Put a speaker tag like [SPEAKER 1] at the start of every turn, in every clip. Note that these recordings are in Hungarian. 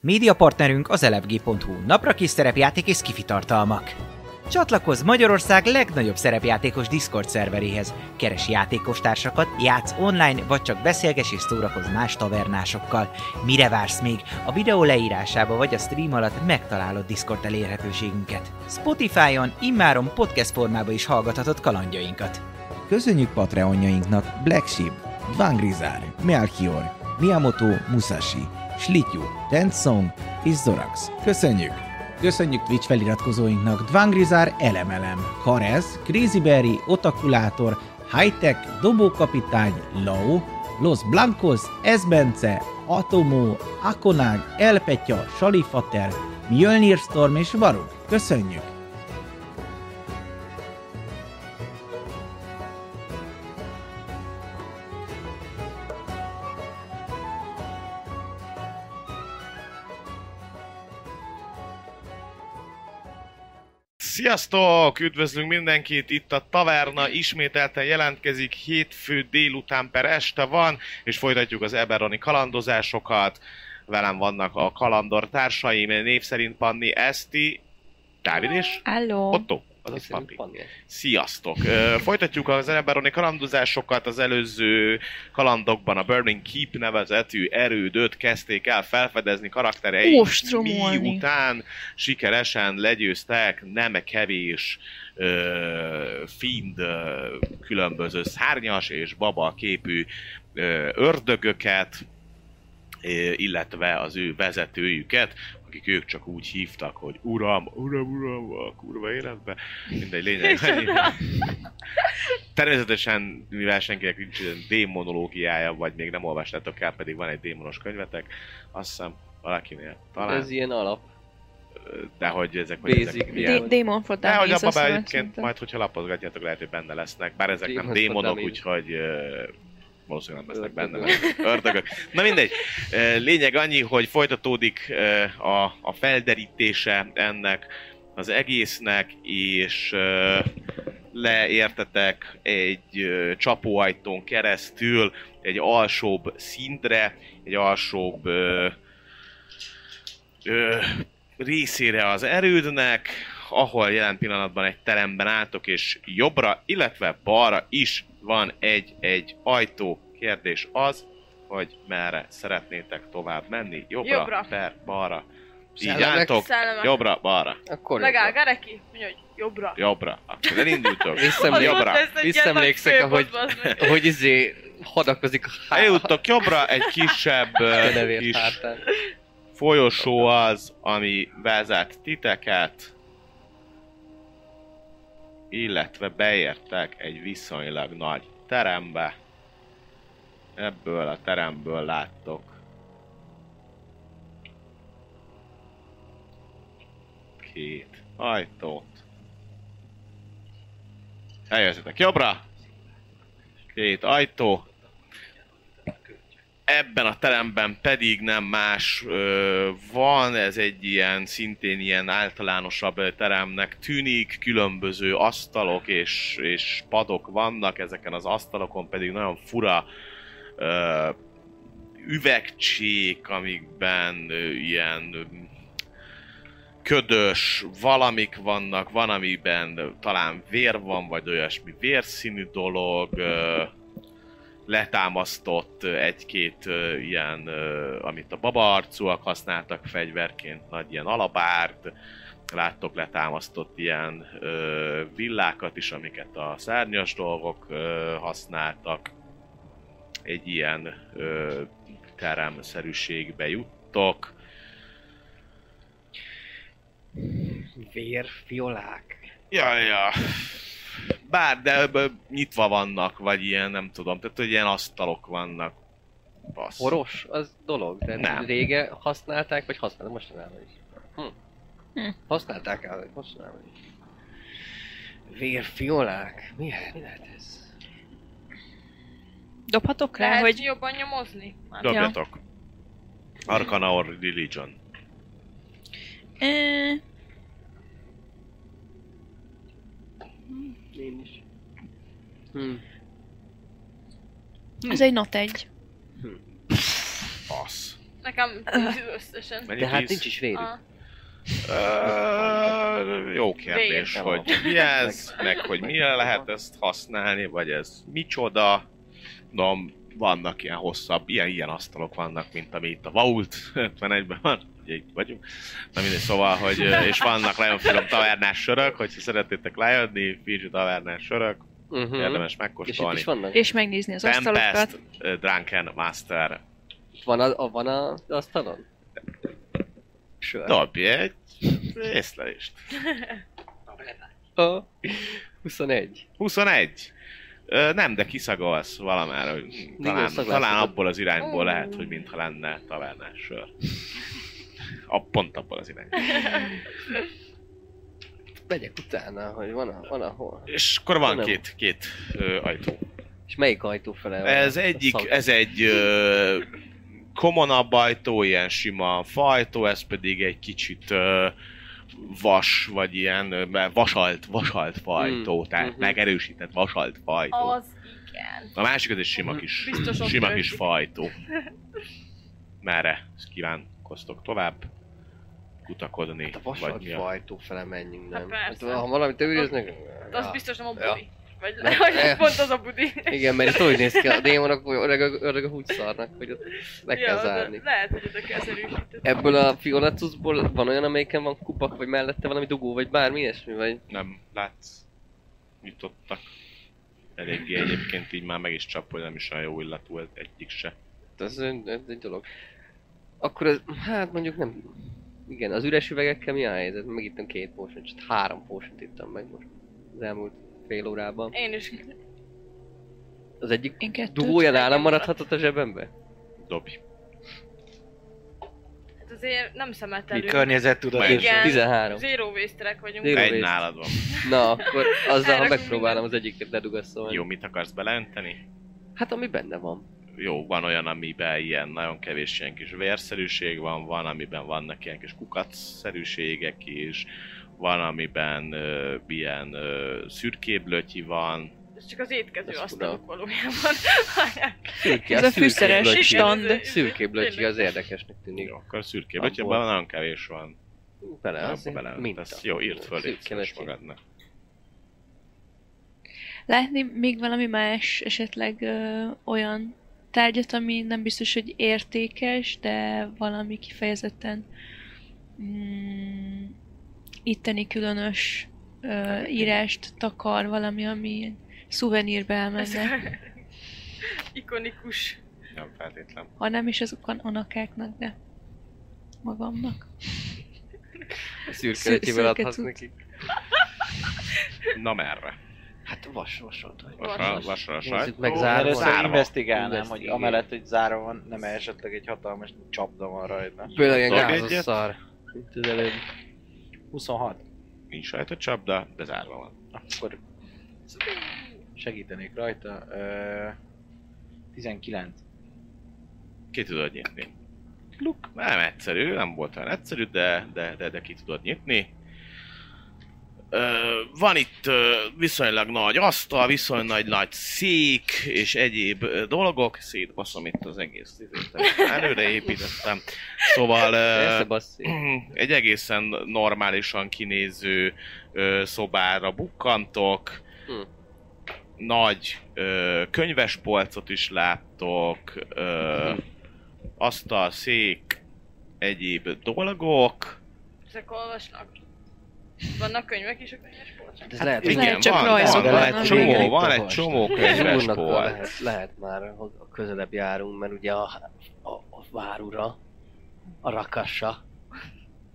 [SPEAKER 1] Média partnerünk az elefg.hu, napra kis szerepjáték és kifitartalmak. Csatlakozz Magyarország legnagyobb szerepjátékos Discord szerveréhez. Keres játékostársakat, játsz online, vagy csak beszélges és szórakozz más tavernásokkal. Mire vársz még? A videó leírásába vagy a stream alatt megtalálod Discord elérhetőségünket. Spotify-on immáron podcast formában is hallgathatod kalandjainkat.
[SPEAKER 2] Köszönjük Patreonjainknak Black Sheep, Dvangrizár, Melchior, Miyamoto Musashi, Slityu, Tensong és Zorax. Köszönjük! Köszönjük Twitch feliratkozóinknak Dvangrizár Elemelem, Karez, Crazy Berry, Otakulátor, Hightech, Dobókapitány, Lao, Los Blancos, Esbence, Atomó, Akonág, Elpetya, Salifater, Mjölnir Storm és Varug. Köszönjük!
[SPEAKER 3] Sziasztok! Üdvözlünk mindenkit! Itt a Taverna ismételten jelentkezik, hétfő délután per este van, és folytatjuk az Eberoni kalandozásokat. Velem vannak a kalandor társaim, név szerint Panni Eszti, Dávid és
[SPEAKER 4] Hello.
[SPEAKER 3] Otto. Azaz Papi. Sziasztok! Ö, Folytatjuk az Eberoni kalandozásokat. Az előző kalandokban a Burning Keep nevezetű erődöt kezdték el felfedezni karaktereik,
[SPEAKER 4] Ostromolni.
[SPEAKER 3] miután sikeresen legyőztek nem kevés ö, fiend ö, különböző szárnyas és baba képű ö, ördögöket, ö, illetve az ő vezetőjüket, akik ők csak úgy hívtak, hogy uram, uram, uram, a kurva életbe. Mindegy, lényeg. Természetesen, mivel senkinek nincs ilyen démonológiája, vagy még nem olvastátok el, pedig van egy démonos könyvetek, azt hiszem valakinél talán,
[SPEAKER 5] Ez ilyen alap.
[SPEAKER 3] de hogy ezek, hogy ezek
[SPEAKER 5] Basic.
[SPEAKER 3] milyen...
[SPEAKER 4] D- Demon for
[SPEAKER 3] De hogy
[SPEAKER 4] Dummies,
[SPEAKER 3] abban
[SPEAKER 4] azt
[SPEAKER 3] be
[SPEAKER 4] már
[SPEAKER 3] egyébként
[SPEAKER 4] szerintem.
[SPEAKER 3] majd, hogyha lapozgatjátok, lehet, hogy benne lesznek. Bár ezek nem
[SPEAKER 5] Demons
[SPEAKER 3] démonok,
[SPEAKER 5] Damage.
[SPEAKER 3] úgyhogy ö, valószínűleg nem lesznek benne,
[SPEAKER 5] Ördögök.
[SPEAKER 3] mert ördögök. Na mindegy, Ö, lényeg annyi, hogy folytatódik ö, a, a felderítése ennek az egésznek, és ö, leértetek egy ö, csapóajtón keresztül egy alsóbb szintre, egy alsóbb ö, ö, részére az erődnek, ahol jelen pillanatban egy teremben álltok, és jobbra, illetve balra is van egy-egy ajtó. Kérdés az, hogy merre szeretnétek tovább menni. Jobbra,
[SPEAKER 6] Jobbra.
[SPEAKER 3] per balra. Így
[SPEAKER 5] Szellemek.
[SPEAKER 3] álltok,
[SPEAKER 6] Szellemek.
[SPEAKER 3] jobbra, balra,
[SPEAKER 5] Akkor
[SPEAKER 6] Megáll Gareki, mondja, hogy jobbra.
[SPEAKER 3] jobbra. Akkor elindultok.
[SPEAKER 5] Visszem-
[SPEAKER 6] Ott
[SPEAKER 3] jobbra.
[SPEAKER 6] lesz egy
[SPEAKER 5] Visszaemlékszek,
[SPEAKER 6] ilyen nagy
[SPEAKER 5] ahogy-
[SPEAKER 6] főpont, bazd meg.
[SPEAKER 5] Hogy izé hadakozik a há-
[SPEAKER 3] Eljuttok jobbra, egy kisebb ö,
[SPEAKER 5] kenevér
[SPEAKER 3] kis
[SPEAKER 5] hátán.
[SPEAKER 3] folyosó az, ami vezet titeket, illetve beértek egy viszonylag nagy terembe. Ebből a teremből láttok két ajtót. Eljöttetek jobbra. Két ajtó, ebben a teremben pedig nem más ö, van, ez egy ilyen szintén ilyen általánosabb ö, teremnek tűnik, különböző asztalok és, és padok vannak, ezeken az asztalokon pedig nagyon fura ö, üvegcsék, amikben ö, ilyen ö, ködös valamik vannak, van amiben ö, talán vér van, vagy olyasmi vérszínű dolog, ö, letámasztott ö, egy-két ö, ilyen, ö, amit a babaarcúak használtak fegyverként, nagy ilyen alabárt, láttok letámasztott ilyen ö, villákat is, amiket a szárnyas dolgok ö, használtak. Egy ilyen ö, teremszerűségbe juttok.
[SPEAKER 5] Vérfiolák.
[SPEAKER 3] Ja, ja. Bár, de ö, nyitva vannak, vagy ilyen, nem tudom. Tehát, hogy ilyen asztalok vannak. Basz.
[SPEAKER 5] Poros, az dolog, de
[SPEAKER 3] Nem.
[SPEAKER 5] nem. rége használták, vagy használták mostanában is. Hm.
[SPEAKER 4] Hm.
[SPEAKER 5] Használták el, vagy mostanában is. Vérfiolák? Mi, mi lehet ez?
[SPEAKER 4] Dobhatok rá,
[SPEAKER 6] Lehet
[SPEAKER 4] hogy...
[SPEAKER 6] hogy... jobban nyomozni? Már
[SPEAKER 4] Dob-
[SPEAKER 3] Dobjatok. Arcana or Religion.
[SPEAKER 4] Ö,
[SPEAKER 5] Én is. Hm.
[SPEAKER 4] Ez egy not egy.
[SPEAKER 3] Fasz.
[SPEAKER 6] Nekem tíz összesen.
[SPEAKER 3] Mennyi
[SPEAKER 5] De hát
[SPEAKER 3] víz?
[SPEAKER 5] nincs is védő.
[SPEAKER 6] Ah,
[SPEAKER 3] Ö, jó kérdés,
[SPEAKER 5] Miért?
[SPEAKER 3] hogy mi ez, meg hogy mire lehet ezt használni, vagy ez micsoda. No, vannak ilyen hosszabb, ilyen, ilyen asztalok vannak, mint ami itt a Vault 51-ben van, ugye itt vagyunk. Na mindegy, szóval, hogy ö, és vannak nagyon finom tavernás sörök, hogyha szeretnétek lejönni, Fiji tavernás sörök,
[SPEAKER 5] Mhm.
[SPEAKER 3] érdemes
[SPEAKER 5] És itt
[SPEAKER 3] megkóstolni.
[SPEAKER 5] is vannak.
[SPEAKER 4] És megnézni az asztalokat.
[SPEAKER 3] Tempest, ö, Drunken Master.
[SPEAKER 5] Itt Van a, a, van a az asztalon? Sör.
[SPEAKER 3] Dobj egy észlelést.
[SPEAKER 5] A 21.
[SPEAKER 3] 21. Ö, nem, de kiszagolsz valamára, hogy talán,
[SPEAKER 5] szaglászokat.
[SPEAKER 3] talán abból az irányból
[SPEAKER 6] Ó.
[SPEAKER 3] lehet, hogy mintha lenne tavernás sör. A, pont abból az irányból.
[SPEAKER 5] Megyek utána, hogy van, a, van ahol.
[SPEAKER 3] És akkor van
[SPEAKER 5] Nem.
[SPEAKER 3] két, két ö, ajtó.
[SPEAKER 5] És melyik ajtó fele van?
[SPEAKER 3] Ez
[SPEAKER 5] A
[SPEAKER 3] egyik,
[SPEAKER 5] szag-
[SPEAKER 3] ez egy ö, komonabb ajtó, ilyen sima fajtó, ez pedig egy kicsit ö, vas, vagy ilyen ö, vasalt, vasalt fajtó,
[SPEAKER 5] Mm,
[SPEAKER 3] tehát
[SPEAKER 5] mhm.
[SPEAKER 3] megerősített vasalt fajtó.
[SPEAKER 6] az igen.
[SPEAKER 3] A másik az egy sima kis,
[SPEAKER 6] Mhm. Biztos ott
[SPEAKER 3] sima
[SPEAKER 6] rögtön.
[SPEAKER 3] kis fajtó. Merre kívánkoztok tovább kutakodni?
[SPEAKER 5] Hát a
[SPEAKER 3] vagy mi
[SPEAKER 5] vasat
[SPEAKER 3] a...
[SPEAKER 5] ajtó fele menjünk, nem?
[SPEAKER 6] Hát
[SPEAKER 5] Hát,
[SPEAKER 6] persze.
[SPEAKER 5] ha valamit őriznek...
[SPEAKER 6] De az biztos nem a
[SPEAKER 5] Ja. Eh.
[SPEAKER 6] budi. Vagy
[SPEAKER 5] Nem.
[SPEAKER 6] hogy pont az a budi.
[SPEAKER 5] Igen, mert itt úgy néz ki, a démonok olyan öreg, öreg a úgy szarnak, hogy ott le kell
[SPEAKER 6] de
[SPEAKER 5] zárni.
[SPEAKER 6] Lehet, hogy oda kell erősíteni.
[SPEAKER 5] Ebből a Fionatusból van olyan, amelyiken van kubak, vagy mellette valami dugó, vagy bármi ilyesmi, vagy...
[SPEAKER 3] Nem látsz. Nyitottak. Eléggé egyébként így már meg is csap, hogy nem is olyan jó illatú ez egyik se.
[SPEAKER 5] Ez, egy- Hát, ez egy dolog. Akkor az, hát mondjuk nem... Igen, az üres üvegekkel mi a helyzet? Megittem két potion, csak három potion ittam meg most az elmúlt fél órában.
[SPEAKER 6] Én is.
[SPEAKER 5] Az egyik
[SPEAKER 4] Én kettőt.
[SPEAKER 5] dugója nálam maradhatott a zsebembe?
[SPEAKER 3] Dobj.
[SPEAKER 6] Hát azért nem
[SPEAKER 2] Mi
[SPEAKER 6] szemetelünk.
[SPEAKER 2] környezet tudod,
[SPEAKER 3] Igen.
[SPEAKER 2] és
[SPEAKER 6] Igen.
[SPEAKER 5] 13.
[SPEAKER 6] Zero waste vagyunk.
[SPEAKER 5] Zero-
[SPEAKER 3] Egy
[SPEAKER 5] Dobj.
[SPEAKER 3] nálad van.
[SPEAKER 5] Na, akkor azzal, ha
[SPEAKER 6] Elrakunk
[SPEAKER 5] megpróbálom az egyiket ledugaszolni.
[SPEAKER 3] Jó, mit akarsz beleönteni?
[SPEAKER 5] Hát ami benne van.
[SPEAKER 3] Jó, van olyan, amiben ilyen nagyon kevés ilyen kis vérszerűség van, van, amiben vannak ilyen kis kukacszerűségek is, van, amiben ö, ilyen ö, szürkéblötyi van,
[SPEAKER 6] Ez csak az étkező
[SPEAKER 5] Ez
[SPEAKER 6] asztalok
[SPEAKER 5] fura.
[SPEAKER 6] valójában.
[SPEAKER 5] Szürke,
[SPEAKER 4] Ez a fűszeres
[SPEAKER 5] blötyi.
[SPEAKER 4] stand.
[SPEAKER 5] Szürkébb lötyi, az érdekesnek tűnik.
[SPEAKER 3] Jó, akkor szürke
[SPEAKER 5] Abból.
[SPEAKER 3] bötyöbben nagyon kevés van.
[SPEAKER 5] Bele,
[SPEAKER 3] Abba
[SPEAKER 5] az
[SPEAKER 3] bele.
[SPEAKER 5] minta.
[SPEAKER 3] Ezt jó, írt föl, légy
[SPEAKER 5] Szürke
[SPEAKER 3] szíves
[SPEAKER 5] lötyi.
[SPEAKER 3] magadnak.
[SPEAKER 4] Látni még valami más esetleg ö, olyan tárgyat, ami nem biztos, hogy értékes, de valami kifejezetten mm, itteni különös ö, írást takar, valami, ami szuvenírbe
[SPEAKER 6] Ez
[SPEAKER 4] elmenne,
[SPEAKER 6] ikonikus.
[SPEAKER 3] Nem feltétlen.
[SPEAKER 4] ha nem is azokon anakáknak, de magamnak.
[SPEAKER 5] Szürke
[SPEAKER 4] Szür-
[SPEAKER 5] lötyivel
[SPEAKER 4] szürke
[SPEAKER 5] adhatsz
[SPEAKER 4] cucc.
[SPEAKER 5] neki.
[SPEAKER 3] Na merre?
[SPEAKER 5] Hát vas, vasod vagy.
[SPEAKER 3] Vasra, vasra a
[SPEAKER 5] Nézzük
[SPEAKER 3] sajt.
[SPEAKER 5] meg
[SPEAKER 2] Először
[SPEAKER 5] zárva.
[SPEAKER 3] Zárva.
[SPEAKER 2] investigálnám, hogy
[SPEAKER 5] Investigálj.
[SPEAKER 2] amellett, hogy zárva van, nem -e esetleg egy hatalmas csapda van rajta.
[SPEAKER 5] Például ilyen
[SPEAKER 3] Dobj
[SPEAKER 5] gázos
[SPEAKER 3] egyet.
[SPEAKER 5] szar. Mint az előbb.
[SPEAKER 2] 26.
[SPEAKER 3] Nincs rajta csapda, de zárva van.
[SPEAKER 2] Akkor segítenék rajta. Ö, 19.
[SPEAKER 3] Ki tudod nyitni. Luk. Nem egyszerű, nem volt olyan egyszerű, de, de, de, de ki tudod nyitni. Ö, van itt ö, viszonylag nagy asztal, viszonylag nagy, nagy szék és egyéb ö, dolgok. Szétbaszom itt az egész izét, előre építettem. Szóval... ö,
[SPEAKER 5] Persze basszi.
[SPEAKER 3] Mhm. egy egészen normálisan kinéző ö, szobára bukkantok,
[SPEAKER 5] Hm.
[SPEAKER 3] nagy ö, könyvespolcot is láttok, ö, asztal, szék, egyéb dolgok.
[SPEAKER 6] Ezek olvasnak. Vannak könyvek is a könyvespolcon?
[SPEAKER 5] Ez lehet,
[SPEAKER 4] igen,
[SPEAKER 5] hogy
[SPEAKER 4] lehet csak rajzok
[SPEAKER 3] van, van,
[SPEAKER 4] vannak.
[SPEAKER 3] egy
[SPEAKER 4] Igen,
[SPEAKER 3] csomó,
[SPEAKER 2] itt
[SPEAKER 3] van egy
[SPEAKER 2] olvasnak.
[SPEAKER 3] csomó
[SPEAKER 5] Zúrnak
[SPEAKER 3] könyvespolc.
[SPEAKER 5] lehet, lehet már, hogy közelebb járunk, mert ugye a, a, a várura, a rakassa,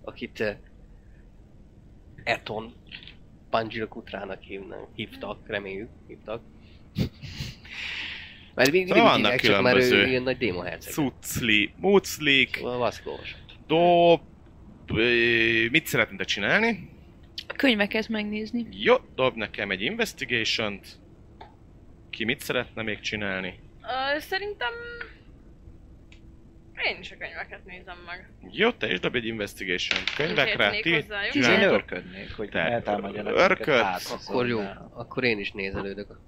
[SPEAKER 5] akit eh, Eton Panjil Kutrának hívnak, hívtak, reméljük, hívtak. Mert még mindig
[SPEAKER 3] Szóval
[SPEAKER 5] így
[SPEAKER 3] vannak
[SPEAKER 5] hívják, csak már ő
[SPEAKER 3] különböző
[SPEAKER 5] ilyen nagy Szóval démoherceg.
[SPEAKER 3] Cucli, muclik,
[SPEAKER 5] A vaszkós.
[SPEAKER 3] dob, ö, mit szeretnétek csinálni?
[SPEAKER 4] A könyveket megnézni.
[SPEAKER 3] Jó, dob nekem egy investigation -t. Ki mit szeretne még csinálni?
[SPEAKER 6] Ö, szerintem... Én is a könyveket nézem meg.
[SPEAKER 3] Jó, te is dob egy investigation könyvekre.
[SPEAKER 6] Könyvekre,
[SPEAKER 3] Ti
[SPEAKER 2] És
[SPEAKER 6] hozzájuk.
[SPEAKER 2] én
[SPEAKER 3] csináljátok.
[SPEAKER 2] örködnék, hogy
[SPEAKER 3] Te
[SPEAKER 2] eltámadjanak.
[SPEAKER 3] örködsz.
[SPEAKER 5] Szóval-
[SPEAKER 2] minket, hát,
[SPEAKER 5] Akkor jó, akkor én is nézelődök.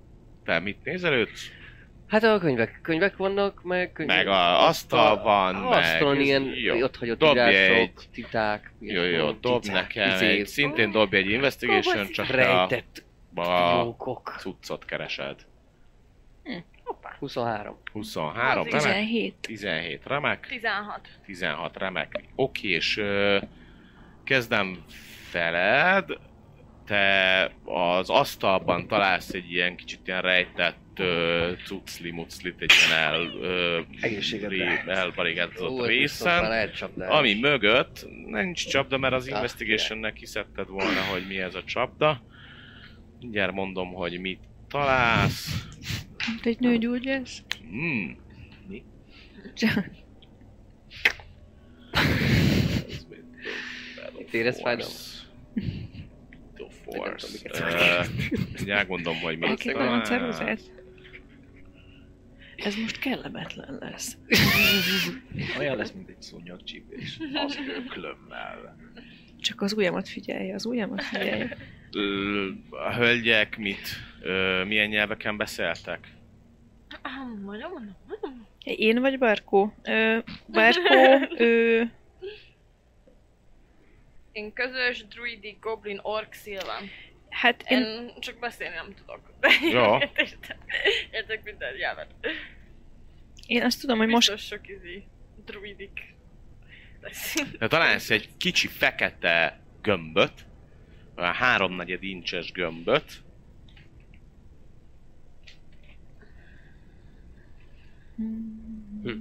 [SPEAKER 3] Te mit nézelődsz?
[SPEAKER 5] Hát a könyvek, könyvek vannak, meg könyvek.
[SPEAKER 3] Meg a asztal van,
[SPEAKER 5] a
[SPEAKER 3] meg-
[SPEAKER 5] Asztalon ilyen
[SPEAKER 3] jó.
[SPEAKER 5] ott hagyott
[SPEAKER 3] Dobj
[SPEAKER 5] írások,
[SPEAKER 3] egy-
[SPEAKER 5] titák.
[SPEAKER 3] Jó, jó, dob nekem egy,
[SPEAKER 5] izék,
[SPEAKER 3] szintén dobj egy investigation, csak te
[SPEAKER 5] izé, rejtett
[SPEAKER 3] a, a
[SPEAKER 5] jókok.
[SPEAKER 3] cuccot keresed.
[SPEAKER 5] 23.
[SPEAKER 3] 23,
[SPEAKER 6] Az
[SPEAKER 3] remek,
[SPEAKER 4] 17.
[SPEAKER 3] 17, remek,
[SPEAKER 6] 16.
[SPEAKER 3] 16, remek. Oké, és ö, kezdem veled. Te az asztalban találsz egy ilyen kicsit ilyen rejtett ö, cucli-muclit, egy ilyen el, ö,
[SPEAKER 2] Egészségedre.
[SPEAKER 3] ré- elbarigázott
[SPEAKER 5] Ú, viszont már
[SPEAKER 3] részen.
[SPEAKER 5] lehet csapdás.
[SPEAKER 3] Ami mögött, nincs csapda, mert az
[SPEAKER 5] Ah,
[SPEAKER 3] investigation-nek kiszedted volna, hogy mi ez a csapda. Mindjárt mondom, hogy mit találsz.
[SPEAKER 4] Mint Hát egy nőgyógyász.
[SPEAKER 3] Hmm. Mi?
[SPEAKER 5] Itt érez fájdalmat?
[SPEAKER 3] The
[SPEAKER 5] Vagy nem
[SPEAKER 3] Force.
[SPEAKER 5] tudom,
[SPEAKER 3] Ö,
[SPEAKER 5] miket
[SPEAKER 3] Mindjárt gondolom, hogy mit
[SPEAKER 4] Elképpen a
[SPEAKER 3] találsz.
[SPEAKER 4] ceruzát. Ez most kellemetlen lesz.
[SPEAKER 2] Olyan lesz, mint egy szúnyogcsípés. Az öklömmel.
[SPEAKER 4] Csak az ujjamat figyelje, az ujjamat figyelje.
[SPEAKER 3] Ö, A hölgyek mit, ö, milyen nyelveken beszéltek?
[SPEAKER 6] Ah, Mondom, mondom, mondom.
[SPEAKER 4] Én vagy Barkó? Ö, Barkó, ö,
[SPEAKER 6] Én közös, druidi, goblin, ork, szilván.
[SPEAKER 4] hát én,
[SPEAKER 6] Én csak beszélni nem tudok. De
[SPEAKER 3] Jó.
[SPEAKER 6] értek- Értek minden nyelvet.
[SPEAKER 4] én azt tudom, hogy most...
[SPEAKER 6] Biztos sok izi druidik lesz.
[SPEAKER 3] De találsz egy kicsi fekete gömböt, olyan háromnegyed incses gömböt, Hm.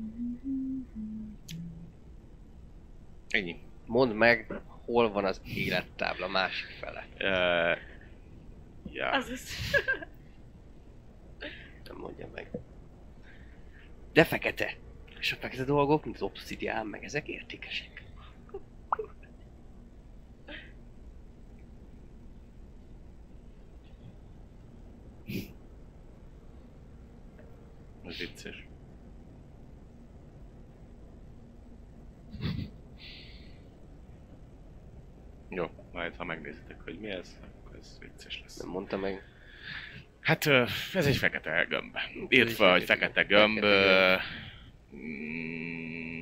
[SPEAKER 3] ennyi.
[SPEAKER 5] Mondd meg, hol van az élettábla másik fele.
[SPEAKER 3] Uh, ja.
[SPEAKER 6] Az az.
[SPEAKER 5] Nem mondja meg. De fekete. És a fekete dolgok, mint az obszidián, meg ezek értékesek.
[SPEAKER 3] Ez vicces. Jó, majd ha megnézitek, hogy mi ez, akkor ez vicces lesz.
[SPEAKER 5] Nem mondta meg.
[SPEAKER 3] Hát ö, ez egy fekete gömb. Írt
[SPEAKER 5] egy
[SPEAKER 3] fel, hogy
[SPEAKER 5] fekete
[SPEAKER 3] fekete
[SPEAKER 5] gömb.
[SPEAKER 3] gömb.
[SPEAKER 5] Fekete
[SPEAKER 3] ö, mm,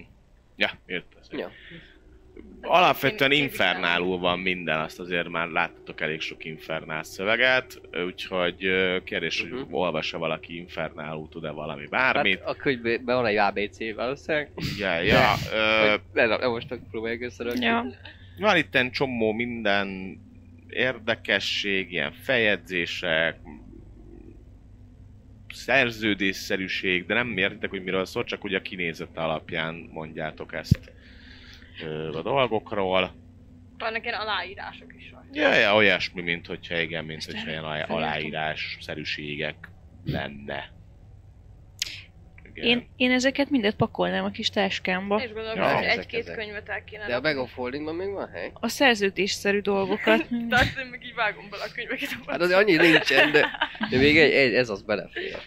[SPEAKER 3] Ja, írt ez.
[SPEAKER 5] Ja.
[SPEAKER 3] Alapvetően
[SPEAKER 6] Én- én
[SPEAKER 3] infernálul van minden, azt azért már láttatok elég sok infernál szöveget, úgyhogy ö, kérdés, hogy
[SPEAKER 5] Mhm.
[SPEAKER 3] olvas-e valaki infernálul, tud-e valami bármit.
[SPEAKER 5] Hát a könyvben van egy ABC valószínűleg.
[SPEAKER 3] Ja, ja, ö,
[SPEAKER 5] Vagy- Ne, ne, most akkor próbáljuk összerakni.
[SPEAKER 4] Ja,
[SPEAKER 3] Van itt csomó minden érdekesség, ilyen feljegyzések, szerződésszerűség, de nem értitek, hogy miről szól, csak ugye a kinézete alapján mondjátok ezt ö, a dolgokról.
[SPEAKER 6] Vannak ilyen aláírások is van.
[SPEAKER 3] Ja, ja, olyasmi, mint hogyha igen, mint
[SPEAKER 4] Ezt
[SPEAKER 3] hogyha
[SPEAKER 4] el-
[SPEAKER 3] ilyen alá-
[SPEAKER 4] felírtam.
[SPEAKER 3] aláírásszerűségek lenne. Igen.
[SPEAKER 4] én, én ezeket mindet pakolnám a kis táskámba.
[SPEAKER 6] És gondolom,
[SPEAKER 3] Ja.
[SPEAKER 6] hogy
[SPEAKER 5] Ezek,
[SPEAKER 6] egy-két
[SPEAKER 5] ezek.
[SPEAKER 6] könyvet el kéne.
[SPEAKER 5] De a
[SPEAKER 6] rakni.
[SPEAKER 5] Bag of Holdingban még van hely?
[SPEAKER 4] A szerződésszerű dolgokat.
[SPEAKER 6] De azt én meg így vágom bele a könyveket.
[SPEAKER 5] Hát az annyi nincsen, de, de még egy, egy, ez az belefér.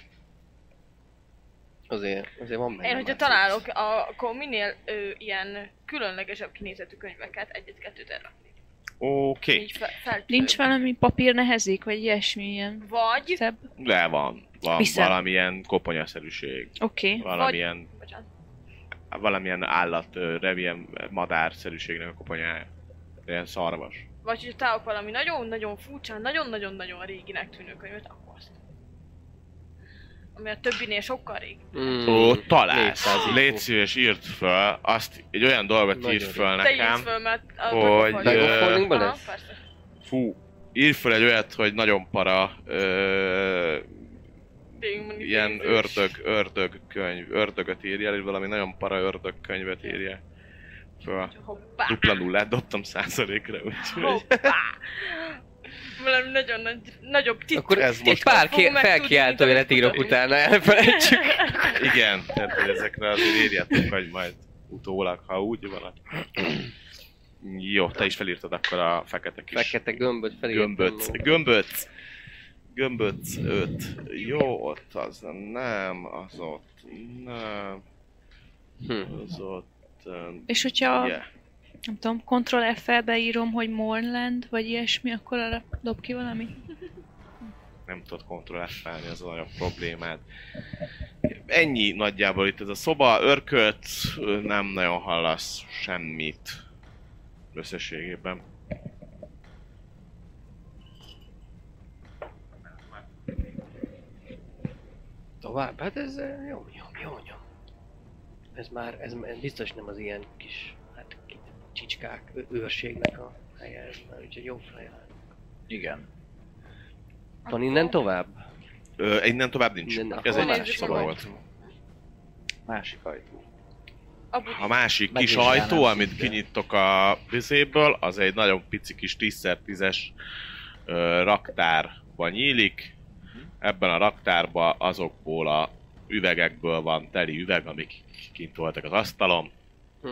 [SPEAKER 5] Azért, azért van benne
[SPEAKER 6] Én, hogyha
[SPEAKER 5] már
[SPEAKER 6] találok,
[SPEAKER 5] cucc.
[SPEAKER 6] a- akkor minél ö, ilyen különlegesebb kinézetű könyveket, egyet-kettőt elrakni.
[SPEAKER 3] Oké,
[SPEAKER 6] Így fe- feltűnő.
[SPEAKER 4] Nincs valami papír nehezik, vagy ilyesmi ilyen
[SPEAKER 6] Vagy...
[SPEAKER 4] szebb?
[SPEAKER 3] le van. Van
[SPEAKER 4] Viszem.
[SPEAKER 3] valamilyen koponyaszerűség,
[SPEAKER 4] Oké. Okay.
[SPEAKER 3] valamilyen
[SPEAKER 6] Bocsánat.
[SPEAKER 3] valamilyen állat, ö, nem ilyen madárszerűségnek a koponyája. Ilyen szarvas.
[SPEAKER 6] Vagy hogyha találok valami nagyon-nagyon furcsán, nagyon-nagyon-nagyon réginek tűnő könyvet, akkor azt. Ami a többinél sokkal régi.
[SPEAKER 5] Mm,
[SPEAKER 3] Ó, találsz.
[SPEAKER 5] 400 IQ.
[SPEAKER 3] Hmm. Légy szíves, írd föl, azt, egy olyan dolgot
[SPEAKER 5] Nagyon
[SPEAKER 3] írd föl
[SPEAKER 6] Te írsz
[SPEAKER 3] nekem.
[SPEAKER 6] föl, mert... a-
[SPEAKER 3] hogy,
[SPEAKER 5] Bag of
[SPEAKER 3] ö,
[SPEAKER 5] Holdingban
[SPEAKER 6] Aha,
[SPEAKER 5] lesz?
[SPEAKER 6] persze.
[SPEAKER 3] Fú, írd föl egy olyat, hogy nagyon para, ö,
[SPEAKER 6] Démoni
[SPEAKER 3] ilyen
[SPEAKER 6] néző.
[SPEAKER 3] ördög, ördög könyv, ördögöt írjál, és valami nagyon para ördög könyvet írjál. Föl.
[SPEAKER 6] Hoppá!
[SPEAKER 3] Dupla nullát dobtam százalékra, úgyhogy...
[SPEAKER 6] Hoppá! Valami nagyon nagy, nagyobb titok.
[SPEAKER 5] Akkor
[SPEAKER 3] Ez
[SPEAKER 5] ez
[SPEAKER 3] most-
[SPEAKER 5] egy pár
[SPEAKER 6] Fogom
[SPEAKER 5] ké-
[SPEAKER 6] meg
[SPEAKER 5] felkiáltó
[SPEAKER 6] tudni,
[SPEAKER 5] élet írok
[SPEAKER 6] amit
[SPEAKER 5] utána, elfelejtsük.
[SPEAKER 3] Igen, tehát hogy ezekre azért írjátok, hogy majd utólag, ha úgy van. ak- Jó, te is felírtad akkor a fekete kis
[SPEAKER 5] Fekete gömböt felírtam.
[SPEAKER 3] gömböt. Gömböt! Gömböt 5. Jó, ott az nem, az ott nem,
[SPEAKER 5] Hm.
[SPEAKER 3] az ott... öm,
[SPEAKER 4] És hogyha,
[SPEAKER 3] yeah.
[SPEAKER 4] nem tudom, Ctrl F-el beírom, hogy Mornland, vagy ilyesmi, akkor arra dob ki valami?
[SPEAKER 3] nem tudod kontrollálni, az olyan problémát. Ennyi nagyjából itt ez a szoba, örkölt, nem nagyon hallasz semmit összességében.
[SPEAKER 5] Tovább? Hát ez eh, jó, jó, jó, jó. Ez már, ez, ez biztos nem az ilyen kis, hát ki- csicskák ö- őrségnek a helye, ez már úgyhogy jó feje.
[SPEAKER 2] Igen.
[SPEAKER 5] Van innen tovább?
[SPEAKER 3] Ö, innen tovább nincs.
[SPEAKER 5] Innen,
[SPEAKER 3] ez
[SPEAKER 5] akkor
[SPEAKER 3] egy
[SPEAKER 6] nézzük
[SPEAKER 3] szoba
[SPEAKER 6] meg.
[SPEAKER 3] volt.
[SPEAKER 2] Másik ajtó.
[SPEAKER 6] Abu
[SPEAKER 3] A másik kis
[SPEAKER 1] Megvizsgálom
[SPEAKER 3] ajtó, amit
[SPEAKER 1] szinte.
[SPEAKER 3] kinyitok a vizéből, az egy nagyon pici kis 10x10-es ö, raktárban nyílik. Ebben a raktárban azokból a üvegekből van teli üveg, amik kint voltak az asztalon.
[SPEAKER 5] Hm.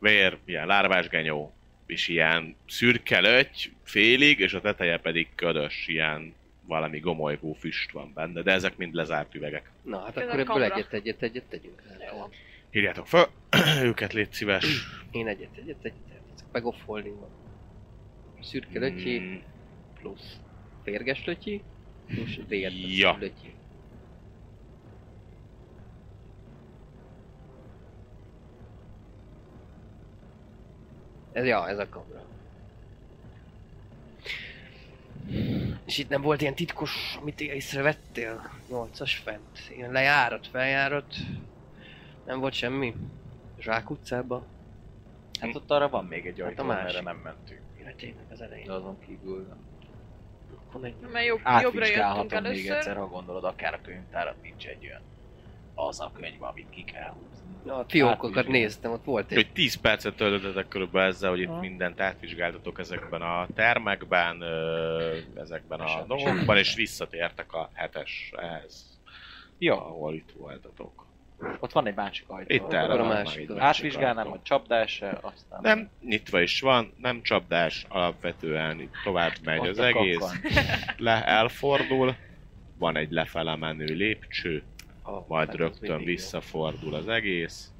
[SPEAKER 3] Vér, ilyen lárvásgenyó, és ilyen szürke löty félig, és a teteje pedig ködös, ilyen valami gomolygó füst van benne, de ezek mind lezárt üvegek.
[SPEAKER 5] Na, hát
[SPEAKER 6] Ezen
[SPEAKER 5] akkor ebből
[SPEAKER 6] kapra.
[SPEAKER 5] egyet, egyet, egyet tegyünk. Hát,
[SPEAKER 6] Jó.
[SPEAKER 3] Írjátok föl, őket légy szíves.
[SPEAKER 5] Én egyet, egyet, egyet, egyet. Megoffolni van. Szürke lötyi,
[SPEAKER 3] Mm,
[SPEAKER 5] plusz férges lötyi, plusz vérges
[SPEAKER 3] Ja.
[SPEAKER 5] lötyi. Ez, ja, ez a kamra. És itt nem volt ilyen titkos, amit észrevettél? Nyolcas fent. Ilyen lejárat, feljárat. Nem volt semmi. Zsák utcában.
[SPEAKER 2] Hát ott arra van még egy
[SPEAKER 5] Hát a
[SPEAKER 2] ajtó,
[SPEAKER 5] másik.
[SPEAKER 2] hát nem mentünk.
[SPEAKER 5] Ja, tényleg az elején.
[SPEAKER 2] De azon kívül nem.
[SPEAKER 5] Akkor megy.
[SPEAKER 6] Mert jobb, jobbra jöttünk
[SPEAKER 2] Átvizsgálhatom még egyszer,
[SPEAKER 6] először.
[SPEAKER 2] ha gondolod, akár a könyvtárat nincs egy olyan. Az a könyv, amit ki kell húzni.
[SPEAKER 5] A fiókokat
[SPEAKER 2] Átvizsgálom.
[SPEAKER 5] néztem, ott volt egy.
[SPEAKER 3] Hogy 10 percet töltöttetek körülbelül ezzel, hogy itt mindent átvizsgáltatok ezekben a termekben, ö, ezekben a
[SPEAKER 2] Semmi
[SPEAKER 3] dolgokban, és visszatértek a heteshez,
[SPEAKER 2] Jó,
[SPEAKER 3] ahol itt voltatok.
[SPEAKER 2] ott van egy másik ajtó.
[SPEAKER 3] Itt
[SPEAKER 5] erre
[SPEAKER 3] erre
[SPEAKER 5] a
[SPEAKER 3] van
[SPEAKER 5] másik
[SPEAKER 3] már egy
[SPEAKER 5] ajtó.
[SPEAKER 3] másik
[SPEAKER 2] Átvizsgálnám,
[SPEAKER 3] ajtó.
[SPEAKER 2] hogy csapdás-e, aztán...
[SPEAKER 3] Nem, nyitva is van, nem csapdás, alapvetően itt tovább megy
[SPEAKER 2] Ott
[SPEAKER 3] az
[SPEAKER 2] a
[SPEAKER 3] egész,
[SPEAKER 2] kakkan.
[SPEAKER 3] le, elfordul, van egy lefele menő lépcső,
[SPEAKER 5] Ah,
[SPEAKER 3] majd
[SPEAKER 5] hát az
[SPEAKER 3] rögtön
[SPEAKER 5] mindig jó.
[SPEAKER 3] visszafordul az egész.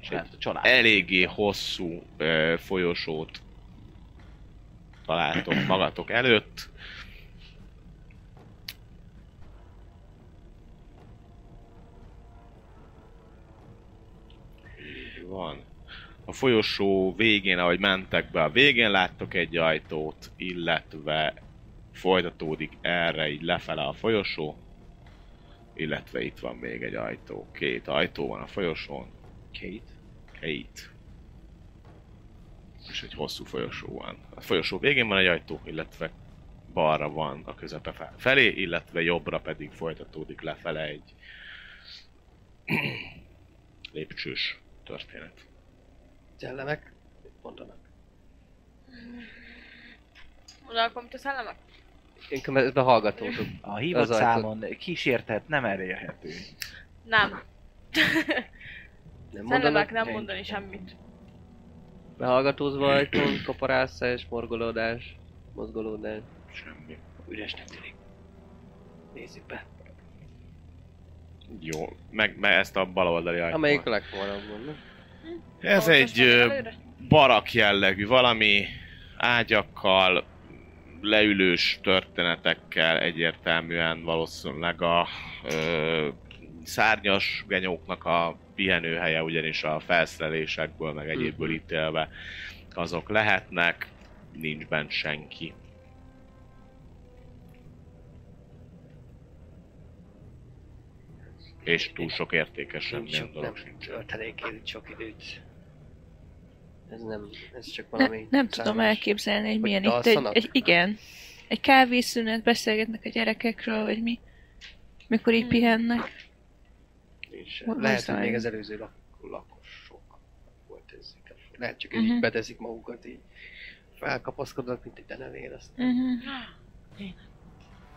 [SPEAKER 2] És ment
[SPEAKER 7] hát,
[SPEAKER 2] a család.
[SPEAKER 3] eléggé hosszú ö, folyosót találtok magatok előtt. Így Van. A folyosó végén, ahogy mentek be, a végén láttok egy ajtót, illetve folytatódik erre így lefele a folyosó, illetve itt van még egy ajtó. Két ajtó van a folyosón,
[SPEAKER 2] Két.
[SPEAKER 3] helyét. És egy hosszú folyosó van. A folyosó végén van egy ajtó, illetve balra van a közepe fel- felé, illetve jobbra pedig folytatódik lefele egy lépcsős történet.
[SPEAKER 5] Szellemek? Mondanak.
[SPEAKER 6] Uralkom, te szellemek?
[SPEAKER 5] Én közben hallgatózok.
[SPEAKER 2] A hívott
[SPEAKER 5] Az ajtó.
[SPEAKER 2] számon kísértet nem elérhető.
[SPEAKER 6] Nem.
[SPEAKER 5] Nem
[SPEAKER 6] Szellemek
[SPEAKER 5] mondanak?
[SPEAKER 6] nem mondani semmit.
[SPEAKER 5] Behallgatózva ajtón, kaparászás, morgolódás, mozgolódás.
[SPEAKER 3] Semmi.
[SPEAKER 5] Üresnek tűnik. Nézzük be.
[SPEAKER 3] Jó, meg, meg ezt a baloldali ajtót.
[SPEAKER 5] Amelyik a legforrabbon, nem?
[SPEAKER 3] Ez
[SPEAKER 6] Ahol
[SPEAKER 3] egy
[SPEAKER 6] most menjünk
[SPEAKER 3] ö,
[SPEAKER 6] előre?
[SPEAKER 3] barak jellegű valami, ágyakkal, leülős történetekkel egyértelműen valószínűleg a ö, szárnyas genyóknak a pihenőhelye, ugyanis a felszerelésekből, meg egyébből
[SPEAKER 5] Mhm.
[SPEAKER 3] ítélve azok lehetnek, nincs bent senki. És túl sok értékes semmilyen dolog sincs.
[SPEAKER 5] töltenék én itt sok időt. Ez nem, ez csak
[SPEAKER 4] Ne,
[SPEAKER 5] valami...
[SPEAKER 4] nem tudom
[SPEAKER 5] szárnyas.
[SPEAKER 4] elképzelni, hogy
[SPEAKER 5] Hogy
[SPEAKER 4] milyen itt egy,
[SPEAKER 5] dalszanak?
[SPEAKER 4] egy, igen, egy kávészünet, beszélgetnek a gyerekekről, vagy mi, mikor így
[SPEAKER 6] Hmm.
[SPEAKER 4] pihennek.
[SPEAKER 5] Nincs.
[SPEAKER 4] Hol-
[SPEAKER 5] Lehet,
[SPEAKER 4] hol
[SPEAKER 5] hogy
[SPEAKER 4] zajlik?
[SPEAKER 5] még az előző lak- lakosok volt ez. inkább. Lehet csak, hogy
[SPEAKER 4] Mhm.
[SPEAKER 5] így beteszik magukat, így felkapaszkodnak, mint egy denevér, azt
[SPEAKER 4] Uh-huh.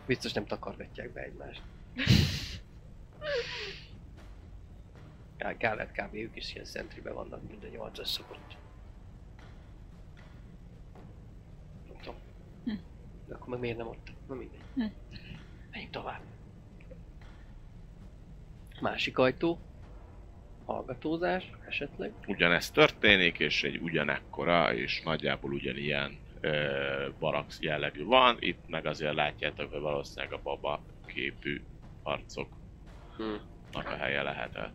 [SPEAKER 5] biztos nem takargatják be egymást. Kell- Kellett kb. ők is ilyen centribe vannak, mint a nyolcas szokott. Nem tudom.
[SPEAKER 4] Hm.
[SPEAKER 5] De akkor meg miért nem ott? Na mindegy.
[SPEAKER 4] Hm.
[SPEAKER 5] Menjünk tovább. Másik ajtó. Hallgatózás esetleg.
[SPEAKER 3] ugyanezt történik, és egy ugyanekkora, és nagyjából ugyanilyen ö, baraks jellegű van, itt meg azért látjátok, hogy valószínűleg a baba képű harcoknak
[SPEAKER 5] Hm.
[SPEAKER 3] a helye lehetett.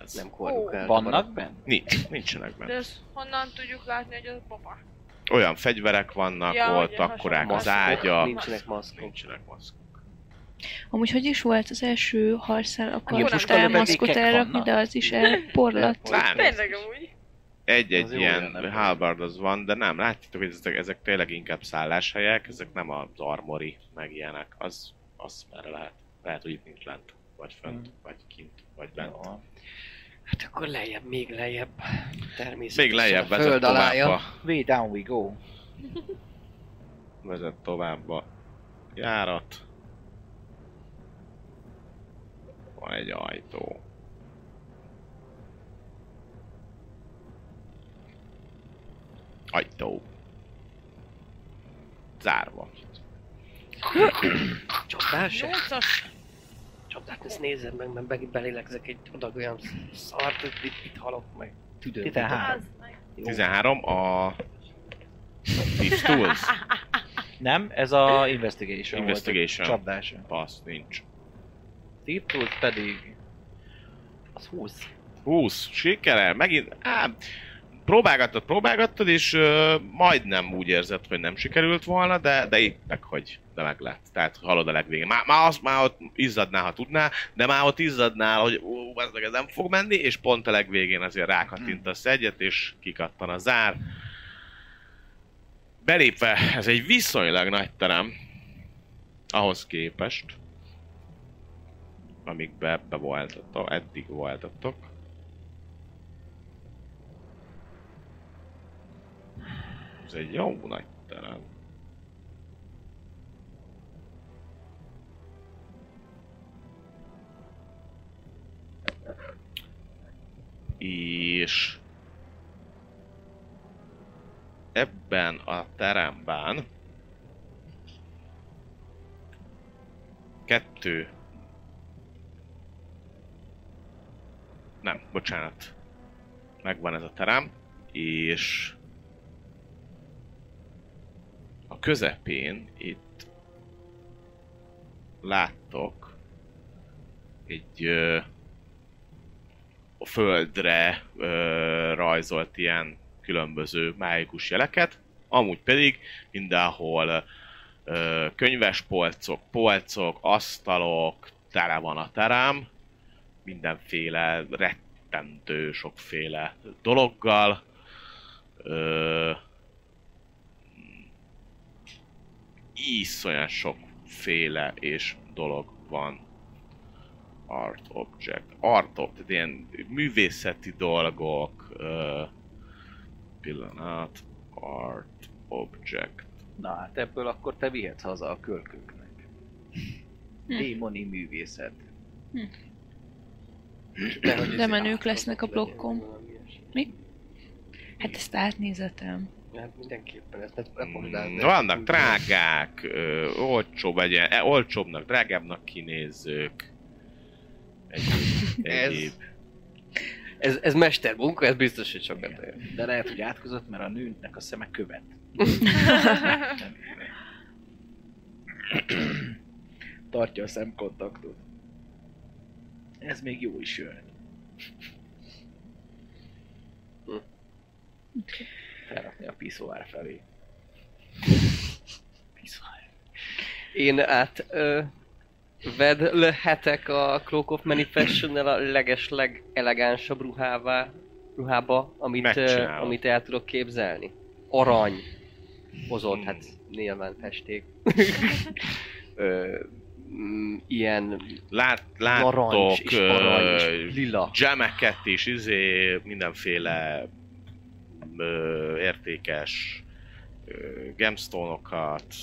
[SPEAKER 3] Ez.
[SPEAKER 5] Nem korjuk el.
[SPEAKER 7] Vannak benne?
[SPEAKER 3] Nincs, nincsenek benne.
[SPEAKER 6] De ezt honnan tudjuk látni, hogy az baba?
[SPEAKER 3] Olyan fegyverek vannak,
[SPEAKER 6] Ja,
[SPEAKER 3] ja, ott
[SPEAKER 6] ugye,
[SPEAKER 3] akkorák az
[SPEAKER 6] hasonló.
[SPEAKER 3] ágya,
[SPEAKER 6] Nincs.
[SPEAKER 5] Nincsenek maszkok.
[SPEAKER 3] nincsenek maszk.
[SPEAKER 4] Amúgy hogy is volt az első harcán, akkor
[SPEAKER 6] Ugye,
[SPEAKER 4] most
[SPEAKER 6] puskadobó
[SPEAKER 4] elmaszkot
[SPEAKER 7] békek
[SPEAKER 4] elrakni,
[SPEAKER 7] vannak.
[SPEAKER 4] de az is elporlat.
[SPEAKER 3] Lám,
[SPEAKER 6] Tényleg amúgy.
[SPEAKER 3] egy-egy
[SPEAKER 7] Az jó lenne.
[SPEAKER 3] ilyen halbard az van, de nem, látjátok, hogy ezek, ezek tényleg inkább szálláshelyek, ezek nem az armori, meg ilyenek, az, az már lehet. Lehet, hogy itt nincs lent, vagy fönt,
[SPEAKER 7] Hmm.
[SPEAKER 3] vagy kint, vagy bent.
[SPEAKER 7] Jó.
[SPEAKER 5] Hát akkor lejjebb, még lejjebb. Természetesen
[SPEAKER 3] Még lejjebb
[SPEAKER 5] a
[SPEAKER 3] vezet
[SPEAKER 5] föld
[SPEAKER 3] tovább,
[SPEAKER 5] alája.
[SPEAKER 3] a,
[SPEAKER 7] Way down we go.
[SPEAKER 3] vezet tovább a járat. Van egy ajtó. Ajtó. Zárva.
[SPEAKER 5] Csapdál se?
[SPEAKER 6] Nyolcas.
[SPEAKER 5] Csapdát ezt nézem meg, mert megint belélegzek egy adag olyan szart, hogy itt, itt halok meg. Tüdőm.
[SPEAKER 7] 13.
[SPEAKER 6] Az meg.
[SPEAKER 5] Jó.
[SPEAKER 3] 13 a... Tisztulsz?
[SPEAKER 7] Nem, ez a investigation,
[SPEAKER 3] Investigation.
[SPEAKER 7] volt. Csapdása.
[SPEAKER 3] Passz, nincs.
[SPEAKER 7] Deep Tools pedig...
[SPEAKER 5] Az 20.
[SPEAKER 3] 20, sikerel, megint, á, próbálgattad, próbálgattad, és ö, majdnem úgy érzed, hogy nem sikerült volna, de, de itt meg hogy, de meg lett. Tehát halad a legvégén. Már, már, azt, már ott izzadnál, ha tudnál, de már ott izzadnál, hogy ú, ez meg ez nem fog menni, és pont a legvégén azért rákattintasz egyet, és kikattan a zár. Belépve, ez egy viszonylag nagy terem, ahhoz képest, amikbe ebbe voltatok, eddig voltatok. Ez egy jó nagy terem. És ebben a teremben kettő Nem, bocsánat. Megvan ez a terem, és a közepén itt láttok egy ö, a földre ö, rajzolt ilyen különböző mágikus jeleket, amúgy pedig mindenhol ö, könyvespolcok, polcok, asztalok, tele van a terem, mindenféle rettentő sokféle dologgal. Ö, iszonyan sokféle és dolog van. Art object. Art object, ilyen művészeti dolgok. Ö, pillanat. Art object.
[SPEAKER 7] Na hát ebből akkor te vihetsz haza a kölköknek. Démoni művészet.
[SPEAKER 5] Nehogy ez
[SPEAKER 4] De menők
[SPEAKER 5] átkozok
[SPEAKER 4] lesznek a
[SPEAKER 5] legyen,
[SPEAKER 4] blokkon.
[SPEAKER 5] valami ilyesmi.
[SPEAKER 4] Hát ezt átnézetem.
[SPEAKER 5] Hát mindenképpen, ezt ne, ne mondd el,
[SPEAKER 3] Mm,
[SPEAKER 5] de-
[SPEAKER 3] Vannak drágák, ö, olcsóbb egyen, e, olcsóbbnak, drágábbnak kinézők. Egyéb,
[SPEAKER 5] Ez-
[SPEAKER 3] egyéb.
[SPEAKER 5] Ez, ez mestermunka, ez biztos, hogy sokat ér.
[SPEAKER 7] De lehet, hogy átkozott, mert a nőnek a szeme követ. Tartja a szemkontaktot. Ez még jó is jön. Felrakni a piszoár felé. Piszoár.
[SPEAKER 5] Én át ö, vedlehetek a Cloak of manifestion a leges legelegánsabb ruhává, ruhába, amit, ö,
[SPEAKER 3] Megcsinálom.
[SPEAKER 5] amit el tudok képzelni. Arany hozott, hát
[SPEAKER 3] Hmm.
[SPEAKER 5] nyilván festék. ö, mm, ilyen
[SPEAKER 3] Lát,
[SPEAKER 5] narancs
[SPEAKER 3] láttok
[SPEAKER 5] és arany és
[SPEAKER 3] ö,
[SPEAKER 5] lila.
[SPEAKER 3] gemeket is, izé, mindenféle ö, értékes ö, gemstone-okat,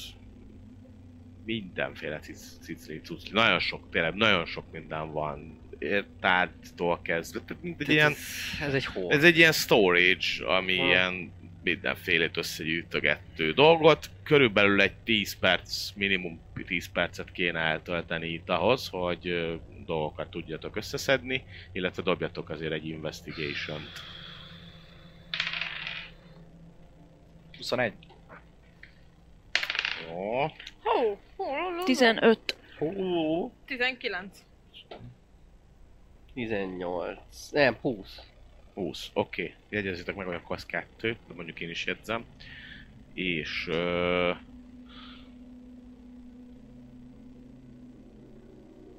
[SPEAKER 3] mindenféle cic- cicli, cucli, nagyon sok, tényleg nagyon sok minden van, Ér- tárgytól kezdve, tehát mint egy
[SPEAKER 5] Tehát
[SPEAKER 3] ilyen,
[SPEAKER 5] Ez, ez egy hol.
[SPEAKER 3] ez egy ilyen storage, ami
[SPEAKER 5] Ha.
[SPEAKER 3] ilyen mindenfélét összegyűjtögető dolgot. Körülbelül egy 10 perc, minimum 10 percet kéne eltölteni itt ahhoz, hogy ö, dolgokat tudjatok összeszedni, illetve dobjatok azért egy investigation
[SPEAKER 7] 21.
[SPEAKER 3] Ó,
[SPEAKER 6] Hó, hó, ló, ló,
[SPEAKER 4] 15.
[SPEAKER 5] Hú,
[SPEAKER 6] 19.
[SPEAKER 5] 18. Nem, 20.
[SPEAKER 3] 20. Oké, okay. jegyezzétek meg, hogy akkor az kettő, de mondjuk én is jegyzem. És... Ö...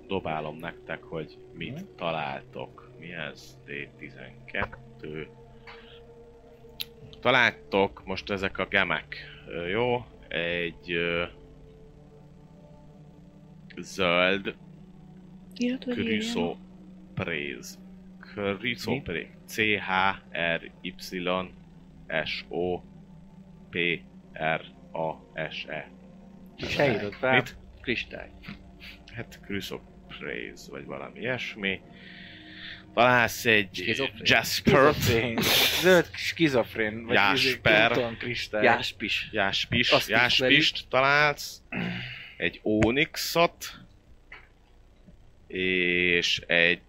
[SPEAKER 3] Dobálom nektek, hogy mit találtok. Mi ez? D12. Találtok most ezek a gemek. Ö, Jó? Egy... Ö... Zöld
[SPEAKER 4] Írod, hogy írjam?
[SPEAKER 3] Crusoe Praise. Crusoe Praise. C-H-R-Y-S-O-P-R-A-S-E.
[SPEAKER 5] Se írod fel.
[SPEAKER 3] E. Mit?
[SPEAKER 5] Kristály.
[SPEAKER 3] Hát Crusoe Praise, vagy valami ilyesmi. Találsz egy
[SPEAKER 5] Skizofrén.
[SPEAKER 3] Jaspert,
[SPEAKER 7] Skizofrén. Zöld skizofrén. Vagy
[SPEAKER 3] Jásper.
[SPEAKER 7] Tudom, Kristály.
[SPEAKER 5] Jáspis.
[SPEAKER 3] Jáspist,
[SPEAKER 4] Hát
[SPEAKER 5] Azt
[SPEAKER 3] Jáspist találsz, egy Onyxot, és egy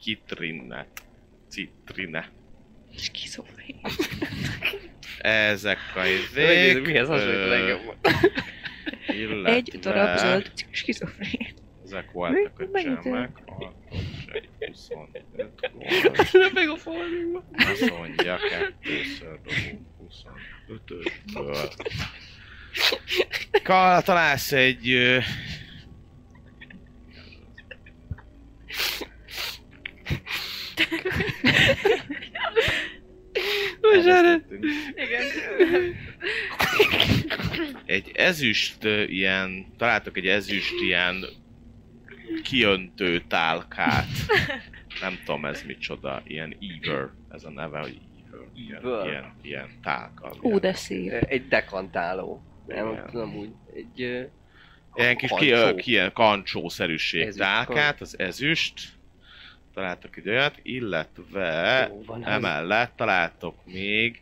[SPEAKER 3] Kitrinet. Citrine.
[SPEAKER 4] Skizofrén.
[SPEAKER 3] Ezek a
[SPEAKER 5] Megnézem,
[SPEAKER 3] izék.
[SPEAKER 5] mihez hasonlít a
[SPEAKER 3] ö,
[SPEAKER 5] legjobban.
[SPEAKER 3] illetve
[SPEAKER 4] Egy darab zöld skizofrén.
[SPEAKER 3] Ezek voltak a
[SPEAKER 4] Mennyit
[SPEAKER 3] csemek. Hat, egy, huszonöt,
[SPEAKER 5] Lebeg a falvéba.
[SPEAKER 3] Azt mondja, kettőször dobunk 25-ösből. Kal, találsz egy... ö, elvesztettünk.
[SPEAKER 6] Igen.
[SPEAKER 3] Egy ezüst ö, ilyen... Találtok egy ezüst ilyen kiöntő tálkát. Nem tudom ez micsoda, ilyen eaver, ez a neve, hogy eaver. Ilyen,
[SPEAKER 5] Eaver.
[SPEAKER 3] ilyen, ilyen tálka.
[SPEAKER 4] Ú,
[SPEAKER 3] ilyen-
[SPEAKER 4] de szép.
[SPEAKER 5] Egy dekantáló. Nem
[SPEAKER 3] Igen.
[SPEAKER 5] tudom úgy. Egy... ö,
[SPEAKER 3] Ilyen kis ki,
[SPEAKER 5] kancsó.
[SPEAKER 3] ö, ki, ilyen kancsószerűség
[SPEAKER 5] Ezüst,
[SPEAKER 3] tálkát, az ezüst. Találtok egy olyat, illetve
[SPEAKER 5] Jó van, az.
[SPEAKER 3] emellett találtok még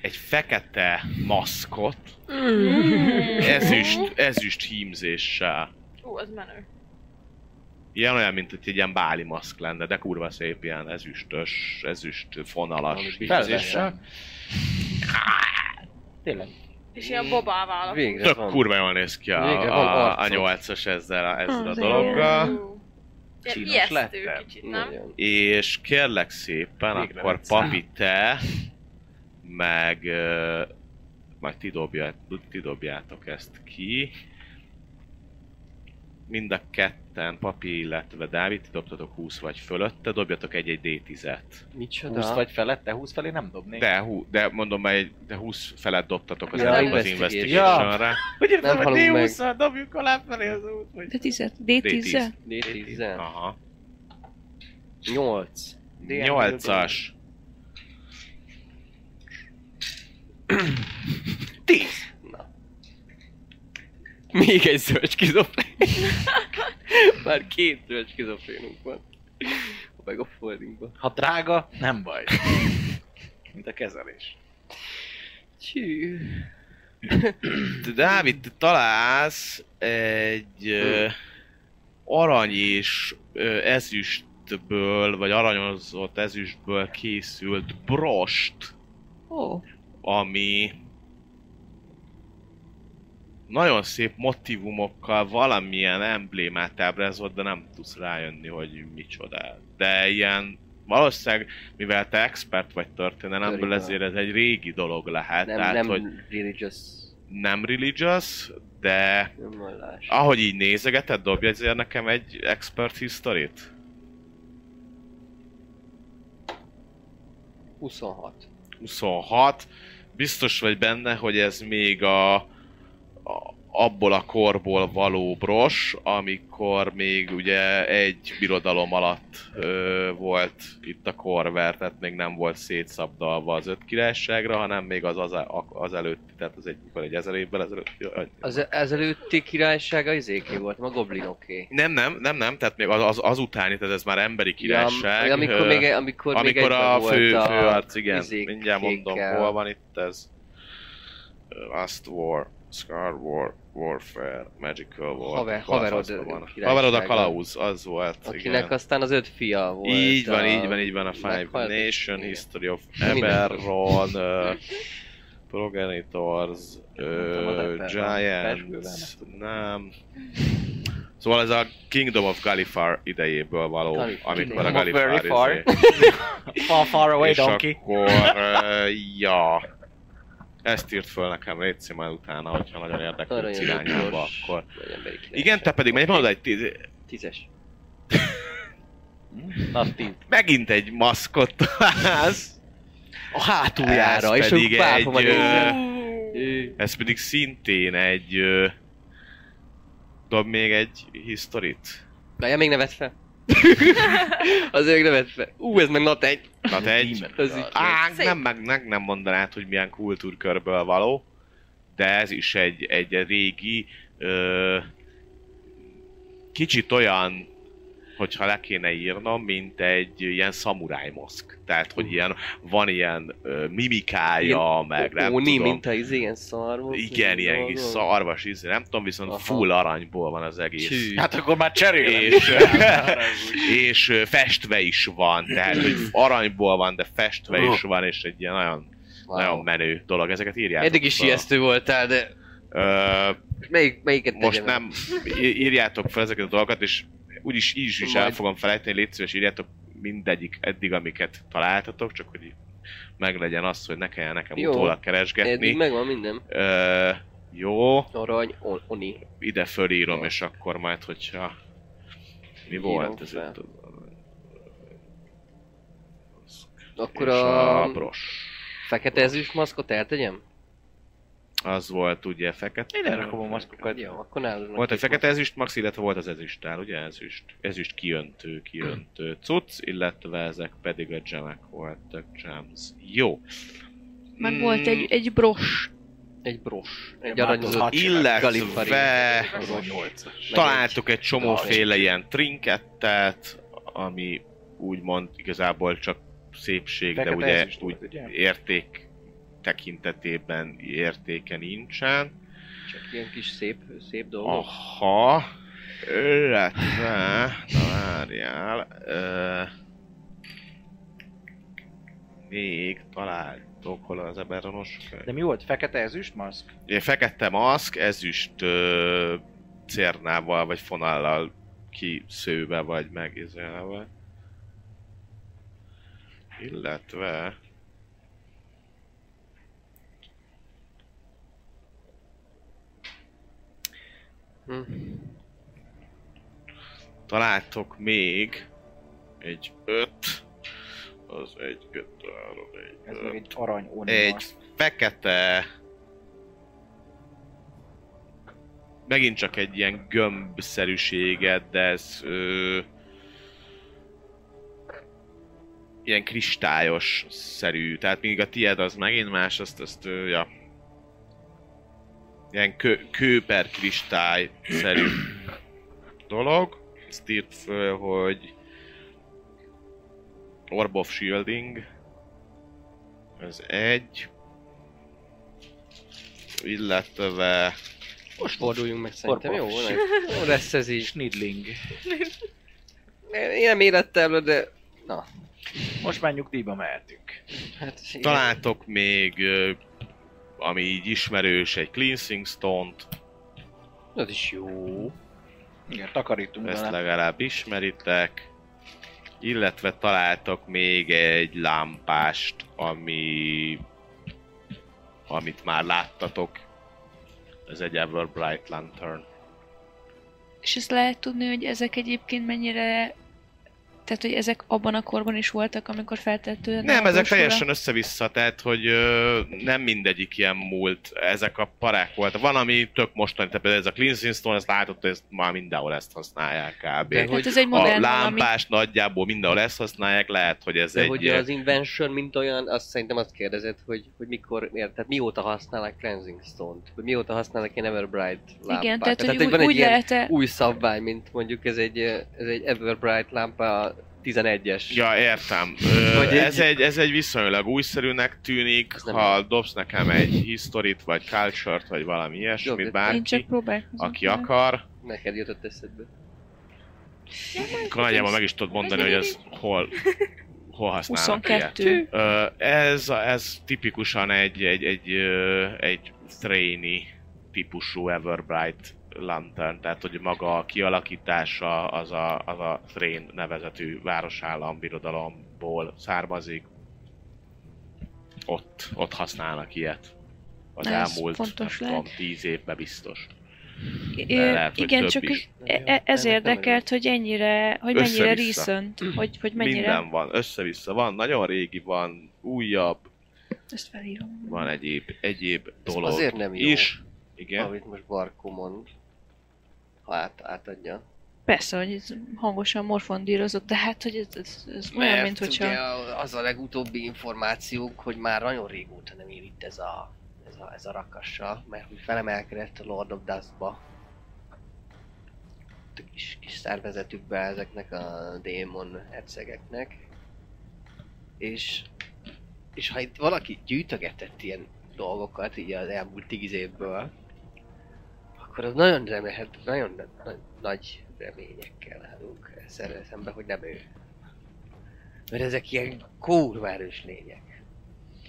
[SPEAKER 3] egy fekete maszkot,
[SPEAKER 4] Mm.
[SPEAKER 3] ezüst, ezüst hímzéssel.
[SPEAKER 6] Ú, az menő.
[SPEAKER 3] Ilyen olyan, mint hogy egy ilyen báli maszk lenne, de kurva szép ilyen ezüstös, ezüst fonalas hímzéssel.
[SPEAKER 7] Felveszem. Tényleg.
[SPEAKER 6] És ilyen babává alakul.
[SPEAKER 5] Végre
[SPEAKER 3] Tök
[SPEAKER 5] van.
[SPEAKER 3] kurva jól néz ki a,
[SPEAKER 5] Végre van
[SPEAKER 3] a, a
[SPEAKER 5] arcod.
[SPEAKER 3] nyolcas ezzel a, ezzel a
[SPEAKER 4] Az
[SPEAKER 3] dologgal.
[SPEAKER 6] Ú. Ilyen
[SPEAKER 7] Csinos
[SPEAKER 6] ijesztő
[SPEAKER 7] lettem.
[SPEAKER 6] kicsit, nem?
[SPEAKER 5] Nagyon.
[SPEAKER 3] És kérlek szépen,
[SPEAKER 7] Végre
[SPEAKER 3] akkor
[SPEAKER 7] egyszer.
[SPEAKER 3] papi te, meg ö, majd ti, dobját, ti dobjátok ezt ki. Mind a ketten, papi, illetve Dávid, ti dobtatok 20 vagy fölötte, dobjatok egy-egy D10-et.
[SPEAKER 5] Micsoda?
[SPEAKER 7] 20 vagy felette, 20 felé nem dobnék.
[SPEAKER 3] De, hú, de mondom, már egy- de 20 felett dobtatok az,
[SPEAKER 5] Ja,
[SPEAKER 3] előbb az
[SPEAKER 5] investigation.
[SPEAKER 3] investigation-ra.
[SPEAKER 7] Hogy értem,
[SPEAKER 5] Nem
[SPEAKER 7] hogy
[SPEAKER 5] halunk meg.
[SPEAKER 7] D20-szal dobjuk alá felé az út, vagy...
[SPEAKER 4] De 10
[SPEAKER 3] D10.
[SPEAKER 4] D10?
[SPEAKER 5] D10.
[SPEAKER 3] Aha.
[SPEAKER 5] 8.
[SPEAKER 3] Nyolcas.
[SPEAKER 5] 10. Na. Még egy zöld skizofrén. Már két zöld skizofrénunk van. Meg a foldingban.
[SPEAKER 7] Ha drága, nem baj. Mint a kezelés.
[SPEAKER 5] Csű.
[SPEAKER 3] Te, Dávid, te találsz egy ö, arany és ö, ezüstből, vagy aranyozott ezüstből készült brost,
[SPEAKER 4] Ó,
[SPEAKER 3] ami nagyon szép motivumokkal valamilyen emblémát ábrázolt, de nem tudsz rájönni, hogy micsoda. De ilyen valószínűleg, mivel te expert vagy történelemből,
[SPEAKER 5] Történelem.
[SPEAKER 3] ezért ez egy régi dolog lehet.
[SPEAKER 5] Nem,
[SPEAKER 3] Hát tehát,
[SPEAKER 5] nem
[SPEAKER 3] hogy
[SPEAKER 5] religious.
[SPEAKER 3] nem religious, de
[SPEAKER 5] Nem vallás.
[SPEAKER 3] ahogy így nézegeted, dobj ezért nekem egy expert history-t.
[SPEAKER 5] 26.
[SPEAKER 3] 26. Biztos vagy benne, hogy ez még a, a abból a korból való bros, amikor még ugye egy birodalom alatt ö, volt itt a korver, tehát még nem volt szétszabdalva az öt királyságra, hanem még az, az, az előtti, tehát az egy, mikor egy ezer évvel ezelőtt.
[SPEAKER 5] Az e- ezelőtti királysága izéké volt, ma goblinoké.
[SPEAKER 3] Nem, nem, nem, nem, tehát még az, az, az utáni, tehát ez már emberi királyság.
[SPEAKER 5] Ja, amikor
[SPEAKER 3] ö,
[SPEAKER 5] még, amikor, még
[SPEAKER 3] amikor
[SPEAKER 5] egyben
[SPEAKER 3] a
[SPEAKER 5] volt
[SPEAKER 3] fő,
[SPEAKER 5] a
[SPEAKER 3] főarc, igen, mindjárt
[SPEAKER 5] izékkel.
[SPEAKER 3] mondom, hol van itt ez. Last War, Scar War, Warfare, Magical War.
[SPEAKER 5] Haver-
[SPEAKER 3] Hol a
[SPEAKER 5] haverod
[SPEAKER 3] faszba van?
[SPEAKER 5] királysága.
[SPEAKER 3] Haverod a Kalauz, az volt,
[SPEAKER 5] Akinek
[SPEAKER 3] igen.
[SPEAKER 5] aztán az öt fia volt.
[SPEAKER 3] Így van,
[SPEAKER 5] a-
[SPEAKER 3] így van, így van a Five
[SPEAKER 5] meghalt,
[SPEAKER 3] Nation,
[SPEAKER 5] igen.
[SPEAKER 3] History of
[SPEAKER 5] Mindenki.
[SPEAKER 3] Eberron, ö, Progenitors,
[SPEAKER 7] Nem tudom, az
[SPEAKER 3] ö,
[SPEAKER 7] Eberron,
[SPEAKER 3] Giants, nem. Szóval ez a Kingdom of Galifar idejéből való,
[SPEAKER 5] Galif-
[SPEAKER 3] amikor a
[SPEAKER 5] Kingdom of
[SPEAKER 3] Galifar
[SPEAKER 5] Galifar.
[SPEAKER 3] izé-
[SPEAKER 1] Far, far away,
[SPEAKER 3] és
[SPEAKER 1] donkey.
[SPEAKER 3] akkor, ö, ja. Ezt írt föl nekem, légy már utána, hogyha nagyon
[SPEAKER 5] Arra
[SPEAKER 3] érdeklődsz
[SPEAKER 5] jön a
[SPEAKER 3] irányába,
[SPEAKER 5] gyors,
[SPEAKER 3] akkor.
[SPEAKER 5] vagy emberi királyság.
[SPEAKER 3] Igen, te pedig, menj mondod egy tíz,
[SPEAKER 5] Tízes.
[SPEAKER 7] Na, tíz.
[SPEAKER 3] megint egy maszkot találsz.
[SPEAKER 5] A
[SPEAKER 3] Ez
[SPEAKER 5] hátuljára, és
[SPEAKER 3] pedig
[SPEAKER 5] ők pápa
[SPEAKER 3] egy,
[SPEAKER 5] van.
[SPEAKER 3] ö,
[SPEAKER 5] Ő-
[SPEAKER 3] Ez pedig szintén egy... ö, Dob még egy historit.
[SPEAKER 5] Várjál, még nevet fel. az ők nevet fel. Ú, ez meg not egy.
[SPEAKER 3] Na te egy...
[SPEAKER 5] Az így.
[SPEAKER 3] Á,
[SPEAKER 6] Szép.
[SPEAKER 3] nem, meg meg nem mondanád, hogy milyen kultúrkörből való, de ez is egy, egy régi, ö, kicsit olyan, hogyha le kéne írnom, mint egy ilyen szamuráj moszk. Tehát, hogy ilyen, van ilyen ö, mimikája, ilyen, meg nem
[SPEAKER 5] Óni,
[SPEAKER 3] tudom.
[SPEAKER 5] mint a izé, ilyen szarvok.
[SPEAKER 3] igen, ilyen kis szarvas ízű, nem tudom, viszont
[SPEAKER 5] Aha.
[SPEAKER 3] full aranyból van az egész.
[SPEAKER 5] Csű.
[SPEAKER 7] Hát akkor már cserélem.
[SPEAKER 3] és, és ö, festve is van, tehát hogy aranyból van, de festve is van, és egy ilyen nagyon, nagyon menő dolog. Ezeket írjátok
[SPEAKER 5] Eddig is
[SPEAKER 3] fel.
[SPEAKER 5] ijesztő voltál, de
[SPEAKER 3] Ö,
[SPEAKER 5] melyik, melyiket
[SPEAKER 3] most nem
[SPEAKER 5] tegyem?
[SPEAKER 3] í- írjátok fel ezeket a dolgokat, és úgyis így is, is el fogom felejteni, légy szíves, írjátok mindegyik eddig, amiket találtatok, csak hogy így meglegyen az, hogy ne kelljen nekem
[SPEAKER 5] Jó.
[SPEAKER 3] utólag
[SPEAKER 5] Eddig
[SPEAKER 3] keresgetni.
[SPEAKER 5] megvan minden.
[SPEAKER 3] Ö, jó,
[SPEAKER 5] Arany, on, oni.
[SPEAKER 3] ide fölírom, és akkor majd, hogyha... Mi
[SPEAKER 5] Írom
[SPEAKER 3] volt ez
[SPEAKER 5] fel.
[SPEAKER 3] itt?
[SPEAKER 5] Akkor
[SPEAKER 3] és
[SPEAKER 5] a,
[SPEAKER 3] a bros.
[SPEAKER 5] fekete ezüst maszkot eltegyem?
[SPEAKER 3] Az volt ugye fekete.
[SPEAKER 7] Én elrakom a maszkokat.
[SPEAKER 5] Jó, akkor nálad van
[SPEAKER 3] Volt egy
[SPEAKER 5] két
[SPEAKER 3] fekete ezüst max, illetve volt az ezüstál, ugye ezüst? Ezüst kiöntő, kiöntő cucc, illetve ezek pedig a gemek voltak, gems. Jó. Mm,
[SPEAKER 4] Meg volt egy, egy bros.
[SPEAKER 5] maszk. Egy bros.
[SPEAKER 7] Én
[SPEAKER 5] Egy
[SPEAKER 7] már
[SPEAKER 3] Hát-
[SPEAKER 5] aranyozott. Galifari.
[SPEAKER 3] Illetve
[SPEAKER 6] Az a nyolc.
[SPEAKER 3] találtuk egy csomóféle ilyen trinkettet, ami úgymond igazából csak szépség, de
[SPEAKER 7] Fekete
[SPEAKER 3] ugye
[SPEAKER 7] ezüst
[SPEAKER 3] úgy
[SPEAKER 7] volt, ugye?
[SPEAKER 3] érték tekintetében értéke nincsen.
[SPEAKER 5] Csak ilyen kis szép, szép
[SPEAKER 3] Ah.
[SPEAKER 5] dolgok.
[SPEAKER 3] Aha. Illetve... Na várjál. Ö, még találtok hol az eberronos könyv.
[SPEAKER 7] De mi volt? Fekete ezüst maszk?
[SPEAKER 3] Ugye fekete maszk, ezüst ö, cérnával vagy fonállal kiszőve vagy megizelve. Illetve...
[SPEAKER 5] Hm.
[SPEAKER 3] találtok még egy öt, az egy, kettő, három, egy,
[SPEAKER 7] Ez
[SPEAKER 3] öt.
[SPEAKER 7] meg egy arany óni
[SPEAKER 3] egy
[SPEAKER 7] maszk.
[SPEAKER 3] fekete, megint csak egy ilyen gömbszerűséget, de ez ö, ilyen kristályos szerű, tehát míg a tied az megint más, azt, azt ö, ja. Ilyen kő, kő per kristály szerű dolog. Ezt írt föl, hogy Orb of Shielding. Ez egy. Illetve...
[SPEAKER 5] Most forduljunk meg szerintem, jó
[SPEAKER 7] Korpov.
[SPEAKER 5] volna? Jó lesz ez így.
[SPEAKER 7] Snidling.
[SPEAKER 5] Én nem érettem, de... Na,
[SPEAKER 7] Most már nyugdíjba mehetünk.
[SPEAKER 5] hát... igen.
[SPEAKER 3] Találtok még, ö, ami így ismerős, egy Cleansing Stone-t,
[SPEAKER 5] Az is jó.
[SPEAKER 7] Igen, takarítunk
[SPEAKER 3] ezt
[SPEAKER 7] vele.
[SPEAKER 3] legalább ismeritek. Illetve találtok még egy lámpást, ami... amit már láttatok. Ez egy Everbright Lantern.
[SPEAKER 4] És ezt lehet tudni, hogy ezek egyébként mennyire... Tehát, hogy ezek abban a korban is voltak, amikor feltettően...
[SPEAKER 3] Nem, ezek teljesen össze-vissza, tehát hogy ö, nem mindegyik ilyen múlt, ezek a parák voltak. Van, ami tök mostani, tehát például ez a Cleansing Stone, ezt látod, hogy ezt már mindenhol ezt használják kb.
[SPEAKER 5] De
[SPEAKER 4] Tehát
[SPEAKER 5] hogy
[SPEAKER 4] ez egy
[SPEAKER 3] A
[SPEAKER 4] modern valami.
[SPEAKER 3] lámpás nagyjából mindenhol ezt használják, lehet, hogy ez
[SPEAKER 5] De
[SPEAKER 3] egy...
[SPEAKER 5] hogy az Invention, mint olyan, azt szerintem azt kérdezed, hogy, hogy mikor, ér, tehát mióta használnak Cleansing Stone-t, hogy mióta használnak ilyen Everbright lámpát.
[SPEAKER 4] Igen, tehát, hogy úgy,
[SPEAKER 5] van egy
[SPEAKER 4] úgy
[SPEAKER 5] ilyen
[SPEAKER 4] lehet
[SPEAKER 5] új szabvány, mint mondjuk ez egy, ez egy Everbright lámpa 11-es.
[SPEAKER 3] Ja, értem. Ö,
[SPEAKER 5] Vagy egy-
[SPEAKER 3] ez, egy, ez egy viszonylag újszerűnek tűnik,
[SPEAKER 5] Ez nem
[SPEAKER 3] ha dobsz nekem egy historit, vagy culture vagy valami ilyesmit,
[SPEAKER 5] Dobjuk.
[SPEAKER 4] Én csak
[SPEAKER 3] bárki,
[SPEAKER 4] próbálkozom.
[SPEAKER 3] aki akar,
[SPEAKER 5] Neked jutott eszedbe.
[SPEAKER 3] akkor nagyjából meg is tudod mondani, hogy ez hol, hol használnak ilyet.
[SPEAKER 4] 22.
[SPEAKER 3] Ö, ez, ez tipikusan egy, egy, egy, ö, egy thrainy típusú Everbright Lantern, tehát hogy maga a kialakítása az a, az a Thrain nevezetű városállam birodalomból származik. Ott, ott használnak ilyet. Az
[SPEAKER 4] Na, ez
[SPEAKER 3] elmúlt,
[SPEAKER 4] fontos
[SPEAKER 3] nem tudom,
[SPEAKER 4] lehet.
[SPEAKER 3] tíz évben biztos.
[SPEAKER 4] Ö,
[SPEAKER 3] de lehet, hogy
[SPEAKER 4] igen,
[SPEAKER 3] több
[SPEAKER 4] csak
[SPEAKER 3] is.
[SPEAKER 4] e- e- ez
[SPEAKER 5] Ennek nem
[SPEAKER 4] érdekelt, hogy ennyire, hogy mennyire
[SPEAKER 3] Össze-vissza.
[SPEAKER 4] recent, hogy, hogy mennyire...
[SPEAKER 3] Minden van, össze-vissza van, nagyon régi van, újabb,
[SPEAKER 4] Ezt felírom.
[SPEAKER 3] van egyéb, egyéb
[SPEAKER 5] Ez
[SPEAKER 3] dolog
[SPEAKER 5] azért nem jó.
[SPEAKER 3] is. Igen.
[SPEAKER 5] Amit most Barkó mond. Ha át, átadja.
[SPEAKER 4] Persze, hogy ez hangosan morfondírozott, de hát, hogy ez, ez, ez olyan, mint
[SPEAKER 5] ugye
[SPEAKER 4] hogyha...
[SPEAKER 5] a- az a legutóbbi információnk, hogy már nagyon régóta nem ér itt ez a, ez a, ez a rakassa, mert hogy felemelkedett a Lord of Dustba. A kis, kis szervezetükbe ezeknek a démon hercegeknek. És, és ha itt valaki gyűjtögetett ilyen dolgokat így az elmúlt tíz évből, akkor az nagyon remélhet, nagyon na- na- nagy reményekkel állunk ezzel szemben, hogy nem ő. Mert ezek ilyen kurva erős lények.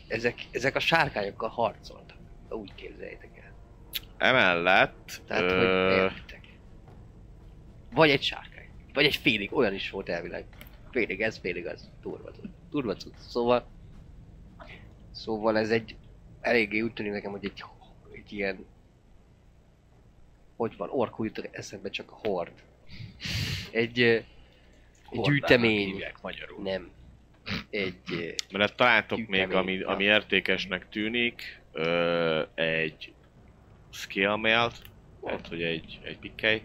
[SPEAKER 5] Ezek, ezek a sárkányokkal harcoltak. Úgy képzeljétek el.
[SPEAKER 3] Emellett
[SPEAKER 5] Tehát,
[SPEAKER 3] ö,
[SPEAKER 5] hogy értitek. Vagy egy sárkány. Vagy egy félig, olyan is volt elvileg. Félig ez, félig az. Durva cucc. Durva cucc. Szóval... Szóval ez egy... Eléggé úgy tűnik nekem, hogy egy, egy ilyen... Hogy van, orkú jut eszembe csak a hord. Egy... ö, Egy
[SPEAKER 2] Hordának
[SPEAKER 5] gyűjtemény.
[SPEAKER 2] Hívják magyarul.
[SPEAKER 5] Nem. Egy... ö,
[SPEAKER 3] mert hát találtok még,
[SPEAKER 5] Gyűjtemény.
[SPEAKER 3] ami, ami értékesnek tűnik, ö, egy scale mailt, tehát hogy egy, egy pikkely,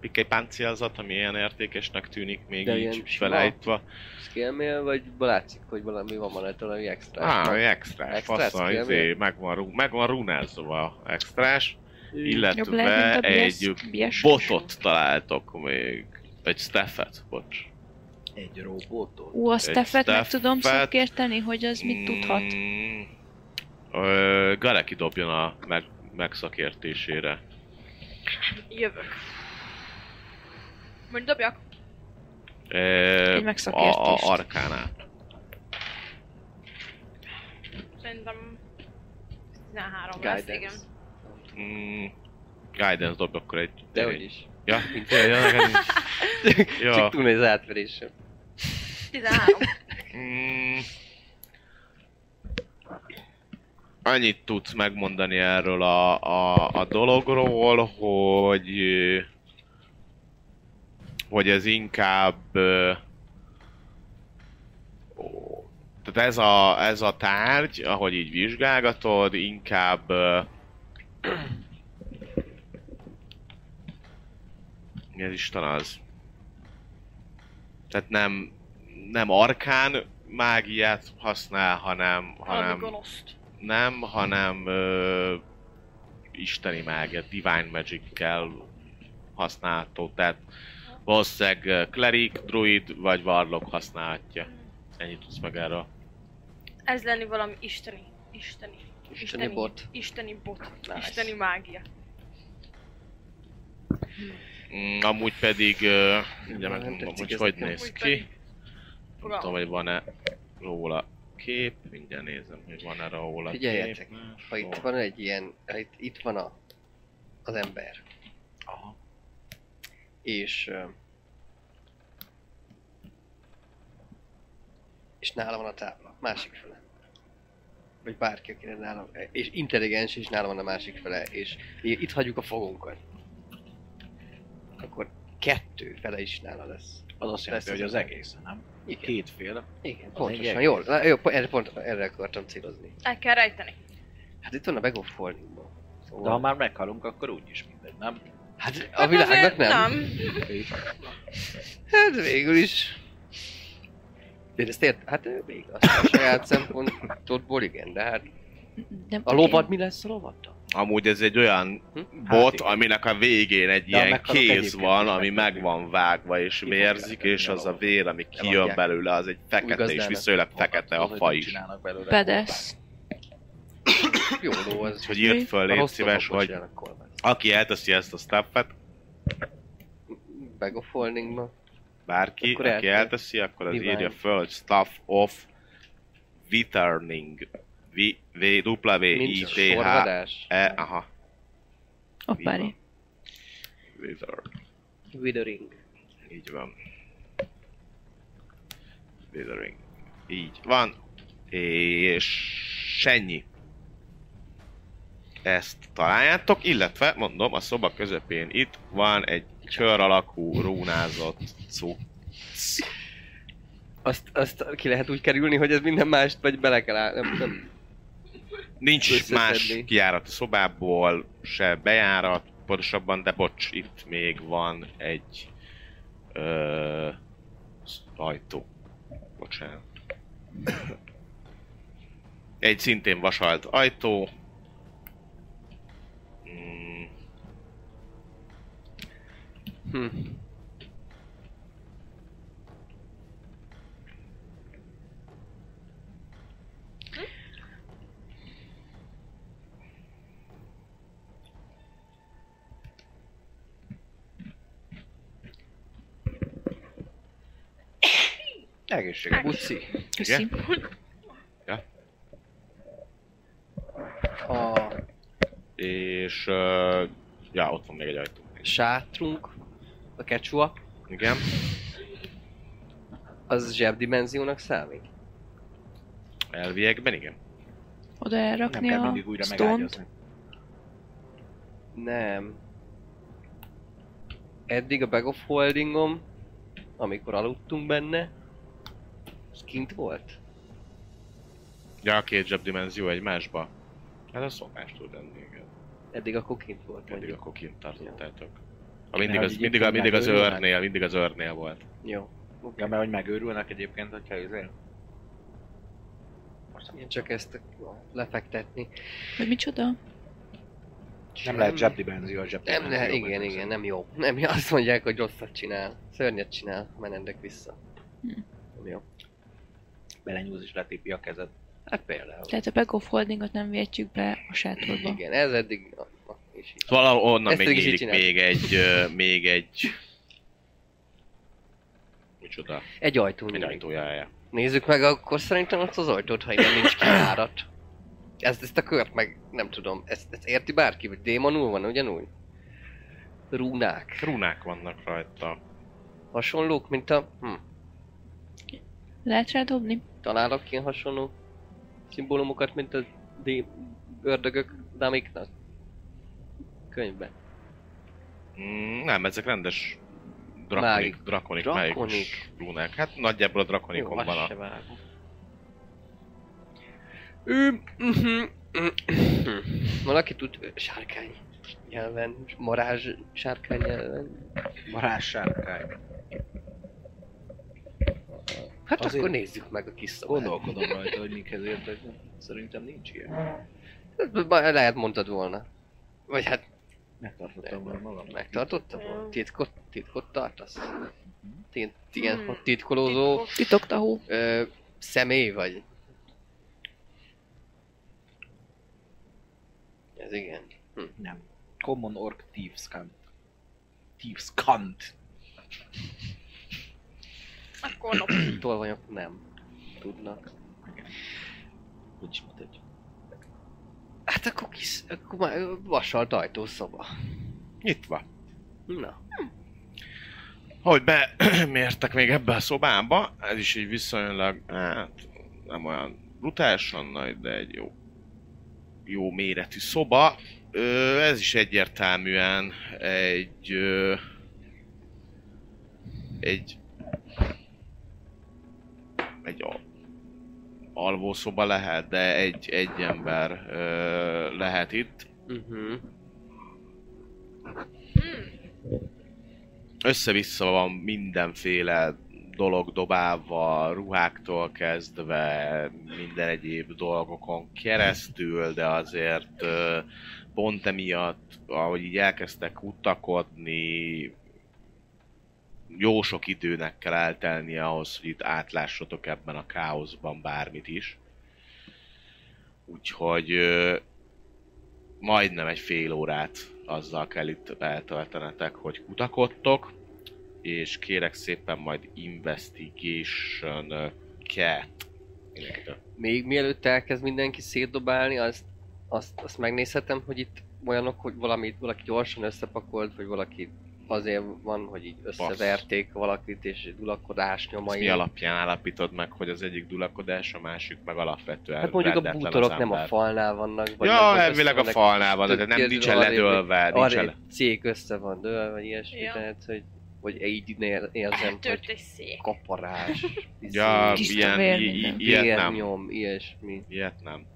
[SPEAKER 3] pikkely páncélzat, ami ilyen értékesnek tűnik még
[SPEAKER 5] De
[SPEAKER 3] De így
[SPEAKER 5] ilyen sima?
[SPEAKER 3] felejtve.
[SPEAKER 5] Skillmél, vagy látszik, hogy valami van van ettől, ami extra.
[SPEAKER 3] Á, ah, extrás,
[SPEAKER 5] Extrás
[SPEAKER 3] faszal,
[SPEAKER 5] scale
[SPEAKER 3] izé,
[SPEAKER 5] mail?
[SPEAKER 3] meg van, rú- meg van runázva extrás,
[SPEAKER 4] Jobb lehet,
[SPEAKER 3] illetve
[SPEAKER 4] mint a
[SPEAKER 3] egy
[SPEAKER 4] bias- bias-
[SPEAKER 3] botot találtok még, egy steffet, bocs.
[SPEAKER 7] Egy robotot?
[SPEAKER 4] Ú, a Steffet meg
[SPEAKER 3] Steffet.
[SPEAKER 4] tudom szakérteni, hogy az mit tudhat.
[SPEAKER 3] Mm, ö, Gareki dobjon a meg, megszakértésére.
[SPEAKER 6] Jövök. Mondj, dobjak.
[SPEAKER 3] Ö,
[SPEAKER 4] Egy megszakértést.
[SPEAKER 3] A, a arkánát.
[SPEAKER 6] Szerintem... 13 lesz, igen.
[SPEAKER 5] Guidance.
[SPEAKER 3] Mm, guidance dob akkor egy...
[SPEAKER 5] Dehogy is.
[SPEAKER 3] Ja, ja, ja, neked nincs.
[SPEAKER 5] Ja.
[SPEAKER 3] ja.
[SPEAKER 5] Csak túl az átverésem.
[SPEAKER 6] 13.
[SPEAKER 3] Mm. Annyit tudsz megmondani erről a, a, a dologról, hogy ö, hogy ez inkább ö, ó, tehát ez a, ez a tárgy, ahogy így vizsgálgatod, inkább ö, mi az Isten az? Tehát nem, nem arkán mágiát használ, hanem,
[SPEAKER 6] Valami
[SPEAKER 3] hanem
[SPEAKER 6] gonoszt.
[SPEAKER 3] nem, hanem ö, isteni mágia, divine magic-kel használható, tehát valószínűleg ö, cleric, druid vagy varlock használhatja. Ennyit tudsz meg erről.
[SPEAKER 6] Ez lenni valami isteni. Isteni.
[SPEAKER 5] Isteni bot.
[SPEAKER 6] Isteni bot.
[SPEAKER 5] Nice.
[SPEAKER 6] Isteni mágia.
[SPEAKER 3] Mm, amúgy pedig, ö, ugye
[SPEAKER 5] Nem
[SPEAKER 3] megmondom,
[SPEAKER 5] tetszik
[SPEAKER 3] hogy
[SPEAKER 5] ez
[SPEAKER 3] hogy
[SPEAKER 5] nekem.
[SPEAKER 3] néz
[SPEAKER 6] Úgy
[SPEAKER 3] ki.
[SPEAKER 6] pedig-
[SPEAKER 3] Nem tudom,
[SPEAKER 6] Fogalmam.
[SPEAKER 3] hogy van-e róla kép, mindjárt nézem, hogy van-e róla
[SPEAKER 5] Figyeljetek,
[SPEAKER 3] kép.
[SPEAKER 5] ha itt van egy ilyen, ha itt, itt van a, az ember.
[SPEAKER 3] Aha.
[SPEAKER 5] És... ö, És nála van a tábla, másik fele. Vagy bárki, akire nála És intelligens, és nála van a másik fele. És i- itt hagyjuk a fogunkat. Akkor kettő fele is nála lesz.
[SPEAKER 7] Az azt jelenti,
[SPEAKER 5] Lesz
[SPEAKER 7] hogy
[SPEAKER 5] az
[SPEAKER 7] az egész, nem?
[SPEAKER 5] Igen.
[SPEAKER 7] Kétféle.
[SPEAKER 5] Igen,
[SPEAKER 7] egy
[SPEAKER 5] pontosan. Jól, na, jó, po- erre, pont, erre akartam célozni.
[SPEAKER 6] El kell rejteni.
[SPEAKER 5] Hát itt van a Bag of Holdingban. Szóval...
[SPEAKER 7] De ha már meghalunk, akkor úgyis mindegy, nem?
[SPEAKER 5] Hát a
[SPEAKER 6] Hát
[SPEAKER 5] világnak
[SPEAKER 6] azért
[SPEAKER 5] nem.
[SPEAKER 6] Nem.
[SPEAKER 5] Hát végül is. De ezt ért, hát ő még azt a saját szempontodból igen, de hát
[SPEAKER 4] Nem,
[SPEAKER 5] a lovat mi lesz a lovatta?
[SPEAKER 3] Amúgy ez egy olyan
[SPEAKER 5] Hm?
[SPEAKER 3] bot,
[SPEAKER 5] igen.
[SPEAKER 3] aminek a végén egy
[SPEAKER 5] De a
[SPEAKER 3] ilyen
[SPEAKER 5] meghalott
[SPEAKER 3] kéz
[SPEAKER 5] egyébként
[SPEAKER 3] van,
[SPEAKER 5] is
[SPEAKER 3] ami
[SPEAKER 5] megkapjuk.
[SPEAKER 3] meg van vágva, és
[SPEAKER 5] Kifogják
[SPEAKER 3] vérzik,
[SPEAKER 5] el,
[SPEAKER 3] és az a
[SPEAKER 5] eladják.
[SPEAKER 3] vér, ami kijön
[SPEAKER 5] Eladják.
[SPEAKER 3] belőle, az egy fekete, és
[SPEAKER 5] gazdának
[SPEAKER 3] viszonylag fekete a fa is.
[SPEAKER 4] Bedesz.
[SPEAKER 5] Jó ló, az
[SPEAKER 3] Úgyhogy írd föl, légy
[SPEAKER 5] rossz
[SPEAKER 3] szíves,
[SPEAKER 5] dolgokból
[SPEAKER 3] hogy
[SPEAKER 5] csinálnak kolbászt.
[SPEAKER 3] aki elteszi ezt a staffet,
[SPEAKER 5] Bag of holdingba.
[SPEAKER 3] bárki,
[SPEAKER 5] Akkor
[SPEAKER 3] aki
[SPEAKER 5] eltör.
[SPEAKER 3] elteszi, akkor az
[SPEAKER 5] Divine.
[SPEAKER 3] írja föl, hogy staff of returning. V- V- W, I,
[SPEAKER 5] Nincs
[SPEAKER 3] T, H,
[SPEAKER 5] sorvadás.
[SPEAKER 3] E, aha.
[SPEAKER 4] Oppári.
[SPEAKER 3] Wither.
[SPEAKER 5] Withering.
[SPEAKER 3] Így van. Withering. Így van. És ennyi. Ezt találjátok, illetve mondom, a szoba közepén itt van egy kör alakú rúnázott cucc.
[SPEAKER 5] Azt, azt ki lehet úgy kerülni, hogy ez minden mást, vagy bele kell áll... Nem, nem.
[SPEAKER 3] Nincs
[SPEAKER 5] Összeszedni.
[SPEAKER 3] más kijárat a szobából, se bejárat, pontosabban, de bocs, itt még van egy ö, sz- ajtó. Bocsánat. Egy szintén vasalt ajtó. Mm,
[SPEAKER 5] Hm.
[SPEAKER 3] egészséges.
[SPEAKER 5] Buci,
[SPEAKER 4] Köszi.
[SPEAKER 5] a
[SPEAKER 3] És... Ö, ja, ott van még egy ajtó.
[SPEAKER 5] sátrunk, a kecsua,
[SPEAKER 3] Igen.
[SPEAKER 5] az zsebdimenziónak számít?
[SPEAKER 3] Elviekben igen.
[SPEAKER 4] Oda
[SPEAKER 7] Nem
[SPEAKER 4] elrakni
[SPEAKER 7] kell
[SPEAKER 4] a
[SPEAKER 7] mindig újra
[SPEAKER 4] stont.
[SPEAKER 7] megágyazni.
[SPEAKER 5] Nem. Eddig a Bag of Holdingom, amikor aludtunk benne, az kint volt.
[SPEAKER 3] Ja, a két zsebdimenzió egymásba. Hát a szokást tud lenni, igen.
[SPEAKER 5] Eddig akkor kint volt,
[SPEAKER 3] Mindig
[SPEAKER 5] mondjuk.
[SPEAKER 3] akkor kint tartottátok. A mindig,
[SPEAKER 7] hogy
[SPEAKER 3] az, mindig, a,
[SPEAKER 7] egyébként
[SPEAKER 3] mindig az
[SPEAKER 7] megőrülnek.
[SPEAKER 3] őrnél, mindig az őrnél volt.
[SPEAKER 5] Jó.
[SPEAKER 7] Ja, mert hogy megőrülnek egyébként, hogyha izé.
[SPEAKER 5] Én csak ezt lefektetni.
[SPEAKER 4] Vagy micsoda?
[SPEAKER 7] Nem
[SPEAKER 5] Semmi.
[SPEAKER 7] lehet zsebdimenzió a zsebdimenzió.
[SPEAKER 5] Nem lehet, igen, igen, nem jó. Nem jó, azt mondják, hogy rosszat csinál. Szörnyet csinál, menendek vissza.
[SPEAKER 4] Hm.
[SPEAKER 5] Nem jó.
[SPEAKER 7] Belenyúz és letépi a kezed.
[SPEAKER 5] Hát például.
[SPEAKER 4] Tehát a back of holdingot nem vihetjük be a sátorba.
[SPEAKER 5] Igen, ez eddig... Na, na, és így.
[SPEAKER 3] Szóval onnan
[SPEAKER 5] Ezt
[SPEAKER 3] még
[SPEAKER 5] ők is
[SPEAKER 3] nyílik
[SPEAKER 5] így csinálják.
[SPEAKER 3] még egy, ö, még egy... Micsoda?
[SPEAKER 5] Egy ajtó
[SPEAKER 3] Egy
[SPEAKER 5] nyílik.
[SPEAKER 3] ajtójája.
[SPEAKER 5] Nézzük meg akkor szerintem azt az ajtót, ha innen nincs kiárat. Ezt, ezt a kört meg nem tudom, ezt, ezt érti bárki, vagy démonul van ugyanúgy? Rúnák.
[SPEAKER 3] Runák vannak rajta.
[SPEAKER 5] Hasonlók, mint a... Hm,
[SPEAKER 4] Lehet rá dobni?
[SPEAKER 5] találok ilyen hasonló szimbólumokat, mint a dé... ördögök damiknak. Könyvben.
[SPEAKER 3] Mm, nem, ezek rendes drakonik,
[SPEAKER 5] Mágik.
[SPEAKER 3] drakonik,
[SPEAKER 5] Drakonik.
[SPEAKER 3] mágikus runák. Hát nagyjából a drakonikon
[SPEAKER 5] azt
[SPEAKER 3] van a...
[SPEAKER 5] se vágom. Ő... mhm, mhm. Valaki tud ö, sárkány nyelven, marázs sárkány nyelven.
[SPEAKER 7] Varázs sárkány.
[SPEAKER 5] Hát
[SPEAKER 7] Azért-
[SPEAKER 5] akkor nézzük meg a kis szobát.
[SPEAKER 7] Gondolkodom rajta, hogy mikhez értek. Szerintem nincs ilyen.
[SPEAKER 5] Ba- Lehet mondtad volna. Vagy hát
[SPEAKER 7] Megtartottam volna magam.
[SPEAKER 5] megtartotta volna. Titkot, titkot tartasz? Tint, ilyen
[SPEAKER 6] Hmm.
[SPEAKER 5] hmm. titkolózó
[SPEAKER 6] Titkos.
[SPEAKER 4] Titok tahó.
[SPEAKER 5] ö, személy vagy? Ez igen.
[SPEAKER 7] Nem. Common Orc Thieves Cunt. Thieves Cunt.
[SPEAKER 6] Akkor nap.
[SPEAKER 5] Tolvanyok nem tudnak.
[SPEAKER 7] Úgy is mutatja.
[SPEAKER 5] Hát akkor kis, akkor már ö, vasalt ajtószoba.
[SPEAKER 3] Nyitva.
[SPEAKER 5] Na,
[SPEAKER 3] Hogy bemértek még ebbe a szobába, ez is egy viszonylag, hát nem olyan brutálisan nagy, de egy jó, jó méretű szoba. Ö, ez is egyértelműen egy, ö, egy, egy al- alvószoba lehet, de egy, egy ember ö, lehet itt.
[SPEAKER 5] uh-huh.
[SPEAKER 6] Hmm.
[SPEAKER 3] össze-vissza van mindenféle dolog dobálva, ruháktól kezdve minden egyéb dolgokon keresztül, de azért ö, pont emiatt, ahogy így elkezdtek utakodni, jó sok időnek kell eltelni ahhoz, hogy itt átlássatok ebben a káoszban bármit is. Úgyhogy ö, majdnem egy fél órát azzal kell itt eltöltenetek, hogy kutakodtok, és kérek szépen majd Investigation 2.
[SPEAKER 5] Még mielőtt elkezd mindenki szétdobálni, azt, azt, azt megnézhetem, hogy itt olyanok, hogy valami, valaki gyorsan összepakolt, vagy valaki azért van, hogy így összeverték valakit, és dulakodás
[SPEAKER 3] Ezt
[SPEAKER 5] nyomai.
[SPEAKER 3] mi alapján állapítod meg, hogy az egyik dulakodás, a másik meg alapvetően
[SPEAKER 5] Hát mondjuk a
[SPEAKER 3] rendetlen az
[SPEAKER 5] bútorok nem a
[SPEAKER 3] ember?
[SPEAKER 5] falnál vannak. Vagy nem,
[SPEAKER 3] Ja,
[SPEAKER 5] hogy
[SPEAKER 3] elvileg a
[SPEAKER 5] össze vannak-
[SPEAKER 3] falnál van, de nem
[SPEAKER 5] Tudod,
[SPEAKER 3] nincsen
[SPEAKER 5] arrébb-
[SPEAKER 3] ledőlve, nincsen
[SPEAKER 5] arrébb
[SPEAKER 3] le-
[SPEAKER 5] cég össze van dőlve, vagy ilyesmi,
[SPEAKER 6] Ja.
[SPEAKER 5] tehát, hogy, hogy így ne érzem,
[SPEAKER 6] Eltört
[SPEAKER 5] hogy
[SPEAKER 6] egy szék.
[SPEAKER 5] kaparás,
[SPEAKER 3] Ja,
[SPEAKER 5] izé,
[SPEAKER 4] Tiszta
[SPEAKER 3] ilyen,
[SPEAKER 4] vér
[SPEAKER 3] i- i-
[SPEAKER 4] minden.
[SPEAKER 3] ilyet nem.
[SPEAKER 5] vérnyom, ilyesmi.
[SPEAKER 3] Ilyet nem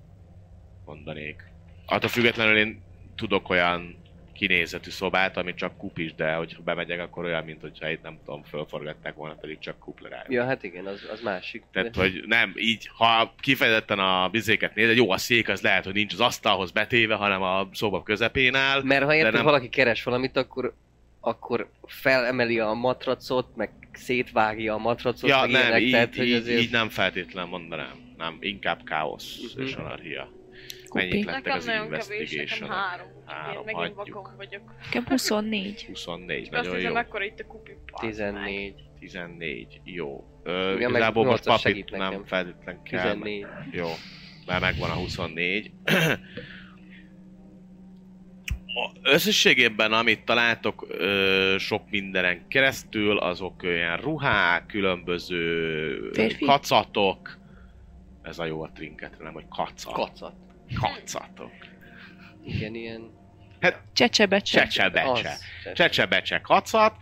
[SPEAKER 3] mondanék. Attól függetlenül én tudok olyan kinézetű szobát, ami csak kup is, de hogyha bemegyek, akkor olyan, mint hogyha itt nem tudom, fölforgatták volna, pedig csak kuplerál.
[SPEAKER 5] Ja, hát igen, az, az másik.
[SPEAKER 3] Tehát,
[SPEAKER 5] de-
[SPEAKER 3] hogy nem, így, ha kifejezetten a bizéket nézed, jó, a szék az lehet, hogy nincs az asztalhoz betéve, hanem a szoba közepén áll.
[SPEAKER 5] Mert ha érted,
[SPEAKER 3] nem-
[SPEAKER 5] nem... valaki keres valamit, akkor, akkor felemeli a matracot, meg szétvágja a matracot,
[SPEAKER 3] ja,
[SPEAKER 5] meg
[SPEAKER 3] nem,
[SPEAKER 5] ilyenek,
[SPEAKER 3] így,
[SPEAKER 5] tehát, hogy
[SPEAKER 3] így,
[SPEAKER 5] azért...
[SPEAKER 3] így, nem feltétlen mondanám. Nem, inkább káosz
[SPEAKER 5] Mhm.
[SPEAKER 3] és anarchia.
[SPEAKER 4] Kupi.
[SPEAKER 3] Mennyit lettek
[SPEAKER 6] Nekem
[SPEAKER 3] az
[SPEAKER 6] nagyon kevés, nekem
[SPEAKER 3] investigation
[SPEAKER 6] három.
[SPEAKER 3] Három,
[SPEAKER 6] Én megint
[SPEAKER 3] hagyjuk.
[SPEAKER 6] vakon vagyok.
[SPEAKER 4] Nekem 24.
[SPEAKER 3] 24,
[SPEAKER 6] Csak azt
[SPEAKER 3] nagyon jó.
[SPEAKER 6] nézem, mekkora itt a kupi. bazd meg.
[SPEAKER 5] 14,
[SPEAKER 3] 14, jó. Ö,
[SPEAKER 5] meg
[SPEAKER 3] igazából most
[SPEAKER 5] nyolcas
[SPEAKER 3] papit
[SPEAKER 5] segít
[SPEAKER 3] nem
[SPEAKER 5] nekem.
[SPEAKER 3] feltétlen kell.
[SPEAKER 5] 14.
[SPEAKER 3] Jó, már megvan a 24. A- Összességében, amit találtok ö, sok mindenen keresztül, azok olyan ruhák, különböző
[SPEAKER 4] Férfi?
[SPEAKER 3] kacatok. Ez a jó a trinketre, nem, hogy kacat.
[SPEAKER 5] Kacat.
[SPEAKER 3] kacatok. Hát
[SPEAKER 5] Igen, ilyen...
[SPEAKER 4] Csecsebecse.
[SPEAKER 3] Csecsebecse.
[SPEAKER 5] Az.
[SPEAKER 3] Csecsebecse kacat,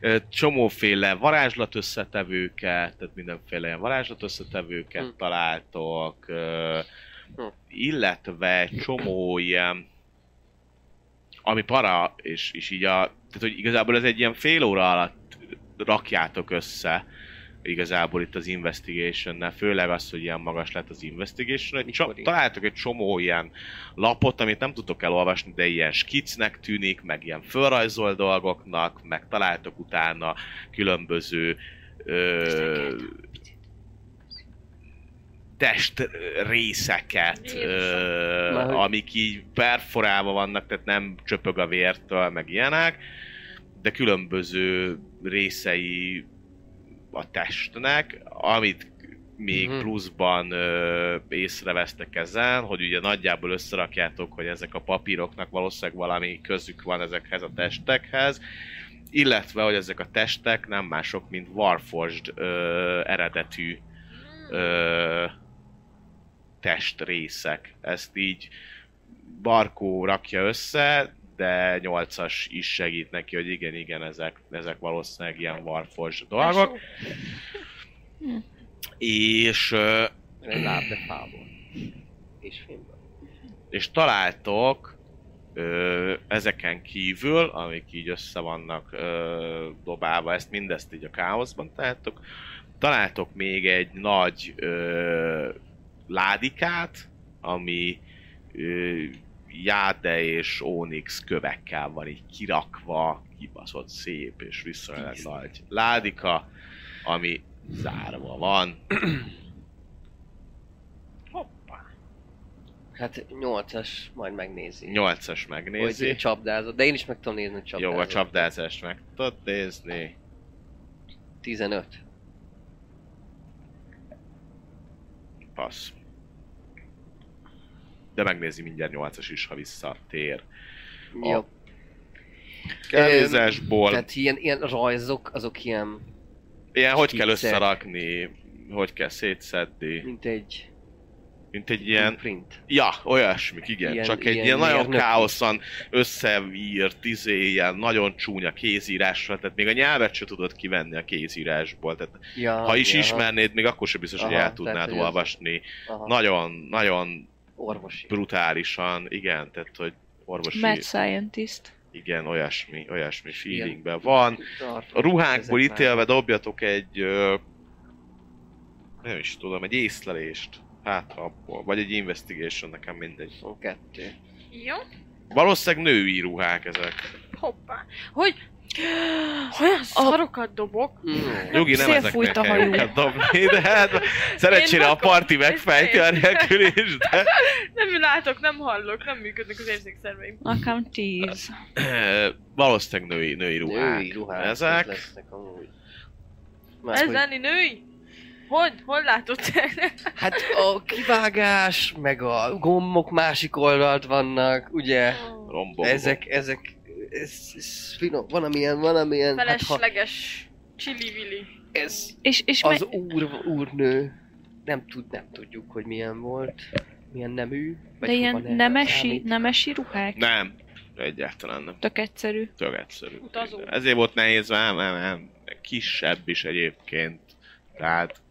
[SPEAKER 3] ö, csomóféle varázslat összetevőket, tehát mindenféle ilyen varázslat összetevőket
[SPEAKER 5] Hm.
[SPEAKER 3] találtok, ö,
[SPEAKER 5] Hm.
[SPEAKER 3] illetve egy csomó ilyen, ami para, és, és így a, tehát hogy igazából ez egy ilyen fél óra alatt rakjátok össze, igazából itt az investigation főleg az, hogy ilyen magas lett az investigation, hogy
[SPEAKER 5] Mikor
[SPEAKER 3] csa-
[SPEAKER 5] így?
[SPEAKER 3] találtok egy csomó ilyen lapot, amit nem tudtok elolvasni, de ilyen skicnek tűnik, meg ilyen fölrajzol dolgoknak, meg találtok utána különböző ö, testrészeket, ö,
[SPEAKER 5] Már hogy-
[SPEAKER 3] amik így perforálva vannak, tehát nem csöpög a vértől, meg ilyenek, de különböző részei a testnek, amit még
[SPEAKER 5] Mhm.
[SPEAKER 3] pluszban ö, észrevesztek ezen, hogy ugye nagyjából összerakjátok, hogy ezek a papíroknak valószínűleg valami közük van ezekhez a testekhez, illetve, hogy ezek a testek nem mások, mint Warforged ö, eredetű ö, testrészek. Ezt így Barkó rakja össze, de 8-as is segít neki, hogy igen, igen, ezek, ezek valószínűleg ilyen Warforged dolgok. És ö,
[SPEAKER 5] Egy láb, de fából. És filmben.
[SPEAKER 3] és találtok ö, ezeken kívül, amik így össze vannak ö, dobálva, ezt mindezt így a káoszban találtok, találtok még egy nagy ö, ládikát, ami ö, Jáde és Onyx kövekkel van így kirakva, kibaszott szép és viszonylag nagy ládika, ami zárva van.
[SPEAKER 5] Hát 8-as, majd megnézi.
[SPEAKER 3] Nyolcas megnézi.
[SPEAKER 5] Hogy csapdázott, de én is meg tudom nézni, hogy csapdázott.
[SPEAKER 3] Jó, a csapdázást meg tudod nézni.
[SPEAKER 5] 15.
[SPEAKER 3] Passz. De megnézi mindjárt 8-as is, ha visszatér. A
[SPEAKER 5] Jó.
[SPEAKER 3] Kávézásból,
[SPEAKER 5] Tehát ilyen, ilyen rajzok, azok ilyen,
[SPEAKER 3] ilyen hogy kell
[SPEAKER 5] skicek.
[SPEAKER 3] összerakni, hogy kell szétszedni,
[SPEAKER 5] mint egy
[SPEAKER 3] mint egy ilyen...
[SPEAKER 5] print.
[SPEAKER 3] Ja, olyasmik, igen,
[SPEAKER 5] Ilyen-
[SPEAKER 3] csak egy
[SPEAKER 5] ilyen
[SPEAKER 3] ilyen, nagyon
[SPEAKER 5] mérnöki.
[SPEAKER 3] káoszan összeírt, izé, ilyen nagyon csúnya kézírásra, tehát még a nyelvet se tudod kivenni a kézírásból, tehát
[SPEAKER 5] Ja,
[SPEAKER 3] ha is
[SPEAKER 5] Ah, ja,
[SPEAKER 3] ismernéd, még akkor sem biztos, hogy
[SPEAKER 5] Aha,
[SPEAKER 3] el
[SPEAKER 5] tehát,
[SPEAKER 3] tudnád
[SPEAKER 5] hogy az-
[SPEAKER 3] olvasni.
[SPEAKER 5] Aha,
[SPEAKER 3] Nagyon, nagyon
[SPEAKER 5] orvosi.
[SPEAKER 3] brutálisan, igen, tehát hogy orvosi
[SPEAKER 4] Mad Scientist.
[SPEAKER 3] Igen, olyasmi, olyasmi feelingben van. A ruhákból
[SPEAKER 5] Ezek már-
[SPEAKER 3] ítélve dobjatok egy... Ö, nem is tudom, egy észlelést. Hát abból. Vagy egy investigation, nekem mindegy.
[SPEAKER 5] Ó, kettő.
[SPEAKER 6] Jó?
[SPEAKER 3] Valószínűleg női ruhák ezek.
[SPEAKER 4] Hát
[SPEAKER 6] Hoppá. Hogy olyan szarokat dobok.
[SPEAKER 5] Hmm.
[SPEAKER 3] Nyugi, nem
[SPEAKER 4] Szélfújt
[SPEAKER 3] ezeknek
[SPEAKER 4] a hajú.
[SPEAKER 3] kell dobni, de hát szerencsére a
[SPEAKER 6] vakom,
[SPEAKER 3] parti
[SPEAKER 6] ez
[SPEAKER 3] megfejti a
[SPEAKER 6] szép.
[SPEAKER 3] nélkül is, de...
[SPEAKER 6] Nem látok, nem hallok, nem működnek az érzékszerveim.
[SPEAKER 4] Nekem tíz.
[SPEAKER 3] eh, Valószínűleg női, női ruhák.
[SPEAKER 5] Női ruhák.
[SPEAKER 3] hát, Ezek.
[SPEAKER 5] Lesznek amúgy. Már,
[SPEAKER 6] Ez
[SPEAKER 5] hogy,
[SPEAKER 6] lenni női? Hogy? Hol látod te?
[SPEAKER 5] hát a kivágás, meg a gombok másik oldalt vannak, ugye?
[SPEAKER 3] Rombogok.
[SPEAKER 5] Ezek, ezek, ez, ez finom, van amilyen, van amilyen, hát ha
[SPEAKER 6] Felesleges. Csili-vili.
[SPEAKER 5] ez
[SPEAKER 4] És, és
[SPEAKER 5] az
[SPEAKER 4] meg-
[SPEAKER 5] úr, úrnő, nem tud, nem tudjuk, hogy milyen volt, milyen nemű, vagy
[SPEAKER 4] de ilyen
[SPEAKER 5] hova ne-
[SPEAKER 4] nemesi,
[SPEAKER 5] számít.
[SPEAKER 4] nemesi ruhák?
[SPEAKER 3] Nem. Egyáltalán nem.
[SPEAKER 4] Tök egyszerű.
[SPEAKER 3] Tök egyszerű.
[SPEAKER 6] Utazó.
[SPEAKER 3] Ezért volt nehéz, nem, nem, nem. Kisebb is egyébként. Tehát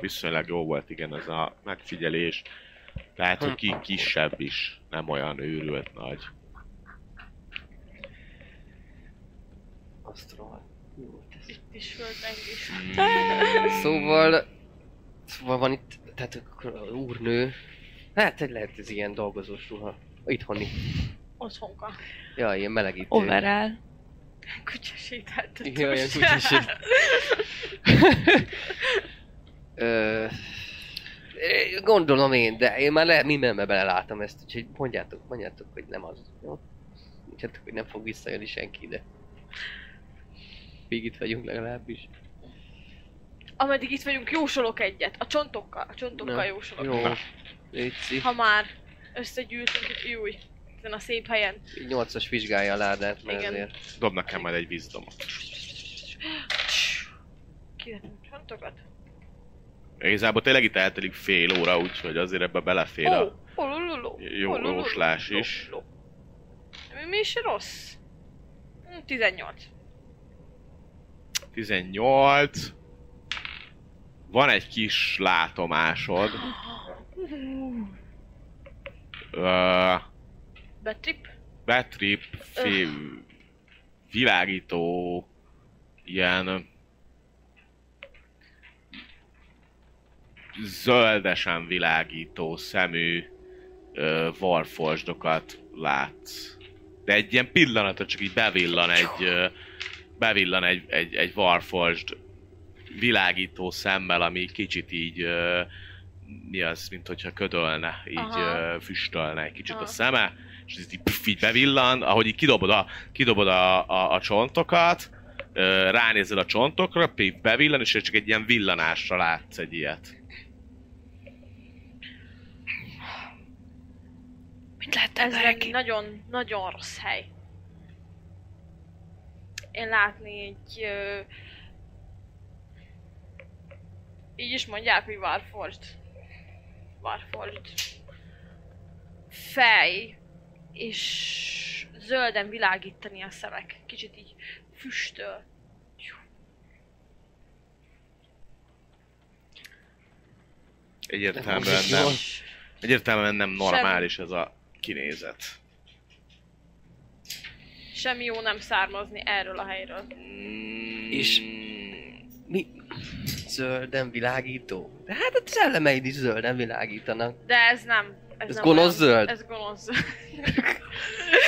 [SPEAKER 3] viszonylag jó volt, igen, ez a megfigyelés. Tehát, hogy ki kisebb is, nem olyan őrült nagy.
[SPEAKER 5] Azt rohadt. Mi volt ez?
[SPEAKER 6] Itt is földrengés.
[SPEAKER 5] Szóval, szóval van itt, tehát akkor az úrnő, hát egy lehet ez ilyen dolgozós ruha, itthoni,
[SPEAKER 6] Otthonka.
[SPEAKER 5] ja, ilyen melegítő.
[SPEAKER 4] Overall.
[SPEAKER 6] Kutyasétált.
[SPEAKER 5] Igen, olyan kutyasét. Ö, Gondolom én, de én már le, mindenbe beleláttam ezt, úgyhogy mondjátok, mondjátok, hogy nem az, jó? Mondjátok, hogy nem fog visszajönni senki ide. Még itt vagyunk legalábbis.
[SPEAKER 6] Ameddig itt vagyunk, jósolok egyet. A csontokkal. A csontokkal
[SPEAKER 5] Na,
[SPEAKER 6] jósolok.
[SPEAKER 5] Jó, Léci,
[SPEAKER 6] Ha már összegyűltünk itt, júj. Ezen a szép helyen.
[SPEAKER 5] így nyolcas vizsgálja a ládát, mert
[SPEAKER 6] Igen.
[SPEAKER 5] azért
[SPEAKER 3] Dob nekem majd egy vízdomot.
[SPEAKER 6] Kivettünk a csontokat.
[SPEAKER 3] Igazából tényleg itt eltelik fél óra, úgyhogy azért ebbe belefér a...
[SPEAKER 6] Ó, olololó.
[SPEAKER 3] jó
[SPEAKER 6] olololó,
[SPEAKER 3] jóslás is.
[SPEAKER 6] ololó. Mi, mi is rossz? Hm, 18.
[SPEAKER 3] 18. Van egy kis látomásod. Ö,
[SPEAKER 6] Betrip?
[SPEAKER 3] Betrip fél világító ilyen zöldesen világító szemű ö, varforsdokat látsz. De egy ilyen pillanatra csak így bevillan egy ö, bevillan egy, egy, egy varforsd világító szemmel, ami kicsit így ö, mi az, mint hogyha ködölne, így
[SPEAKER 6] Aha.
[SPEAKER 3] ö, füstölne egy kicsit a
[SPEAKER 4] Ah.
[SPEAKER 6] Aha.
[SPEAKER 3] szeme, és ez így, pff, így bevillan, ahogy így kidobod a, kidobod a, a, a csontokat, ö, ránézel a csontokra, így bevillan, és csak egy ilyen villanásra látsz egy ilyet.
[SPEAKER 4] Mit láttam
[SPEAKER 6] Ez
[SPEAKER 4] már
[SPEAKER 6] egy nagyon, nagyon rossz hely. Én látni egy... Ö... Így is mondják, hogy Warforged. Warforged. Fej. És zölden világítani a szemek. Kicsit így füstöl.
[SPEAKER 3] Egyértelműen
[SPEAKER 5] Jó.
[SPEAKER 3] nem, egyértelműen nem normális ez a kinézet.
[SPEAKER 6] Semmi jó nem származni erről a helyről.
[SPEAKER 5] És- mi? Zölden világító? De hát a szellemeid is zölden világítanak.
[SPEAKER 6] De ez nem. Ez,
[SPEAKER 5] Ez
[SPEAKER 6] nem
[SPEAKER 5] gonosz
[SPEAKER 6] olyan.
[SPEAKER 5] zöld?
[SPEAKER 6] Ez gonosz zöld.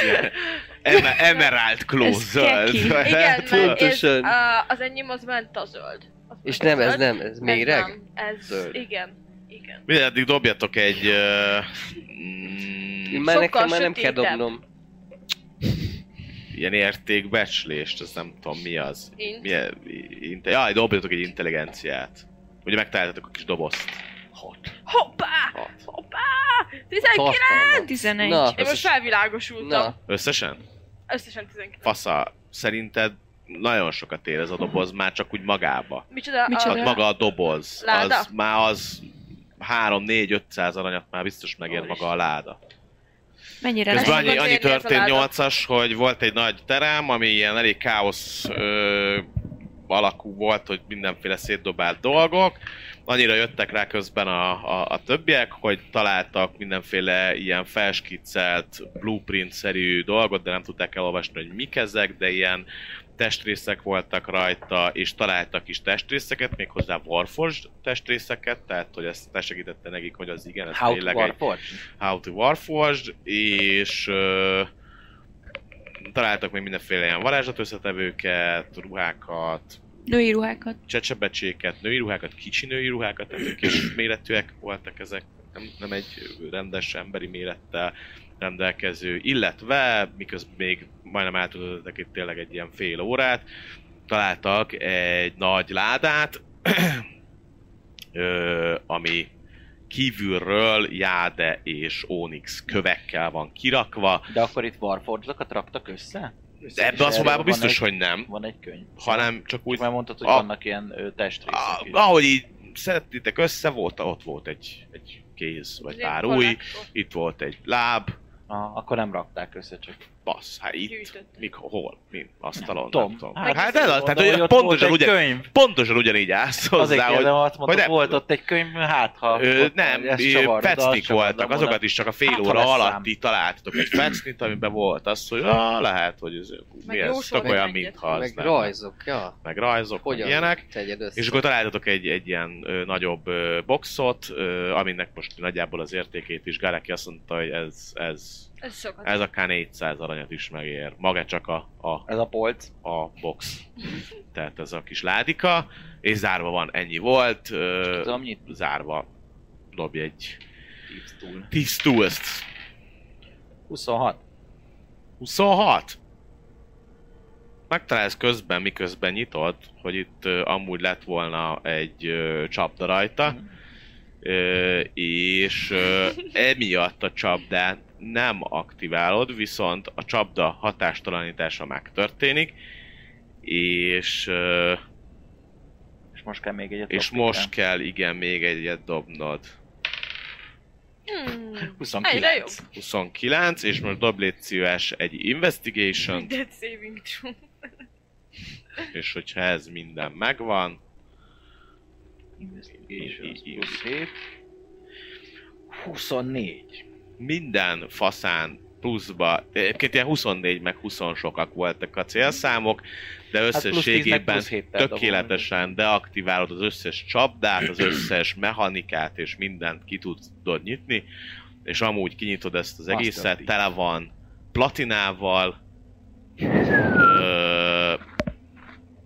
[SPEAKER 3] Ilyen eme- emerald glow
[SPEAKER 4] Ez
[SPEAKER 3] zöld.
[SPEAKER 4] keki.
[SPEAKER 3] vagy nem
[SPEAKER 6] Igen,
[SPEAKER 3] tudom.
[SPEAKER 6] mert ez,
[SPEAKER 5] Pontosan.
[SPEAKER 6] a, az enyém az menta zöld. Az
[SPEAKER 5] És
[SPEAKER 6] menta
[SPEAKER 5] nem, ez
[SPEAKER 6] zöld.
[SPEAKER 5] nem, ez méreg?
[SPEAKER 6] nem, ez
[SPEAKER 5] Zöld.
[SPEAKER 6] zöld. igen. Igen.
[SPEAKER 3] Mindjárt addig dobjatok egy... ö, mm,
[SPEAKER 5] Én már
[SPEAKER 6] Sokkal
[SPEAKER 5] nekem már nem kell
[SPEAKER 6] sötétebb.
[SPEAKER 5] dobnom.
[SPEAKER 3] ilyen értékbecslést, azt nem tudom mi az.
[SPEAKER 6] Int.
[SPEAKER 3] Milyen, inte, jaj, dobjatok egy intelligenciát. Ugye megtaláltatok a kis dobozt. Hat.
[SPEAKER 6] Hoppá!
[SPEAKER 3] Hat.
[SPEAKER 6] Hoppá! 19!
[SPEAKER 5] Tartalma.
[SPEAKER 4] 11.
[SPEAKER 5] Na.
[SPEAKER 6] Én most felvilágosultam.
[SPEAKER 5] Na,
[SPEAKER 3] Összesen?
[SPEAKER 6] Összesen 19.
[SPEAKER 3] Fasza, szerinted nagyon sokat ér ez a doboz, már csak úgy magába.
[SPEAKER 6] Micsoda?
[SPEAKER 4] Micsoda?
[SPEAKER 6] A...
[SPEAKER 3] Tehát maga a doboz,
[SPEAKER 6] Láda?
[SPEAKER 3] az már az 3-4-500 aranyat már biztos megér
[SPEAKER 6] Ó,
[SPEAKER 3] maga a láda.
[SPEAKER 4] Mennyire lesz?
[SPEAKER 3] Közben
[SPEAKER 6] lehet
[SPEAKER 3] annyi,
[SPEAKER 6] fogod
[SPEAKER 3] annyi
[SPEAKER 6] érni ez a
[SPEAKER 3] történt
[SPEAKER 6] láda.
[SPEAKER 3] 8-as, hogy volt egy nagy terem, ami ilyen elég káosz ö, alakú volt, hogy mindenféle szétdobált dolgok, annyira jöttek rá közben a, a, a többiek, hogy találtak mindenféle ilyen felskiccelt, blueprint-szerű dolgot, de nem tudták elolvasni, hogy mik ezek, de ilyen testrészek voltak rajta, és találtak is testrészeket, méghozzá Warforged testrészeket, tehát hogy ezt te segítette nekik, hogy az igen, ez
[SPEAKER 7] How
[SPEAKER 3] Hát tényleg
[SPEAKER 7] to
[SPEAKER 3] egy
[SPEAKER 7] Warforged?
[SPEAKER 3] How to Warforged, és ö, találtak még mindenféle ilyen varázslatösszetevőket, ruhákat,
[SPEAKER 4] Női ruhákat.
[SPEAKER 3] csecsebecséket, női ruhákat, kicsi női ruhákat, tehát kis méretűek voltak ezek, nem, nem egy rendes emberi mérettel rendelkező, illetve miközben még majdnem eltöltöttek itt tényleg egy ilyen fél órát, találtak egy nagy ládát, ö, ami kívülről jáde és ónix kövekkel van kirakva.
[SPEAKER 7] De akkor itt Warforged-okat raktak össze?
[SPEAKER 3] De ebbe a
[SPEAKER 7] És
[SPEAKER 3] szobában
[SPEAKER 7] erről van
[SPEAKER 3] biztos,
[SPEAKER 7] egy,
[SPEAKER 3] hogy nem,
[SPEAKER 7] Van egy könyv.
[SPEAKER 3] hanem csak úgy
[SPEAKER 7] Úgy már mondtad, hogy
[SPEAKER 3] A-
[SPEAKER 7] vannak ilyen ö, testrészek.
[SPEAKER 3] Ah,
[SPEAKER 7] is.
[SPEAKER 3] ahogy így szedtétek össze, volt, ott volt egy, egy kéz, vagy pár új, itt volt egy láb,
[SPEAKER 7] Ah, akkor nem rakták össze, csak
[SPEAKER 3] bassz, hát itt,
[SPEAKER 6] Gyűjtött.
[SPEAKER 3] mik, hol, mi, asztalon, nem,
[SPEAKER 7] Tom,
[SPEAKER 3] nem tudom.
[SPEAKER 7] hát
[SPEAKER 3] Hát, hát,
[SPEAKER 7] azt
[SPEAKER 3] el,
[SPEAKER 7] mondom,
[SPEAKER 3] tehát hogy
[SPEAKER 7] hogy ott
[SPEAKER 3] pontosan,
[SPEAKER 7] volt egy
[SPEAKER 3] ugyan,
[SPEAKER 7] könyv.
[SPEAKER 3] pontosan ugyanígy állsz
[SPEAKER 7] azért
[SPEAKER 3] hozzá, hogy
[SPEAKER 7] kérdem, azt mondtad,
[SPEAKER 3] nem
[SPEAKER 7] volt
[SPEAKER 3] tudod.
[SPEAKER 7] ott egy könyv, hát ha...
[SPEAKER 3] Ö,
[SPEAKER 7] ott-
[SPEAKER 3] nem,
[SPEAKER 7] ezt
[SPEAKER 3] ö,
[SPEAKER 7] csavarod, azt
[SPEAKER 3] fecnik
[SPEAKER 7] csavarod,
[SPEAKER 3] voltak,
[SPEAKER 7] abban
[SPEAKER 3] azokat is csak a fél
[SPEAKER 7] Hát, ha
[SPEAKER 3] óra
[SPEAKER 7] lesz
[SPEAKER 3] alatti találtatok egy fecnit, amiben volt az, hogy ah, lehet, hogy ez, mi ez,
[SPEAKER 6] jósolni
[SPEAKER 3] tök olyan,
[SPEAKER 6] egyet.
[SPEAKER 3] mintha az
[SPEAKER 5] Meg
[SPEAKER 3] lenne.
[SPEAKER 5] rajzok, ja.
[SPEAKER 3] meg rajzok,
[SPEAKER 5] Hogyan
[SPEAKER 3] meg ilyenek.
[SPEAKER 5] tegyed össze?
[SPEAKER 3] És akkor találtatok egy, egy ilyen ö, nagyobb ö, boxot, ö, aminek most nagyjából az értékét is Gareki azt mondta, hogy ez, ez,
[SPEAKER 6] Ez sokat.
[SPEAKER 3] ez akár 400 aranyat is megér. Maga csak a, a,
[SPEAKER 7] Ez a polc.
[SPEAKER 3] a box. Tehát ez a kis ládika, és zárva van, ennyi volt. Ö,
[SPEAKER 7] Tudom, nyit.
[SPEAKER 3] zárva dobj egy
[SPEAKER 7] Thieves Tool.
[SPEAKER 3] Thieves Tools.
[SPEAKER 7] 26.
[SPEAKER 3] 26! Megtalálsz közben, miközben nyitod, hogy itt ö, amúgy lett volna egy ö, csapda rajta,
[SPEAKER 7] Mhm.
[SPEAKER 3] Ö, és ö, emiatt a csapdát nem aktiválod, viszont a csapda hatástalanítása megtörténik, és, ö,
[SPEAKER 7] És most kell még egyet
[SPEAKER 3] és
[SPEAKER 7] dobni,
[SPEAKER 3] most
[SPEAKER 7] nem?
[SPEAKER 3] kell igen még egyet dobnod.
[SPEAKER 6] Hmm.
[SPEAKER 7] 29.
[SPEAKER 6] Egyre jobb.
[SPEAKER 3] 29, és most dob légy szíves egy investigation
[SPEAKER 6] Dead saving throw.
[SPEAKER 3] és hogyha ez minden megvan,
[SPEAKER 7] Investigations plusz 7. 24.
[SPEAKER 3] minden faszán pluszba, egyébként ilyen 24 meg 20 sokak voltak a célszámok, de
[SPEAKER 7] Hát plusz 10 meg
[SPEAKER 3] összességében
[SPEAKER 7] plusz héttel dobom.
[SPEAKER 3] tökéletesen deaktiválod az összes csapdát, az összes mechanikát és mindent ki tudod nyitni, és amúgy kinyitod ezt az
[SPEAKER 7] Master
[SPEAKER 3] egészet,
[SPEAKER 7] Thief.
[SPEAKER 3] tele van platinával, Ö,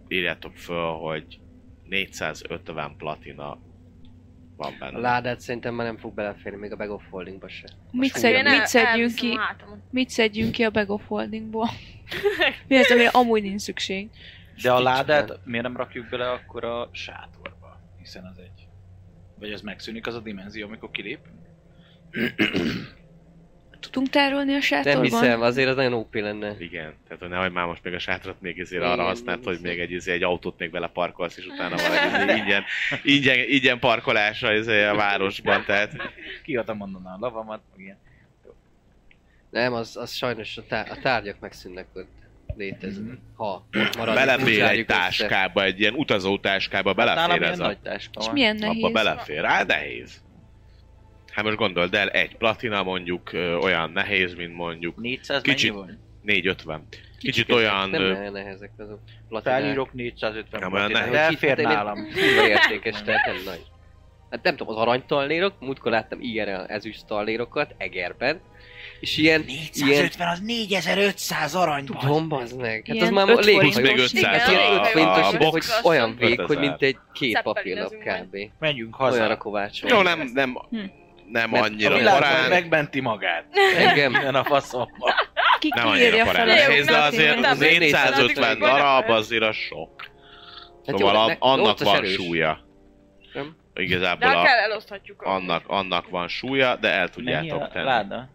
[SPEAKER 3] írjátok föl, hogy 450 platina van
[SPEAKER 5] A
[SPEAKER 3] benne.
[SPEAKER 5] ládát szerintem már nem fog beleférni, még a bag of holdingba se.
[SPEAKER 4] Mit,
[SPEAKER 5] Most
[SPEAKER 4] szed,
[SPEAKER 5] ugyan-
[SPEAKER 4] mit szedjünk ki?
[SPEAKER 6] elviszem a hátamon.
[SPEAKER 4] Mit szedjünk ki a bag of holdingból? Mi az, amire amúgy nincs szükség?
[SPEAKER 7] De a ládát miért nem rakjuk bele akkor a sátorba? Hiszen az egy... Vagy az megszűnik az a dimenzió, amikor kilépünk?
[SPEAKER 4] Tudunk tárolni a
[SPEAKER 5] Nem
[SPEAKER 4] sátorban?
[SPEAKER 5] hiszem, azért az nagyon OP lenne.
[SPEAKER 3] Igen, tehát hogy nehogy már most még a sátrat még ezért
[SPEAKER 5] Igen,
[SPEAKER 3] arra
[SPEAKER 5] nem
[SPEAKER 3] használt, hogy
[SPEAKER 5] hiszem.
[SPEAKER 3] még egy, izé, egy autót még vele parkolsz, és utána van egy izé ingyen, ingyen, ingyen parkolásra izé a városban, tehát
[SPEAKER 7] Ki oda mondaná a lavamat, meg ilyen.
[SPEAKER 5] Nem, az, az sajnos a, tá- a tárgyak megszűnnek ott
[SPEAKER 3] Mhm.
[SPEAKER 5] léteznek.
[SPEAKER 7] Hát
[SPEAKER 5] Ha ott marad, úgy
[SPEAKER 3] belefér egy
[SPEAKER 5] zárjuk össze.
[SPEAKER 3] táskába, egy ilyen utazó táskába, belefér
[SPEAKER 7] Hát Nálam ilyen
[SPEAKER 3] ez a...
[SPEAKER 7] nagy táska
[SPEAKER 4] És
[SPEAKER 7] van.
[SPEAKER 4] milyen
[SPEAKER 3] Abba
[SPEAKER 4] nehéz?
[SPEAKER 3] belefér, á, nehéz. Hát most gondold el, egy platina mondjuk ö, olyan nehéz, mint mondjuk
[SPEAKER 7] 400
[SPEAKER 3] Kicsit.
[SPEAKER 7] mennyi volt?
[SPEAKER 3] 450. Kicsit
[SPEAKER 5] Ezek
[SPEAKER 3] olyan...
[SPEAKER 5] Nem
[SPEAKER 3] ö,
[SPEAKER 5] olyan nehezek azok. platinák.
[SPEAKER 7] Felírok 450
[SPEAKER 3] Nem,
[SPEAKER 7] platinát.
[SPEAKER 3] olyan
[SPEAKER 7] De
[SPEAKER 5] nehéz.
[SPEAKER 7] elfér
[SPEAKER 5] Kicsit, de
[SPEAKER 7] nálam.
[SPEAKER 5] Kurva értékes, tehát nem nagy. Hát nem tudom, az aranytallérok, múltkor láttam ilyen ezüst tallérokat Egerben, és ilyen, ilyen,
[SPEAKER 1] az 4500 aranyban.
[SPEAKER 5] tudom, bazd meg. Hát az
[SPEAKER 4] Ilyen
[SPEAKER 5] már
[SPEAKER 4] öt
[SPEAKER 5] légy
[SPEAKER 3] Plusz
[SPEAKER 4] forintos.
[SPEAKER 5] vagy.
[SPEAKER 3] még
[SPEAKER 4] Igen,
[SPEAKER 3] 500
[SPEAKER 5] Hát
[SPEAKER 3] a,
[SPEAKER 5] ilyen
[SPEAKER 3] a,
[SPEAKER 5] öt forintos,
[SPEAKER 3] a
[SPEAKER 6] ötforintos,
[SPEAKER 5] hogy
[SPEAKER 3] box.
[SPEAKER 5] olyan vég, hogy
[SPEAKER 3] 5000.
[SPEAKER 5] mint egy két papírlap
[SPEAKER 6] Szeppelinezünk
[SPEAKER 5] kb.
[SPEAKER 7] Menjünk
[SPEAKER 5] Olyanra
[SPEAKER 7] haza.
[SPEAKER 5] kovácsol.
[SPEAKER 3] Jó, nem, nem, nem
[SPEAKER 5] Mert a
[SPEAKER 7] A
[SPEAKER 3] annyira
[SPEAKER 7] világ
[SPEAKER 3] korán.
[SPEAKER 7] majd megmenti magát.
[SPEAKER 5] Engem. Hát
[SPEAKER 7] Ilyen a faszomba.
[SPEAKER 4] Ki
[SPEAKER 3] Nem
[SPEAKER 4] kiírja
[SPEAKER 3] annyira
[SPEAKER 4] fel
[SPEAKER 3] korán.
[SPEAKER 4] a
[SPEAKER 6] Jó,
[SPEAKER 3] Nehéz, de
[SPEAKER 6] nem
[SPEAKER 3] azért
[SPEAKER 6] tudom,
[SPEAKER 3] az
[SPEAKER 5] nem
[SPEAKER 3] 450
[SPEAKER 5] tudom.
[SPEAKER 3] darab azért az sok. Szóval
[SPEAKER 5] Hát jó,
[SPEAKER 3] a-
[SPEAKER 5] ne-
[SPEAKER 3] annak
[SPEAKER 5] nyolcas
[SPEAKER 3] van
[SPEAKER 5] erős.
[SPEAKER 3] súlya.
[SPEAKER 5] Nem?
[SPEAKER 6] De
[SPEAKER 3] Igazából
[SPEAKER 6] ha
[SPEAKER 3] a,
[SPEAKER 6] kell, eloszthatjuk. a-
[SPEAKER 3] annak, annak van súlya, de el tudjátok
[SPEAKER 7] Mennyi a
[SPEAKER 3] tenni.
[SPEAKER 7] Láda.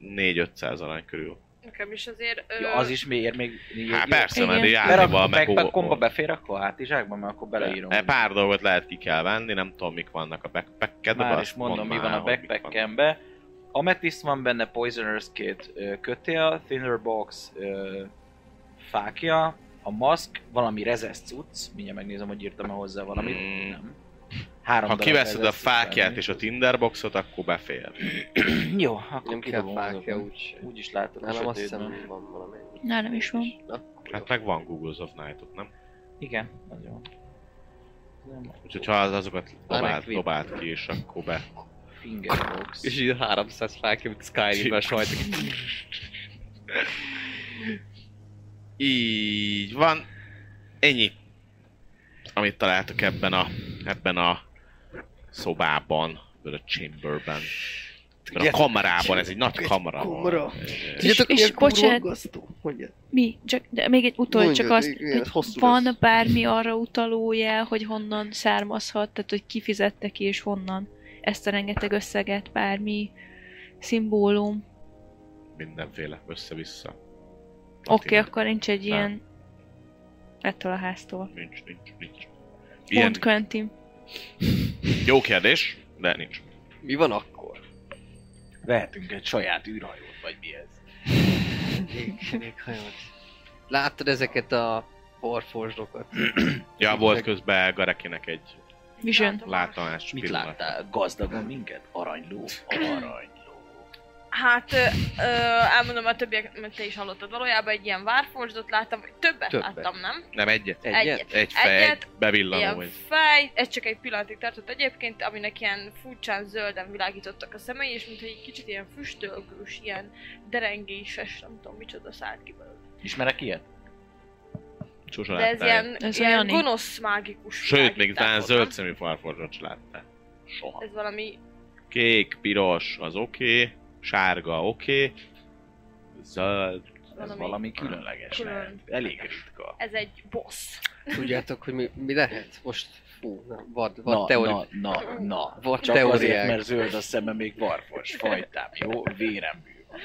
[SPEAKER 3] 4-500 arány körül.
[SPEAKER 6] Nekem is azért... ö,
[SPEAKER 7] Ja, az is miért még... még
[SPEAKER 3] Hát
[SPEAKER 7] jó.
[SPEAKER 3] persze, mert
[SPEAKER 4] Igen.
[SPEAKER 7] Mert
[SPEAKER 3] játékban
[SPEAKER 7] akkor
[SPEAKER 3] meg
[SPEAKER 7] backpackomba
[SPEAKER 3] óvó.
[SPEAKER 7] befér, akkor hátizsákban, mert akkor beleírom.
[SPEAKER 3] E pár dolgot lehet ki kell venni, nem tudom mik vannak a backpackedben.
[SPEAKER 7] Már
[SPEAKER 3] de
[SPEAKER 7] is
[SPEAKER 3] azt
[SPEAKER 7] mondom,
[SPEAKER 3] mondd
[SPEAKER 7] mi
[SPEAKER 3] már,
[SPEAKER 7] van a
[SPEAKER 3] hogy mik vannak.
[SPEAKER 7] backpackembe. Amethyst van benne, Poisoner's két ö, kötél, Thinner Box ö, fákja, a maszk, valami rezesz cucc, mindjárt megnézem, hogy írtam-e hozzá valamit,
[SPEAKER 3] Mm.
[SPEAKER 7] nem. Három
[SPEAKER 3] Ha
[SPEAKER 7] darab
[SPEAKER 3] kiveszed a
[SPEAKER 7] fejlesztést
[SPEAKER 3] fákját
[SPEAKER 7] felvenni.
[SPEAKER 3] és a tinderboxot, akkor befér.
[SPEAKER 7] Jó, akkor
[SPEAKER 5] Nem kell
[SPEAKER 7] kidobom
[SPEAKER 5] fákja
[SPEAKER 7] azokon.
[SPEAKER 5] úgy.
[SPEAKER 7] Úgy is látod a
[SPEAKER 5] Nálam azt
[SPEAKER 7] sötétben.
[SPEAKER 5] hiszem van valami.
[SPEAKER 4] Nálam is van.
[SPEAKER 5] Na,
[SPEAKER 3] Hát meg van Google of Night-ot, nem?
[SPEAKER 7] Igen, nagyon. Nem,
[SPEAKER 3] Úgyhogy ha az, azokat dobált,
[SPEAKER 5] equip.
[SPEAKER 3] dobált ki, és akkor be.
[SPEAKER 7] fingerbox.
[SPEAKER 5] És így 300 fákja, mint Skyrim-ben sajt.
[SPEAKER 3] Így van. Ennyi, amit találtak ebben a, ebben a szobában, ebben a chamberben. Ebben a
[SPEAKER 5] Tudjátok,
[SPEAKER 3] kamarában, ez egy nagy
[SPEAKER 5] egy
[SPEAKER 3] kamera. van.
[SPEAKER 5] kamera.
[SPEAKER 3] Egy-
[SPEAKER 4] És- és bocsánat.
[SPEAKER 5] Mondja.
[SPEAKER 4] Mi? Csak, de még egy utol,
[SPEAKER 5] Mondjad,
[SPEAKER 4] csak azt,
[SPEAKER 5] igen,
[SPEAKER 4] hogy
[SPEAKER 5] hosszú
[SPEAKER 4] van
[SPEAKER 5] lesz.
[SPEAKER 4] bármi arra utaló jel, hogy honnan származhat, tehát hogy kifizette ki és honnan ezt a rengeteg összeget, bármi szimbólum.
[SPEAKER 3] Mindenféle, össze-vissza.
[SPEAKER 4] Oké,
[SPEAKER 3] Latin.
[SPEAKER 4] okay, akkor nincs egy
[SPEAKER 3] Nem.
[SPEAKER 4] ilyen ettől a háztól.
[SPEAKER 3] Nincs, nincs, nincs.
[SPEAKER 4] Mond
[SPEAKER 3] Ilyen,
[SPEAKER 4] Quentin.
[SPEAKER 3] jó kérdés, de nincs.
[SPEAKER 5] Mi van akkor?
[SPEAKER 7] Vehetünk egy saját űrhajót, vagy mi ez?
[SPEAKER 5] Léghajót. Láttad ezeket a porforzsokat?
[SPEAKER 3] Ja,
[SPEAKER 5] Meg-
[SPEAKER 3] volt közben Garekinek egy
[SPEAKER 4] Vision.
[SPEAKER 3] látomás
[SPEAKER 7] Mit
[SPEAKER 3] pillanat.
[SPEAKER 7] láttál? Gazdagon minket? Aranyló? Aranyló.
[SPEAKER 6] Hát, ö, ö, elmondom a többiek, mert te is hallottad. Valójában egy ilyen várforzdot láttam, vagy többet,
[SPEAKER 5] Többet.
[SPEAKER 6] láttam, nem?
[SPEAKER 3] Nem, egyet.
[SPEAKER 5] Egyet?
[SPEAKER 3] Egy fej,
[SPEAKER 6] Egyet,
[SPEAKER 3] egy bevillanó.
[SPEAKER 6] Ilyen
[SPEAKER 3] Egy.
[SPEAKER 6] fej, ez csak egy pillanatig tartott egyébként, aminek ilyen furcsán zölden világítottak a szemei, és mintha egy kicsit ilyen füstölgős, ilyen derengéses, nem tudom micsoda szállt ki belőle.
[SPEAKER 7] Ismerek ilyet?
[SPEAKER 3] Sose
[SPEAKER 6] De ez
[SPEAKER 3] láttál.
[SPEAKER 6] ilyen,
[SPEAKER 4] Ez
[SPEAKER 6] ilyen
[SPEAKER 4] olyan így.
[SPEAKER 6] gonosz, mágikus
[SPEAKER 3] Sőt, még
[SPEAKER 6] világítás
[SPEAKER 3] talán
[SPEAKER 6] volt,
[SPEAKER 3] zöld
[SPEAKER 6] nem?
[SPEAKER 3] szemű farforzsot se láttál. Soha.
[SPEAKER 6] Ez valami...
[SPEAKER 3] Kék, piros, az oké. Sárga, oké. Zöld.
[SPEAKER 6] Valami
[SPEAKER 7] Ez valami különleges
[SPEAKER 6] külön.
[SPEAKER 7] lehet. Elég ritka.
[SPEAKER 6] Ez egy boss.
[SPEAKER 5] Tudjátok, hogy mi, mi lehet? Most, fú, na, vad, vad
[SPEAKER 7] Na,
[SPEAKER 5] teóri...
[SPEAKER 7] na, na, na.
[SPEAKER 5] Vad
[SPEAKER 7] Csak azért,
[SPEAKER 5] teóriák.
[SPEAKER 7] mert zöld a szeme még varfos. Fajtám, jó? Véremű van.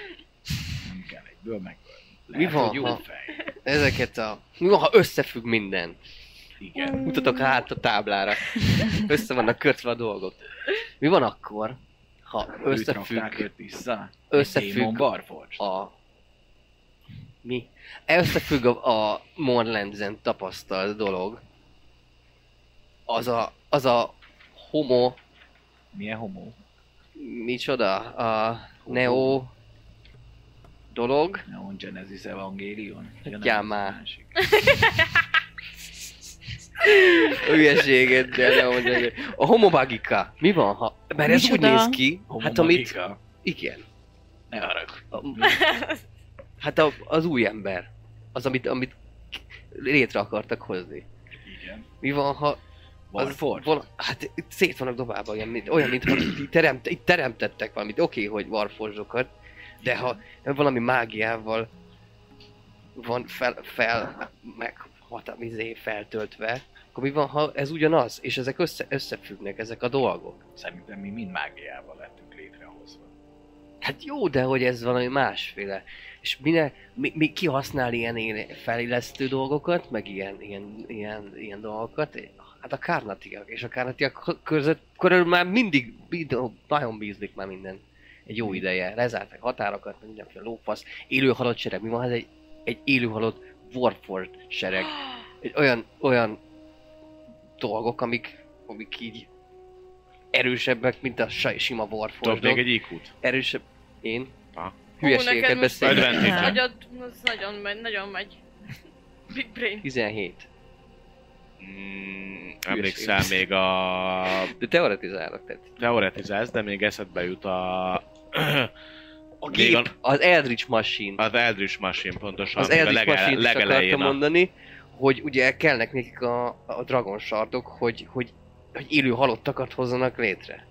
[SPEAKER 7] Nem kell egyből megölni. Lehet,
[SPEAKER 5] Mi van,
[SPEAKER 7] hogy jó
[SPEAKER 5] ha-
[SPEAKER 7] fej.
[SPEAKER 5] Ezeket a... Mi van, ha összefügg minden?
[SPEAKER 7] Igen.
[SPEAKER 5] Mutatok hát a táblára. Össze vannak kötve a dolgok. Mi van akkor, ha
[SPEAKER 7] Összefügg.
[SPEAKER 5] összefügg
[SPEAKER 7] Őt vissza.
[SPEAKER 5] Összefügg.
[SPEAKER 7] Démon barforcs.
[SPEAKER 5] a... Mi? Összefügg a, a Morlandzen tapasztalt dolog. Az a... Az a homo...
[SPEAKER 7] Milyen homó?
[SPEAKER 5] Micsoda? A neo... Dolog?
[SPEAKER 7] Neon Genesis Evangelion? Ja, nem,
[SPEAKER 5] Atyám Hát
[SPEAKER 7] ez
[SPEAKER 5] már. Hát
[SPEAKER 7] másik.
[SPEAKER 5] Hülyeséget, de nem mondja. hogy- A homomagika. Mi van, ha... Mert ez úgy
[SPEAKER 4] Micsoda?
[SPEAKER 5] néz ki, hát amit...
[SPEAKER 7] Homomagika.
[SPEAKER 5] Igen.
[SPEAKER 7] Ne haragudj.
[SPEAKER 5] Hát a, az új ember. Az, amit, amit létre akartak hozni.
[SPEAKER 7] Igen.
[SPEAKER 5] Mi van, ha... Az,
[SPEAKER 7] Barforcs.
[SPEAKER 5] vala, hát itt szét vannak dobálva, olyan, mint, olyan, mint ha itt, teremt, itt teremtettek valamit. Oké, hogy varforzsokat, de ha valami mágiával van fel, fel meg hatam, izé, feltöltve, akkor mi van, ha ez ugyanaz, és ezek össze, összefüggnek, ezek a dolgok?
[SPEAKER 7] Szerintem mi mind mágiával lettünk létrehozva.
[SPEAKER 5] Hát jó, de hogy ez valami másféle. És minek, mi, mi ki használ ilyen, ilyen felillesztő dolgokat, meg ilyen, ilyen, ilyen, ilyen dolgokat? Hát a kárnatiak, és a kárnatiak között körül már mindig bíd- nagyon bízlik már minden. Egy jó ideje. Lezárták határokat, meg mindenféle lófasz. Élő halott sereg. Mi van? Ez egy, egy élő halott Warford sereg. Egy olyan, olyan dolgok, amik, amik így erősebbek, mint a saj- sima Warford
[SPEAKER 3] Tudod még egy iq
[SPEAKER 5] erősebb... Én?
[SPEAKER 3] Aha.
[SPEAKER 6] Hú, neked
[SPEAKER 5] Hülyeségeket
[SPEAKER 6] most
[SPEAKER 5] beszélek.
[SPEAKER 3] Advantage.
[SPEAKER 4] Nem.
[SPEAKER 6] Nagyon, az nagyon megy, nagyon megy. Big brain.
[SPEAKER 5] 17.
[SPEAKER 3] Mm, emlékszel még a...
[SPEAKER 5] De teoretizálok, tehát.
[SPEAKER 3] Teoretizálsz, de még eszedbe jut a...
[SPEAKER 5] A
[SPEAKER 3] Még
[SPEAKER 5] gép, az Eldritch Machine.
[SPEAKER 3] Az Eldritch Machine pontosan,
[SPEAKER 5] Az
[SPEAKER 3] amiben
[SPEAKER 5] Eldritch
[SPEAKER 3] legele-
[SPEAKER 5] Machine-t is akartam
[SPEAKER 3] legelején a...
[SPEAKER 5] mondani, hogy ugye kellnek nekik a, a dragon sardok, hogy, hogy, hogy élő halottakat hozzanak létre.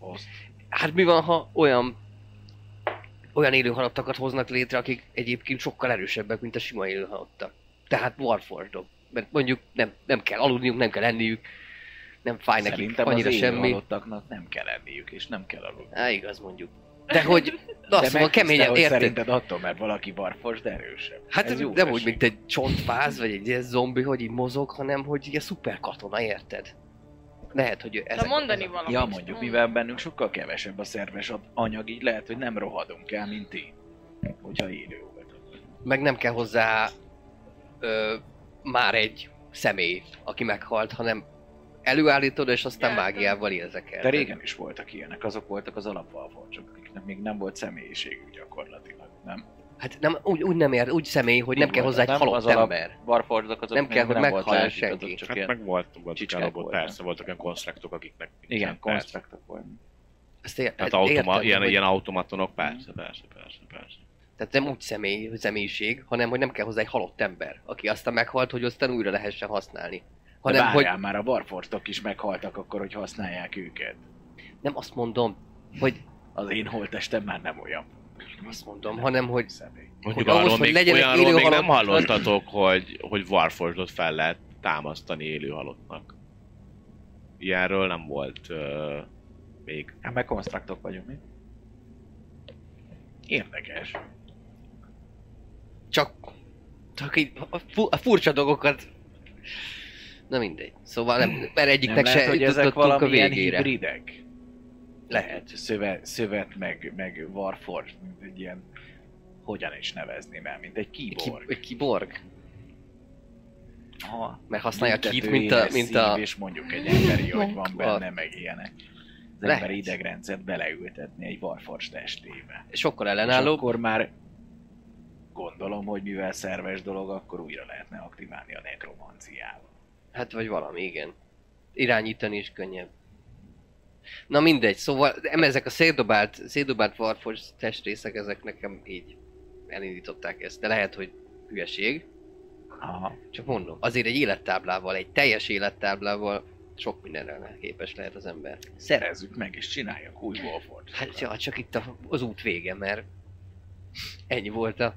[SPEAKER 7] Azt.
[SPEAKER 5] Hát mi van, ha olyan olyan élő halottakat hoznak létre, akik egyébként sokkal erősebbek, mint a sima élő halottak. Tehát Warfordok. Mert mondjuk nem, nem kell aludniuk, nem kell enniük, nem fáj nekik
[SPEAKER 7] Szerintem
[SPEAKER 5] annyira
[SPEAKER 7] az élő
[SPEAKER 5] semmi.
[SPEAKER 7] halottaknak nem kell enniük, és nem kell aludni.
[SPEAKER 5] Á, igaz mondjuk. De hogy, de azt mondom,
[SPEAKER 7] meghiszte,
[SPEAKER 5] keményen
[SPEAKER 7] hogy
[SPEAKER 5] érted.
[SPEAKER 7] Szerinted attól, mert valaki barfos, de erősebb.
[SPEAKER 5] Hát
[SPEAKER 7] Ez
[SPEAKER 5] ez
[SPEAKER 7] jó
[SPEAKER 5] nem
[SPEAKER 7] esik.
[SPEAKER 5] úgy, mint egy csontváz, vagy egy ilyen zombi, hogy így mozog, hanem hogy ilyen szuper katona, érted? Lehet, hogy ő
[SPEAKER 6] De
[SPEAKER 5] ezek
[SPEAKER 6] mondani
[SPEAKER 5] ezek-
[SPEAKER 6] valamit. Hm.
[SPEAKER 7] Ja, mondjuk,
[SPEAKER 6] Mond.
[SPEAKER 7] mivel bennünk sokkal kevesebb a szerves ad- anyag, így lehet, hogy nem rohadunk el, mint ti. Hogyha élő voltatok.
[SPEAKER 5] Meg nem kell hozzá ö, már egy személy, aki meghalt, hanem előállítod, és aztán
[SPEAKER 6] Jártam.
[SPEAKER 5] mágiával érzek el.
[SPEAKER 7] De régen is voltak ilyenek, azok voltak az alapvalforcsok, akiknek még nem volt személyiségük gyakorlatilag, nem?
[SPEAKER 5] Hát nem, úgy, úgy nem ér, úgy személy, hogy nem
[SPEAKER 7] Így
[SPEAKER 5] kell
[SPEAKER 7] volt,
[SPEAKER 5] hozzá egy
[SPEAKER 7] nem?
[SPEAKER 5] halott
[SPEAKER 7] Az alap-
[SPEAKER 5] ember.
[SPEAKER 7] Varforcsok azok
[SPEAKER 5] Nem kell, hogy
[SPEAKER 7] nem volt
[SPEAKER 5] meghaljon
[SPEAKER 7] lelkük, azok
[SPEAKER 5] senki.
[SPEAKER 7] Csak
[SPEAKER 3] Hát
[SPEAKER 7] ilyen,
[SPEAKER 3] meg volt, voltak
[SPEAKER 7] csicskák
[SPEAKER 3] el, volt,
[SPEAKER 7] voltak.
[SPEAKER 3] persze, voltak olyan konstruktok, akiknek
[SPEAKER 7] igen,
[SPEAKER 3] nincsen perc.
[SPEAKER 7] konstruktok voltak.
[SPEAKER 5] Ezt ér,
[SPEAKER 3] Tehát
[SPEAKER 5] hát
[SPEAKER 3] automa,
[SPEAKER 5] értem,
[SPEAKER 3] ilyen,
[SPEAKER 5] hogy-
[SPEAKER 3] ilyen automatonok, persze, persze, persze, persze.
[SPEAKER 5] Tehát nem úgy személy, hogy személyiség, hanem hogy nem kell hozzá egy halott ember, aki aztán meghalt, hogy aztán újra lehessen használni.
[SPEAKER 7] De
[SPEAKER 5] Hanem, hogy
[SPEAKER 7] várjál már, a varforcsok is meghaltak akkor, hogy használják őket.
[SPEAKER 5] nem azt mondom, hogy
[SPEAKER 7] Az én holttestem már nem olyan.
[SPEAKER 5] azt mondom, hanem hogy
[SPEAKER 7] Személy.
[SPEAKER 3] Mondjuk
[SPEAKER 5] ahhoz,
[SPEAKER 3] arról,
[SPEAKER 5] hogy
[SPEAKER 3] még,
[SPEAKER 5] legyenek
[SPEAKER 3] olyanról
[SPEAKER 5] élő
[SPEAKER 3] még nem
[SPEAKER 5] halottak-
[SPEAKER 3] hallottatok, hogy, hogy Warforged-ot fel lehet támasztani élő halottnak. Ilyenről nem volt uh, még.
[SPEAKER 7] Hát meg konstruktok vagyunk mi. Érdekes.
[SPEAKER 5] csak, csak így a, fu- a furcsa dolgokat... Na mindegy. Szóval nem, mert
[SPEAKER 7] Nem
[SPEAKER 5] egyiknek
[SPEAKER 7] lehet,
[SPEAKER 5] se
[SPEAKER 7] hogy ezek
[SPEAKER 5] jutottunk a
[SPEAKER 7] valamilyen
[SPEAKER 5] végére.
[SPEAKER 7] hibridek. Lehet, szövet, szövet meg, meg Warforged, mint egy ilyen, hogyan is nevezném el, mint egy
[SPEAKER 5] Ki,
[SPEAKER 7] kiborg.
[SPEAKER 5] egy kiborg.
[SPEAKER 7] Aha.
[SPEAKER 5] Mert használja
[SPEAKER 7] Büntető
[SPEAKER 5] kit, mint a,
[SPEAKER 7] éles
[SPEAKER 5] mint
[SPEAKER 7] szív,
[SPEAKER 5] a...
[SPEAKER 7] És mondjuk egy emberi hogy van benne, meg ilyenek. Az
[SPEAKER 5] Lehet.
[SPEAKER 7] ember idegrendszert beleültetni egy Warforged testébe.
[SPEAKER 5] Sokkal
[SPEAKER 7] És
[SPEAKER 5] ellenállóbb.
[SPEAKER 7] akkor már gondolom, hogy mivel szerves dolog, akkor újra lehetne aktiválni a nekromanciával.
[SPEAKER 5] Hát vagy valami, igen. Irányítani is könnyebb. Na mindegy, szóval em, ezek a szétdobált, szétdobált Warforged testrészek, ezek nekem így elindították ezt. De lehet, hogy hülyeség,
[SPEAKER 7] Aha.
[SPEAKER 5] csak mondom. Azért egy élettáblával, egy teljes élettáblával sok mindenre képes lehet az ember.
[SPEAKER 7] Szerezzük meg és csináljak új Warforged.
[SPEAKER 5] Hát ja, csak itt a, az út vége, mert ennyi volt a...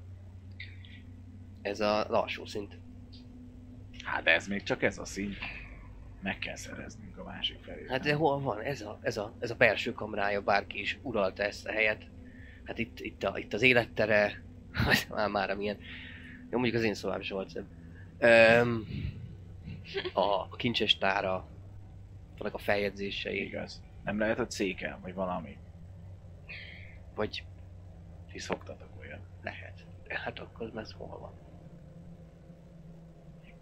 [SPEAKER 5] Ez a lassú szint.
[SPEAKER 7] Hát de ez még csak ez a szint. Meg kell szereznünk a másik felé.
[SPEAKER 5] Hát de hol van? Ez a, ez a, ez a belső kamrája, bárki is uralta ezt a helyet. Hát itt, itt, a, itt az élettere, az már, már amilyen. Jó, mondjuk az én szobám sem volt szebb. Öm, a kincses tára, vannak a feljegyzései,
[SPEAKER 7] Igaz. Nem lehet, hogy széken, vagy valami.
[SPEAKER 5] vagy
[SPEAKER 7] Ti szoktatok olyan.
[SPEAKER 5] lehet. De Hát akkor ez hol van?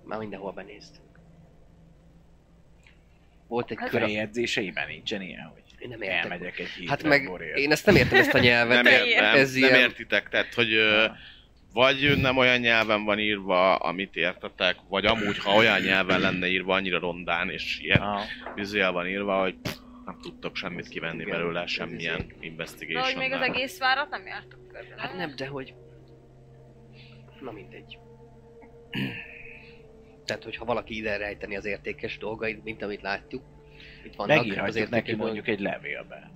[SPEAKER 5] Már mindenhol benéztünk. Volt egy
[SPEAKER 6] Hát
[SPEAKER 5] kör, én
[SPEAKER 7] Feljegyzéseimben nincsen ilyen, hogy
[SPEAKER 5] nem értek.
[SPEAKER 7] elmegyek egy hét
[SPEAKER 5] Hát meg én ezt nem értem ezt a nyelvet.
[SPEAKER 3] Nem, ér, nem,
[SPEAKER 5] ez
[SPEAKER 3] nem
[SPEAKER 5] ilyen-
[SPEAKER 3] értitek, tehát hogy ö, vagy nem olyan nyelven van írva, amit értetek, vagy amúgy, ha olyan nyelven lenne írva, annyira rondán és ilyen vizőjel van írva, hogy pff, nem tudtok semmit kivenni
[SPEAKER 5] Igen,
[SPEAKER 3] belőle,
[SPEAKER 5] ez izé.
[SPEAKER 3] semmilyen
[SPEAKER 6] De hogy
[SPEAKER 3] investigation
[SPEAKER 6] még az egész várat nem jártuk körbe.
[SPEAKER 5] Hát nem, de hogy... Na mindegy. Tehát, hogyha valaki ide rejteni az értékes dolgait, mint amit látjuk, itt vannak az
[SPEAKER 7] Megírhatjuk
[SPEAKER 5] értékes
[SPEAKER 7] neki
[SPEAKER 5] dolgok,
[SPEAKER 7] mondjuk egy levélbe.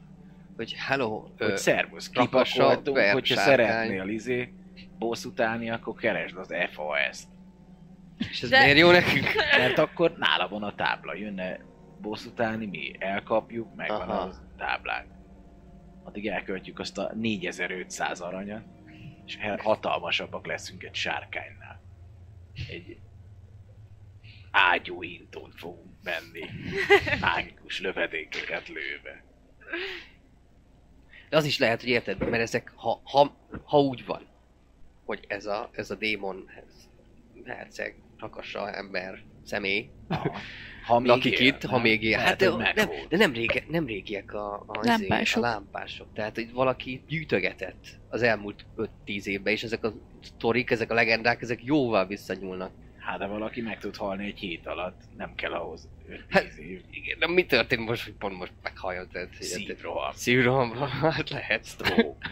[SPEAKER 5] hogy hello, ö,
[SPEAKER 7] Hogy szervusz,
[SPEAKER 5] rapasa,
[SPEAKER 7] kipakoltunk,
[SPEAKER 5] ver,
[SPEAKER 7] hogyha
[SPEAKER 5] sárkány.
[SPEAKER 7] szeretnél izé bosszút állni, akkor keresd az FAS-t.
[SPEAKER 5] és ez
[SPEAKER 6] de-
[SPEAKER 5] miért jó nekünk?
[SPEAKER 7] Mert akkor nála van a tábla, jönne bosszút állni, mi elkapjuk, megvan
[SPEAKER 5] Aha.
[SPEAKER 7] az táblánk. Addig elköltjük azt a 4500 aranyat, és el- hatalmasabbak leszünk egy sárkánynál. Egy ágyúhintón fogunk menni, mágikus lövedékeket lőve.
[SPEAKER 5] De az is lehet, hogy érted, mert ezek, ha, ha, ha úgy van, hogy ez a, ez a démon, ez herceg, rakassa, ember, személy,
[SPEAKER 7] Aha. Ha
[SPEAKER 5] lakik itt, ha
[SPEAKER 7] nem?
[SPEAKER 5] még él.
[SPEAKER 7] Lehet,
[SPEAKER 5] Hát,
[SPEAKER 7] hogy
[SPEAKER 5] de, nem,
[SPEAKER 7] meghalt.
[SPEAKER 5] de nem, rége, nem régiek a, a, izé, a
[SPEAKER 4] Lámpások.
[SPEAKER 5] lámpások. Tehát, hogy valaki gyűjtögetett az elmúlt 5-10 évben, és ezek a sztorik, ezek a legendák, ezek jóval visszanyúlnak.
[SPEAKER 7] Hát de valaki meg tud halni egy hét alatt, nem kell ahhoz 5-10
[SPEAKER 5] Hát,
[SPEAKER 7] év.
[SPEAKER 5] Igen, de mi történt most, hogy pont most meghalljon? Tehát, hogy-
[SPEAKER 7] Szívroham.
[SPEAKER 5] Szívrohamban, hát lehet stroke.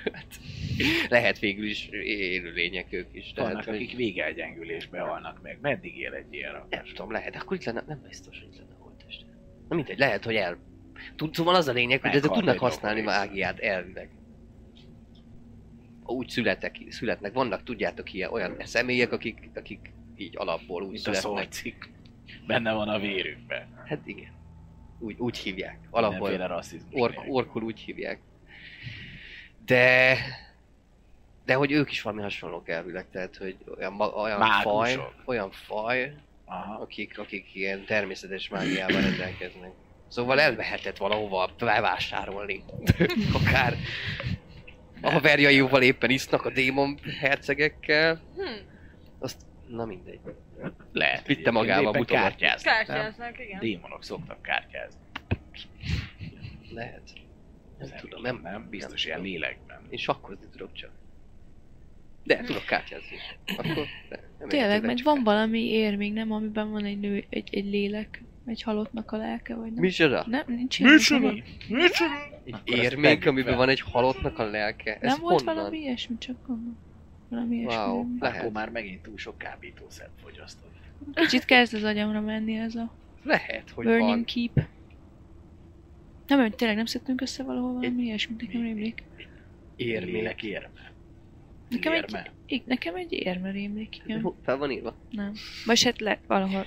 [SPEAKER 5] lehet végül is élő lények ők is. Tehát,
[SPEAKER 7] Vannak,
[SPEAKER 5] hogy,
[SPEAKER 7] akik végelgyengülésbe halnak meg. Meddig él egy ilyen
[SPEAKER 5] nem
[SPEAKER 7] rakás?
[SPEAKER 5] tudom, lehet, akkor itt lenne, nem biztos, hogy itt lenne holtest. Na mindegy, lehet, hogy el... Tud, szóval az a lényeg, hogy ezek
[SPEAKER 7] Meghalt
[SPEAKER 5] tudnak
[SPEAKER 7] egy
[SPEAKER 5] használni
[SPEAKER 7] alkoholista.
[SPEAKER 5] mágiát elvileg. Úgy születek, születnek. Vannak, tudjátok, ilyen olyan személyek, akik, akik így alapból úgy
[SPEAKER 7] Mint a
[SPEAKER 5] születnek.
[SPEAKER 7] szolcik. Benne van a vérükben.
[SPEAKER 5] Hát igen. Úgy, úgy hívják.
[SPEAKER 7] Mindenféle
[SPEAKER 5] Alapból.
[SPEAKER 7] rasszizmus.
[SPEAKER 5] Ork,
[SPEAKER 7] nélkül.
[SPEAKER 5] orkul úgy hívják. De... De hogy ők is valami hasonlók elvileg, tehát hogy olyan, ma- olyan faj,
[SPEAKER 7] Mágusok.
[SPEAKER 5] olyan faj,
[SPEAKER 7] Aha.
[SPEAKER 5] akik, akik ilyen természetes mágiával rendelkeznek. Szóval elmehetett valahova bevásárolni. Akár a haverjaival éppen isznak a démon hercegekkel,
[SPEAKER 6] Hm.
[SPEAKER 5] azt Na mindegy.
[SPEAKER 7] Lehet.
[SPEAKER 5] Vitte magával
[SPEAKER 7] Éppen
[SPEAKER 5] butogat.
[SPEAKER 7] kártyáznak, nem?
[SPEAKER 6] Kártyáznak, igen.
[SPEAKER 7] Démonok szoktak kártyázni.
[SPEAKER 5] Lehet. Nem tudom,
[SPEAKER 7] nem,
[SPEAKER 5] nem,
[SPEAKER 7] nem, biztos
[SPEAKER 5] nem
[SPEAKER 7] ilyen
[SPEAKER 5] tudom.
[SPEAKER 7] lélekben.
[SPEAKER 5] Én sakkozni tudok csak. De tudok kártyázni. Akkor ne, nem
[SPEAKER 4] Tényleg,
[SPEAKER 5] érted,
[SPEAKER 4] meg
[SPEAKER 5] csak
[SPEAKER 4] van
[SPEAKER 5] kártya.
[SPEAKER 4] valami ér még, nem? Amiben van egy nő, egy, egy lélek, egy halottnak a lelke, vagy nem?
[SPEAKER 5] Micsoda?
[SPEAKER 4] Nem, nincs ilyen.
[SPEAKER 3] Micsoda?
[SPEAKER 4] valami-
[SPEAKER 3] Micsoda?
[SPEAKER 5] Egy
[SPEAKER 7] Akkor ezt
[SPEAKER 5] érmék,
[SPEAKER 7] vegyük
[SPEAKER 5] amiben
[SPEAKER 7] fel.
[SPEAKER 5] van egy halottnak a lelke? Ez
[SPEAKER 4] Nem volt
[SPEAKER 5] honnan?
[SPEAKER 4] valami ilyesmi, csak gondolom. Valami ilyesmi.
[SPEAKER 5] Wow.
[SPEAKER 4] nem?
[SPEAKER 5] Lehet.
[SPEAKER 7] Akkor már megint túl sok kábítószert fogyasztott.
[SPEAKER 4] Kicsit kezd az agyamra menni ez a
[SPEAKER 5] Lehet, hogy
[SPEAKER 4] Burning
[SPEAKER 5] van.
[SPEAKER 4] Keep. Nem, hogy tényleg nem szedtünk össze valahol valami ilyesmit, nekem
[SPEAKER 7] mi-
[SPEAKER 4] rémlik.
[SPEAKER 5] Érmék.
[SPEAKER 7] Lélek érme.
[SPEAKER 4] Nekem egy,
[SPEAKER 7] Érme.
[SPEAKER 4] ig- nekem egy érme rémlik, igen.
[SPEAKER 5] Hú, Fel van írva?
[SPEAKER 4] Nem. Vagy hát le, valahol.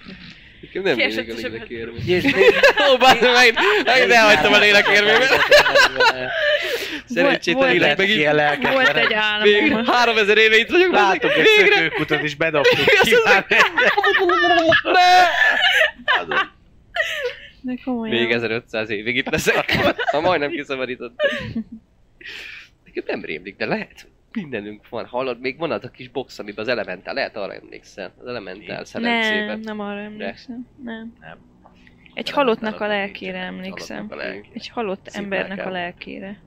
[SPEAKER 5] Nekem nem
[SPEAKER 6] Késett
[SPEAKER 5] mindig a
[SPEAKER 6] is a
[SPEAKER 5] lélek érmék. Ó, bár meg, meg elhagytam a lélek érmémet. Szerencsétlen
[SPEAKER 4] Volt-
[SPEAKER 5] lélek
[SPEAKER 4] volt
[SPEAKER 5] megint.
[SPEAKER 4] Volt egy
[SPEAKER 5] Még
[SPEAKER 4] álmom.
[SPEAKER 5] 3000 éve itt vagyok,
[SPEAKER 7] Látok egy
[SPEAKER 5] végre.
[SPEAKER 7] szökőkutat is bedobtuk. Hát,
[SPEAKER 5] Kíván-
[SPEAKER 4] De komolyan.
[SPEAKER 5] Még 1500 évig itt leszek. Ha majdnem kiszabadított. Nekem nem rémlik, de lehet, hogy mindenünk van. Hallod, még van az a kis box, amiben az elementál, lehet arra emlékszel. Az elementál
[SPEAKER 4] Nem,
[SPEAKER 5] szerencsében.
[SPEAKER 4] nem arra emlékszem. Nem.
[SPEAKER 7] Nem.
[SPEAKER 4] Egy
[SPEAKER 5] Nem,
[SPEAKER 4] halottnak a
[SPEAKER 5] nem, nem,
[SPEAKER 4] lelkére
[SPEAKER 5] nincsen.
[SPEAKER 4] emlékszem.
[SPEAKER 5] Halottnak a lelkére.
[SPEAKER 4] Egy halott
[SPEAKER 5] Szép
[SPEAKER 4] embernek a
[SPEAKER 5] lelkem.
[SPEAKER 4] lelkére.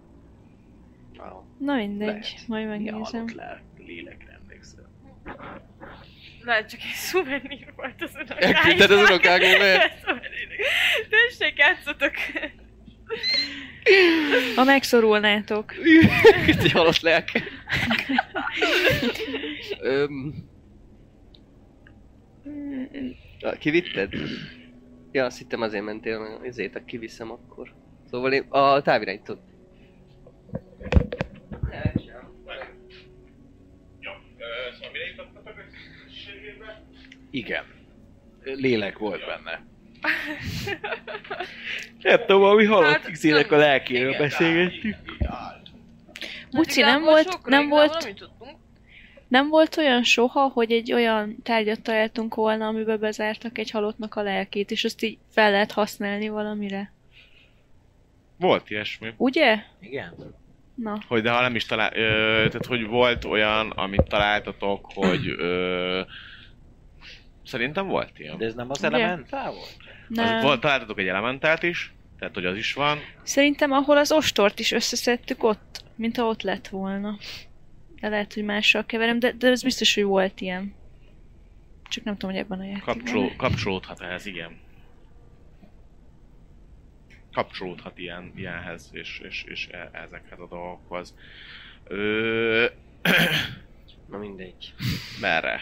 [SPEAKER 5] Wow.
[SPEAKER 4] Na mindegy,
[SPEAKER 5] Lehet.
[SPEAKER 4] majd
[SPEAKER 7] Ja,
[SPEAKER 4] megnézem.
[SPEAKER 7] halott le, lélekre emlékszel.
[SPEAKER 6] Lehet csak egy szuvenír volt az unokáim.
[SPEAKER 5] Elküldted az unokáknak, mert-
[SPEAKER 6] Tessék, játszatok!
[SPEAKER 4] Ha megszorulnátok.
[SPEAKER 5] Egy halott lelke. Öm, ah, kivitted? Ja, azt hittem azért mentél, mert ezért a kiviszem akkor. Szóval én a távirányítót.
[SPEAKER 7] Igen. Lélek volt benne.
[SPEAKER 5] Nem tudom, ami
[SPEAKER 6] halott Hát, Xi-nek a nem-
[SPEAKER 5] lelkéről beszélgettünk.
[SPEAKER 4] Muci, nem
[SPEAKER 6] Hát Igazából
[SPEAKER 4] volt,
[SPEAKER 6] sok
[SPEAKER 4] nem
[SPEAKER 6] régről
[SPEAKER 4] volt,
[SPEAKER 6] valamit tudtunk.
[SPEAKER 4] nem volt olyan soha, hogy egy olyan tárgyat találtunk volna, amiben bezártak egy halottnak a lelkét, és azt így fel lehet használni valamire.
[SPEAKER 3] Volt ilyesmi.
[SPEAKER 4] Ugye?
[SPEAKER 7] Igen.
[SPEAKER 4] Na,
[SPEAKER 3] Hogy de ha nem is talál... Ö, tehát, hogy volt olyan, amit találtatok, hogy... Ö, szerintem volt ilyen.
[SPEAKER 7] De ez nem az
[SPEAKER 4] Ugye?
[SPEAKER 7] elementál volt?
[SPEAKER 3] Az,
[SPEAKER 4] nem.
[SPEAKER 3] volt, találtatok egy elementált is, tehát hogy az is van.
[SPEAKER 4] Szerintem ahol az ostort is összeszedtük ott, mint ha ott lett volna. De lehet, hogy mással keverem, de, de ez biztos, hogy volt ilyen. Csak nem tudom, hogy ebben a játékban.
[SPEAKER 3] Kapcsoló, kapcsolódhat ehhez, igen. Kapcsolódhat ilyen, ilyenhez és, és, és e- ezekhez a dolgokhoz. Ö,
[SPEAKER 5] Na mindegy.
[SPEAKER 3] merre?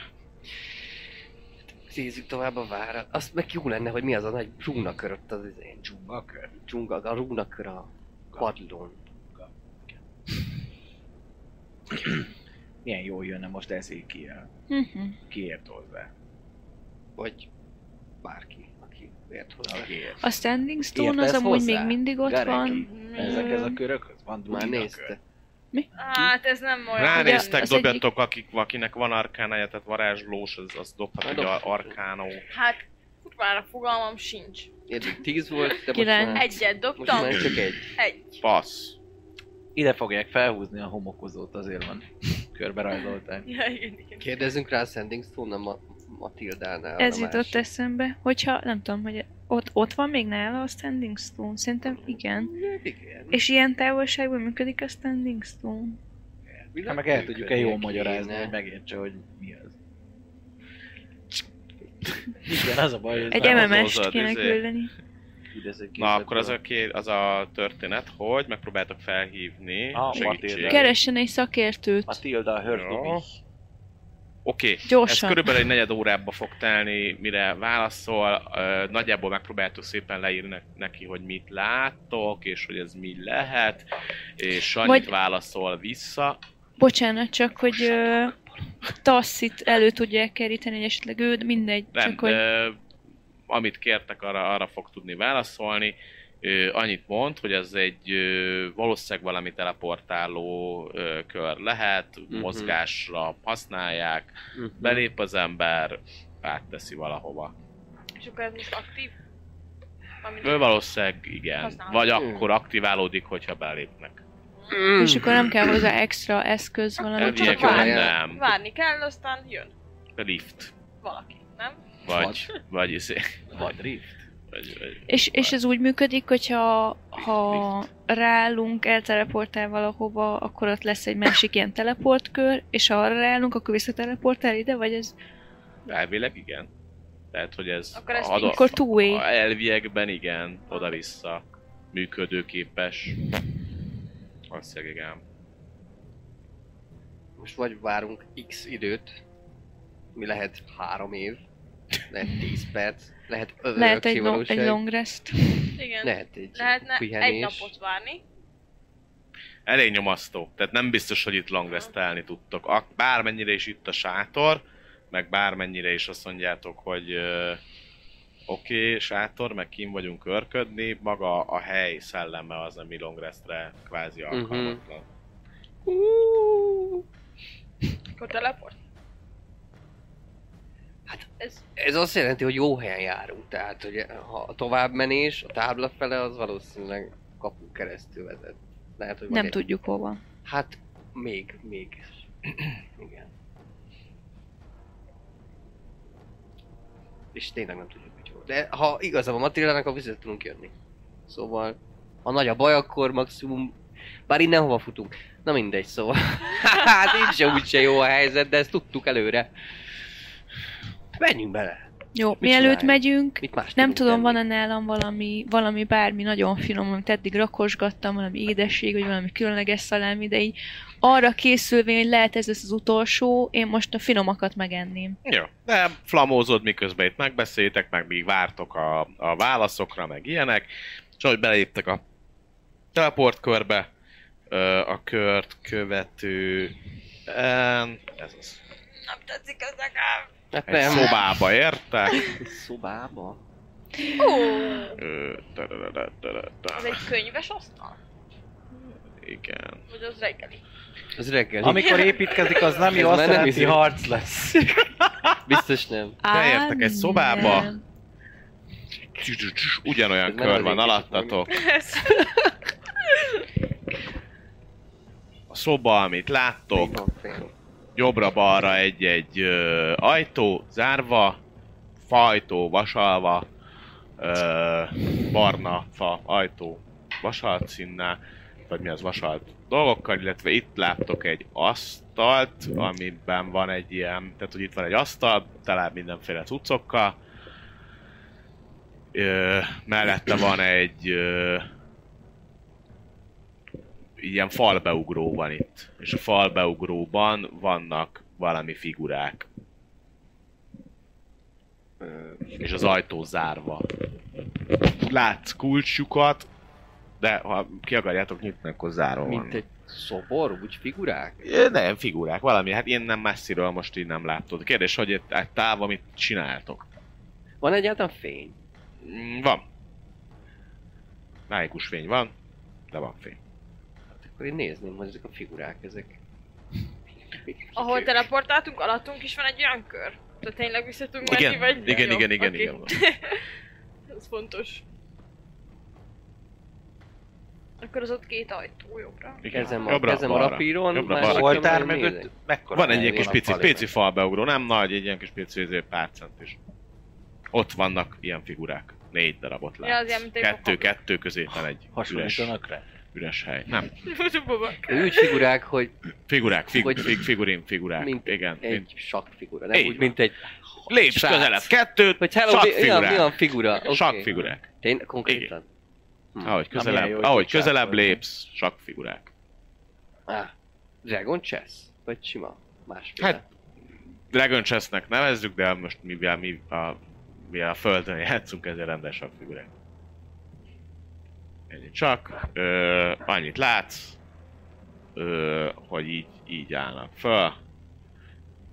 [SPEAKER 5] Nézzük tovább a várat. Azt meg jó lenne, hogy mi az a nagy rúnakör ott az izén. Dzsungakör? Dzsunga, a rúnakör a padlón.
[SPEAKER 7] Milyen jól jönne most ezékiel.
[SPEAKER 4] Mhm.
[SPEAKER 7] Kiért hozzá?
[SPEAKER 5] Vagy bárki, aki ért hozzá.
[SPEAKER 7] Kiért.
[SPEAKER 4] A Standing Stone
[SPEAKER 5] Értesz
[SPEAKER 4] az amúgy
[SPEAKER 5] hozzá?
[SPEAKER 4] még mindig ott
[SPEAKER 7] Gareki.
[SPEAKER 4] van.
[SPEAKER 5] Hm.
[SPEAKER 7] Ezekhez a körökhöz van
[SPEAKER 5] Már
[SPEAKER 7] dugina kör.
[SPEAKER 5] nézte.
[SPEAKER 6] Hát ez nem olyan.
[SPEAKER 3] Ránéztek,
[SPEAKER 4] az
[SPEAKER 3] dobjatok, akik, akinek van arkánája, tehát varázslós, az, az dobhat,
[SPEAKER 5] Hát
[SPEAKER 3] hogy a
[SPEAKER 5] dobhatok.
[SPEAKER 3] arkánó.
[SPEAKER 6] Hát kurvára fogalmam sincs.
[SPEAKER 5] Eddig 10 volt, de most
[SPEAKER 4] Kilenc.
[SPEAKER 5] már,
[SPEAKER 6] Egyet
[SPEAKER 5] Hm. most
[SPEAKER 6] dobtam,
[SPEAKER 5] már csak egy.
[SPEAKER 6] egy.
[SPEAKER 3] Passz.
[SPEAKER 7] Ide fogják felhúzni a homokozót, azért van. Körbe rajzolták.
[SPEAKER 6] Ja, igen, igen.
[SPEAKER 5] Kérdezzünk rá a Sending Stone, a Ma- Matildánál.
[SPEAKER 4] Ez
[SPEAKER 5] a
[SPEAKER 4] jutott
[SPEAKER 5] másik.
[SPEAKER 4] eszembe, hogyha nem tudom, hogy ott, ott van még nála a Standing Stone. Szerintem igen.
[SPEAKER 5] Igen.
[SPEAKER 4] És ilyen távolságban működik a Standing Stone.
[SPEAKER 7] Hát meg el tudjuk-e jól magyarázni, hogy megértse, hogy mi az. Igen, az a baj, hogy
[SPEAKER 4] Egy
[SPEAKER 3] nem az
[SPEAKER 4] MMS-t
[SPEAKER 3] hozzád,
[SPEAKER 4] kéne
[SPEAKER 3] izé.
[SPEAKER 4] küldeni.
[SPEAKER 7] Idezek
[SPEAKER 3] Na, akkor az a, ké- az a történet, hogy megpróbáltok felhívni
[SPEAKER 7] Ah,
[SPEAKER 3] ah,
[SPEAKER 7] Matilda.
[SPEAKER 3] segítséget.
[SPEAKER 7] Kere-
[SPEAKER 4] Keressen egy szakértőt.
[SPEAKER 7] Matilda a
[SPEAKER 3] Jó.
[SPEAKER 7] hördobi.
[SPEAKER 3] Oké, okay. ez
[SPEAKER 4] Gyorsan.
[SPEAKER 3] körülbelül egy negyed órába fog telni, mire válaszol. Ö, Nagyjából megpróbáltuk szépen leírni ne- neki, hogy mit láttok, és hogy ez mi lehet, és annyit
[SPEAKER 4] Vagy-
[SPEAKER 3] válaszol vissza.
[SPEAKER 4] Bocsánat, csak hogy ö, Tassit elő tudják keríteni, hogy esetleg ő, mindegy.
[SPEAKER 3] Nem,
[SPEAKER 4] csak hogy...
[SPEAKER 3] ö, amit kértek, arra, arra fog tudni válaszolni. Ö, annyit mond, hogy ez egy ö, valószínűleg valami teleportáló ö, kör lehet,
[SPEAKER 5] Mhm.
[SPEAKER 3] mozgásra használják,
[SPEAKER 5] Belé...
[SPEAKER 3] belép az ember, átteszi valahova.
[SPEAKER 6] És akkor ez most aktív? Ami
[SPEAKER 3] Ő valószínűleg igen.
[SPEAKER 6] Használható.
[SPEAKER 3] Vagy akkor aktiválódik, hogyha belépnek.
[SPEAKER 4] És akkor nem kell hozzá extra eszköz, valamit
[SPEAKER 6] Elvileg
[SPEAKER 4] csak
[SPEAKER 3] Elvileg
[SPEAKER 6] várj.
[SPEAKER 4] várj.
[SPEAKER 3] nem.
[SPEAKER 6] Várni kell, aztán jön.
[SPEAKER 3] A lift.
[SPEAKER 6] valaki, nem?
[SPEAKER 3] Vagy, vagy, izé,
[SPEAKER 7] Vagy rift.
[SPEAKER 3] vagy, vagy,
[SPEAKER 4] És, és ez úgy működik, hogyha ha
[SPEAKER 3] Lift.
[SPEAKER 4] ráállunk, elteleportál valahova, akkor ott lesz egy másik ilyen teleportkör, és ha arra ráállunk, akkor visszateleportál ide, vagy ez...
[SPEAKER 3] elvileg igen. Tehát, hogy ez
[SPEAKER 6] Akkor ez
[SPEAKER 3] adott-
[SPEAKER 4] Akkor two-way.
[SPEAKER 3] a elviekben igen, oda-vissza működőképes. Valószínűleg igen.
[SPEAKER 5] Most vagy várunk x időt, mi lehet három év, lehet 10 perc, lehet ödölök
[SPEAKER 4] Lehet egy, long, egy long rest.
[SPEAKER 6] Igen.
[SPEAKER 5] lehet egy
[SPEAKER 6] Lehetne egy
[SPEAKER 5] pihenés.
[SPEAKER 6] napot várni.
[SPEAKER 3] Elég nyomasztó. Tehát nem biztos, hogy itt langvesztelni tudtok. Ak- bármennyire is itt a sátor, meg bármennyire is azt mondjátok, hogy ö, oké, okay, sátor, meg kim vagyunk örködni, maga a hely szelleme az, ami longrestre kvázi
[SPEAKER 5] Mhm.
[SPEAKER 3] alkalmatlan. Uh-huh.
[SPEAKER 6] Akkor teleport.
[SPEAKER 5] Hát-
[SPEAKER 6] ez
[SPEAKER 5] Ez azt jelenti, hogy jó helyen járunk, tehát hogy ha a továbbmenés a tábla fele, az valószínűleg kapunk keresztül vezet. Lehet, hogy van
[SPEAKER 4] Nem
[SPEAKER 5] egy-
[SPEAKER 4] tudjuk hol van.
[SPEAKER 5] Hát, még, még. Igen. És tényleg nem tudjuk, hogy hol. De ha igaza van Attilának, akkor vissza tudunk jönni. Szóval, ha nagy a baj, akkor maximum... Bár innen hova futunk? Na mindegy, szóval. hát így se úgyse jó a helyzet, de ezt tudtuk előre. Menjünk bele.
[SPEAKER 4] Jó, mielőtt
[SPEAKER 5] csináljunk?
[SPEAKER 4] megyünk,
[SPEAKER 5] Mit más
[SPEAKER 4] nem
[SPEAKER 5] tudunk
[SPEAKER 4] tudom,
[SPEAKER 5] tenni?
[SPEAKER 4] van-e nálam valami, valami bármi nagyon finom, amit eddig rakosgattam, valami édesség, vagy valami különleges szalámi, de így arra készülvén, hogy lehet ez lesz az utolsó, én most a finomakat megenném.
[SPEAKER 3] Jó, de flamózod, miközben itt megbeszélitek, meg még vártok a, a válaszokra, meg ilyenek. És ahogy beléptek a teleportkörbe, ö, a kört követő... em, Ez az.
[SPEAKER 6] nem tetszik ez nekem.
[SPEAKER 5] Hát
[SPEAKER 3] Egy
[SPEAKER 5] nem.
[SPEAKER 3] szobába értek.
[SPEAKER 5] Szobába?
[SPEAKER 6] Ó,
[SPEAKER 3] Ö, tararara, tararara.
[SPEAKER 6] az egy könyves asztal?
[SPEAKER 3] Igen.
[SPEAKER 6] Vagy az reggeli?
[SPEAKER 5] Ez reggel.
[SPEAKER 7] Amikor építkezik, az nem jó,
[SPEAKER 5] Ez már
[SPEAKER 7] azt
[SPEAKER 5] nem
[SPEAKER 7] jelenti
[SPEAKER 5] izé.
[SPEAKER 7] harc lesz.
[SPEAKER 5] Biztos nem.
[SPEAKER 3] Beértek egy szobába.
[SPEAKER 4] nem.
[SPEAKER 3] Ugyanolyan
[SPEAKER 5] Ez nem
[SPEAKER 3] kör
[SPEAKER 5] az
[SPEAKER 3] van
[SPEAKER 5] építmény.
[SPEAKER 3] alattatok. A szoba, amit láttok,
[SPEAKER 5] Még van fél.
[SPEAKER 3] jobbra-balra egy-egy ö, ajtó zárva, faajtó vasalva, ö, barna fa ajtó vasalt színnel, vagy mi az vasalt dolgokkal, illetve itt láttok egy asztalt, amiben van egy ilyen, tehát hogy itt van egy asztal, talán mindenféle cuccokkal, ö, mellette van egy ö, ilyen falbeugró van itt. És a falbeugróban vannak valami figurák. Ö, És az ajtó zárva. Látsz kulcsukat, de ha ki akarjátok nyitni, akkor zárva
[SPEAKER 5] Mint
[SPEAKER 3] van.
[SPEAKER 5] egy szobor, úgy figurák?
[SPEAKER 3] Ö, Nem, figurák, valami. Hát én nem messziről most így nem látod. Kérdés, hogy itt egy távol mit csináltok?
[SPEAKER 5] Van egyáltalán fény?
[SPEAKER 3] Mm, Van. Májikus fény van, de van fény.
[SPEAKER 5] Hát Akkor én nézném, hogy ezek a figurák, ezek...
[SPEAKER 6] Ahol teleportáltunk, alattunk is van egy olyan kör. Tehát tényleg vissza tudunk menni,
[SPEAKER 3] Igen,
[SPEAKER 6] vagy...
[SPEAKER 3] igen,
[SPEAKER 6] Jó,
[SPEAKER 3] igen, igen,
[SPEAKER 6] oké.
[SPEAKER 3] igen.
[SPEAKER 6] Ez fontos. Akkor az ott két ajtó jobbra.
[SPEAKER 3] Igen.
[SPEAKER 5] Kezem a,
[SPEAKER 3] Jobbra,
[SPEAKER 5] kezem a
[SPEAKER 3] balra.
[SPEAKER 5] rapíron,
[SPEAKER 3] Jobbra,
[SPEAKER 5] másik
[SPEAKER 3] balra.
[SPEAKER 5] kezemmel
[SPEAKER 7] Oltár
[SPEAKER 5] nézek.
[SPEAKER 7] mögött mekkora
[SPEAKER 3] Van egy ilyen
[SPEAKER 7] hely
[SPEAKER 3] kis
[SPEAKER 5] van a
[SPEAKER 3] pici,
[SPEAKER 5] fali
[SPEAKER 3] pici falbeugró, nem nagy, egy ilyen kis pici ezért pár centis. Ott vannak ilyen figurák. Négy darabot látsz.
[SPEAKER 6] Ja, az ilyen, mint egy
[SPEAKER 3] kettő,
[SPEAKER 6] pokol.
[SPEAKER 3] kettő középen egy üres,
[SPEAKER 7] Hasonlítanak rá?
[SPEAKER 3] üres hely. Nem.
[SPEAKER 6] Bobak.
[SPEAKER 5] Úgy figurák, hogy
[SPEAKER 3] Figurák, fig,
[SPEAKER 5] Hogy-
[SPEAKER 3] fig, figurin, figurák.
[SPEAKER 5] mint
[SPEAKER 3] Igen.
[SPEAKER 5] egy
[SPEAKER 3] mint-
[SPEAKER 5] sakkfigura, nem
[SPEAKER 3] Így
[SPEAKER 5] úgy,
[SPEAKER 3] van.
[SPEAKER 5] mint egy...
[SPEAKER 3] Lépj
[SPEAKER 5] srác.
[SPEAKER 3] közelebb, kettőt,
[SPEAKER 5] Vagy hello, mi, olyan, mi olyan figura? Okay.
[SPEAKER 3] Sakfigurák.
[SPEAKER 5] Tényleg konkrétan? Hm.
[SPEAKER 3] Ahogy
[SPEAKER 7] milyen
[SPEAKER 3] közelebb,
[SPEAKER 7] jó, hogy
[SPEAKER 3] ahogy
[SPEAKER 7] így srác
[SPEAKER 3] közelebb
[SPEAKER 7] vagy.
[SPEAKER 3] lépsz, sakfigurák.
[SPEAKER 5] Ah, Dragon Chess? Vagy sima? Másféle?
[SPEAKER 3] Hát, Dragon Chessnek nevezzük, de most mivel mi a, mi a földön játszunk, ezért rendes sakfigurák. Ennyi csak. Ö, annyit látsz, ö, hogy így, így állnak föl.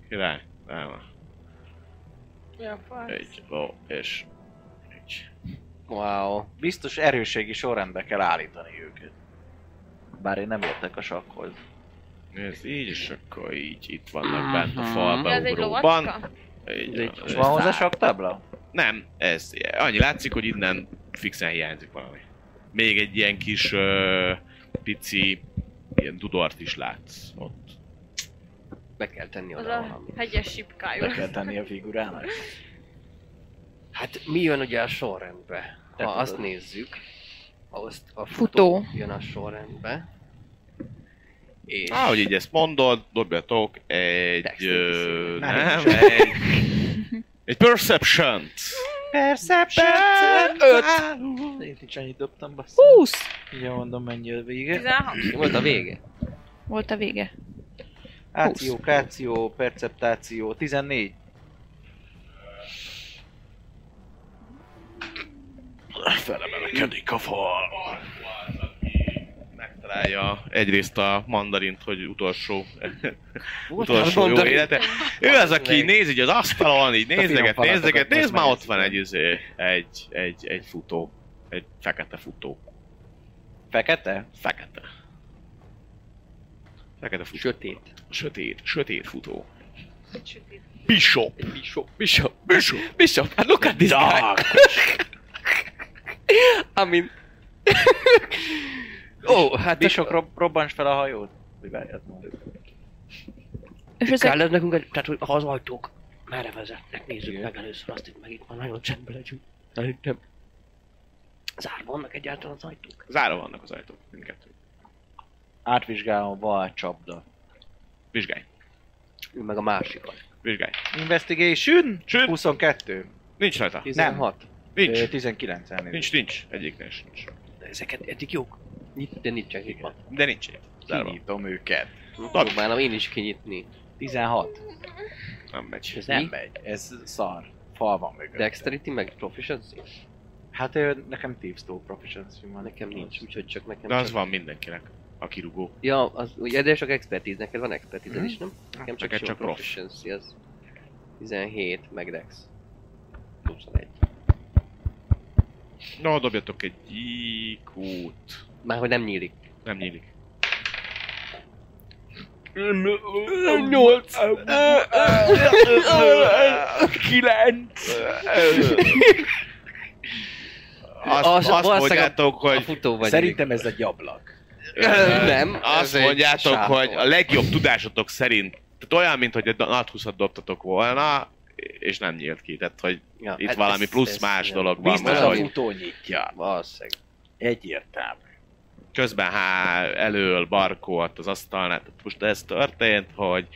[SPEAKER 3] Király, nem,
[SPEAKER 6] Ja, fasz.
[SPEAKER 3] egy, ó, és egy.
[SPEAKER 5] Wow.
[SPEAKER 7] Biztos erőségi sorrendbe kell állítani őket. Bár én nem értek a sakhoz.
[SPEAKER 3] Nézd, így, és akkor így, itt vannak bent a
[SPEAKER 5] Mhm.
[SPEAKER 6] De ez egy
[SPEAKER 3] falbeugróban.
[SPEAKER 6] lovacska?
[SPEAKER 3] Így,
[SPEAKER 5] Ez egy
[SPEAKER 3] van,
[SPEAKER 7] És
[SPEAKER 3] ez-
[SPEAKER 7] van hozzá
[SPEAKER 5] szár.
[SPEAKER 7] saktábla?
[SPEAKER 3] Nem, ez annyi látszik, hogy innen fixen hiányzik valami. Még egy ilyen kis ö, pici ilyen dudort is látsz ott.
[SPEAKER 5] Be kell tenni
[SPEAKER 6] Az
[SPEAKER 5] oda
[SPEAKER 6] a
[SPEAKER 5] valamit.
[SPEAKER 6] hegyes
[SPEAKER 7] Be
[SPEAKER 6] sipkájú.
[SPEAKER 7] kell tenni a figurának?
[SPEAKER 5] Hát mi jön ugye a sorrendbe? Ha
[SPEAKER 7] Te tudod.
[SPEAKER 5] azt nézzük, azt a futó,
[SPEAKER 4] Futó.
[SPEAKER 5] jön a sorrendbe. És
[SPEAKER 6] Ah.
[SPEAKER 3] Ahogy így ezt mondod, dobjatok egy...
[SPEAKER 5] Dexterity
[SPEAKER 3] Ö,
[SPEAKER 5] szívül.
[SPEAKER 3] nem, egy, egy perception
[SPEAKER 1] Perception!
[SPEAKER 7] Én nincs annyit dobtam, bassza.
[SPEAKER 4] 20!
[SPEAKER 7] Ugye mondom, mennyi a vége.
[SPEAKER 6] 16.
[SPEAKER 5] mi volt a vége?
[SPEAKER 4] Volt a vége.
[SPEAKER 7] Áció, káció, perceptáció, 14.
[SPEAKER 3] Felemelkedik a fal. Megtalálja egyrészt a mandarint, hogy utolsó, utolsó jó
[SPEAKER 5] mandarin?
[SPEAKER 3] élete. Ő az, aki
[SPEAKER 5] Meg.
[SPEAKER 3] néz így az asztalon, így
[SPEAKER 7] finom
[SPEAKER 3] nézleget,
[SPEAKER 7] falatokat
[SPEAKER 3] nézleget, nézd már ott
[SPEAKER 7] megmászik.
[SPEAKER 3] van egy, izé, egy, egy, egy futó. Egy fekete futó.
[SPEAKER 7] Fekete?
[SPEAKER 3] Fekete. Fekete futó.
[SPEAKER 5] Sötét.
[SPEAKER 3] sötét, sötét futó.
[SPEAKER 6] Sötét.
[SPEAKER 3] Bishop.
[SPEAKER 5] Egy bishop. Bishop.
[SPEAKER 3] Bishop.
[SPEAKER 5] Bishop. Hát look at this guy.
[SPEAKER 3] Dark.
[SPEAKER 5] I mean... Ó, oh, hát
[SPEAKER 7] Hát sok rob- robbans fel a hajót. hát Vagy várj, azt mondod.
[SPEAKER 4] És ezek
[SPEAKER 5] Kell ez nekünk, egy- tehát hogy ha az ajtók merre vezetnek, nézzük
[SPEAKER 7] Igen.
[SPEAKER 5] meg először azt itt meg itt van, nagyon csendben legyünk. Szerintem. Zárva vannak egyáltalán az ajtók?
[SPEAKER 3] Zárva vannak az ajtók, mindkettő.
[SPEAKER 7] Átvizsgálom, van csapda.
[SPEAKER 3] Vizsgálj,
[SPEAKER 5] Ő meg a másikat.
[SPEAKER 3] vizsgálj.
[SPEAKER 7] Investigation?
[SPEAKER 3] Sőt.
[SPEAKER 7] 22.
[SPEAKER 3] Nincs rajta.
[SPEAKER 5] 16.
[SPEAKER 3] Nincs.
[SPEAKER 7] Ö, 19 elnézést.
[SPEAKER 3] Nincs, nincs. Egyiknél sem nincs.
[SPEAKER 5] De ezeket eddig jók. Nyit, de nincsen nyitva.
[SPEAKER 3] De nincs egy. Zárva.
[SPEAKER 7] Kinyitom őket.
[SPEAKER 5] Próbálom én is kinyitni.
[SPEAKER 7] 16.
[SPEAKER 3] Nem megy.
[SPEAKER 5] Ez
[SPEAKER 7] Nem
[SPEAKER 5] mi?
[SPEAKER 7] megy, ez szar. Fal van mögött.
[SPEAKER 5] Dexterity meg proficiency?
[SPEAKER 7] Hát ö, nekem Thieves Tool proficiency van.
[SPEAKER 5] Nekem nincs, úgyhogy csak nekem
[SPEAKER 3] De az
[SPEAKER 5] csak...
[SPEAKER 3] van mindenkinek. A kirugó.
[SPEAKER 5] Ja, az, ugye, de csak expertise, neked van expertise
[SPEAKER 3] Mhm.
[SPEAKER 5] is, nem?
[SPEAKER 7] Hát
[SPEAKER 5] Nekem csak,
[SPEAKER 3] Neked
[SPEAKER 5] sima
[SPEAKER 3] csak prof.
[SPEAKER 5] proficiency, az 17, meg dex. 21.
[SPEAKER 3] Na, dobjatok egy IQ-t.
[SPEAKER 5] Már hogy nem nyílik.
[SPEAKER 3] Nem nyílik.
[SPEAKER 5] 8!
[SPEAKER 7] 9!
[SPEAKER 3] Azt, azt
[SPEAKER 5] Az- valószínűleg a-
[SPEAKER 3] mondjátok,
[SPEAKER 5] A
[SPEAKER 3] hogy...
[SPEAKER 5] futó vagy.
[SPEAKER 7] Szerintem ez egy ablak.
[SPEAKER 5] nem, ez
[SPEAKER 3] Azt
[SPEAKER 5] egy
[SPEAKER 3] mondjátok,
[SPEAKER 5] sátor.
[SPEAKER 3] hogy a legjobb tudásotok szerint... Tehát olyan, mint hogy egy nat 20 dobtatok volna, és nem nyílt ki. Tehát, hogy
[SPEAKER 5] Ja,
[SPEAKER 3] itt
[SPEAKER 5] hát
[SPEAKER 3] valami
[SPEAKER 5] ez-
[SPEAKER 3] plusz
[SPEAKER 5] ez
[SPEAKER 3] más
[SPEAKER 5] nem.
[SPEAKER 3] dolog van.
[SPEAKER 7] Biztos
[SPEAKER 3] Mert,
[SPEAKER 7] a
[SPEAKER 5] valahogy.
[SPEAKER 3] hogy
[SPEAKER 7] futó nyitja.
[SPEAKER 5] Valószínűleg.
[SPEAKER 7] Egyértelmű.
[SPEAKER 3] közben há, elől barkolt az asztalnál, tehát most ez történt, hogy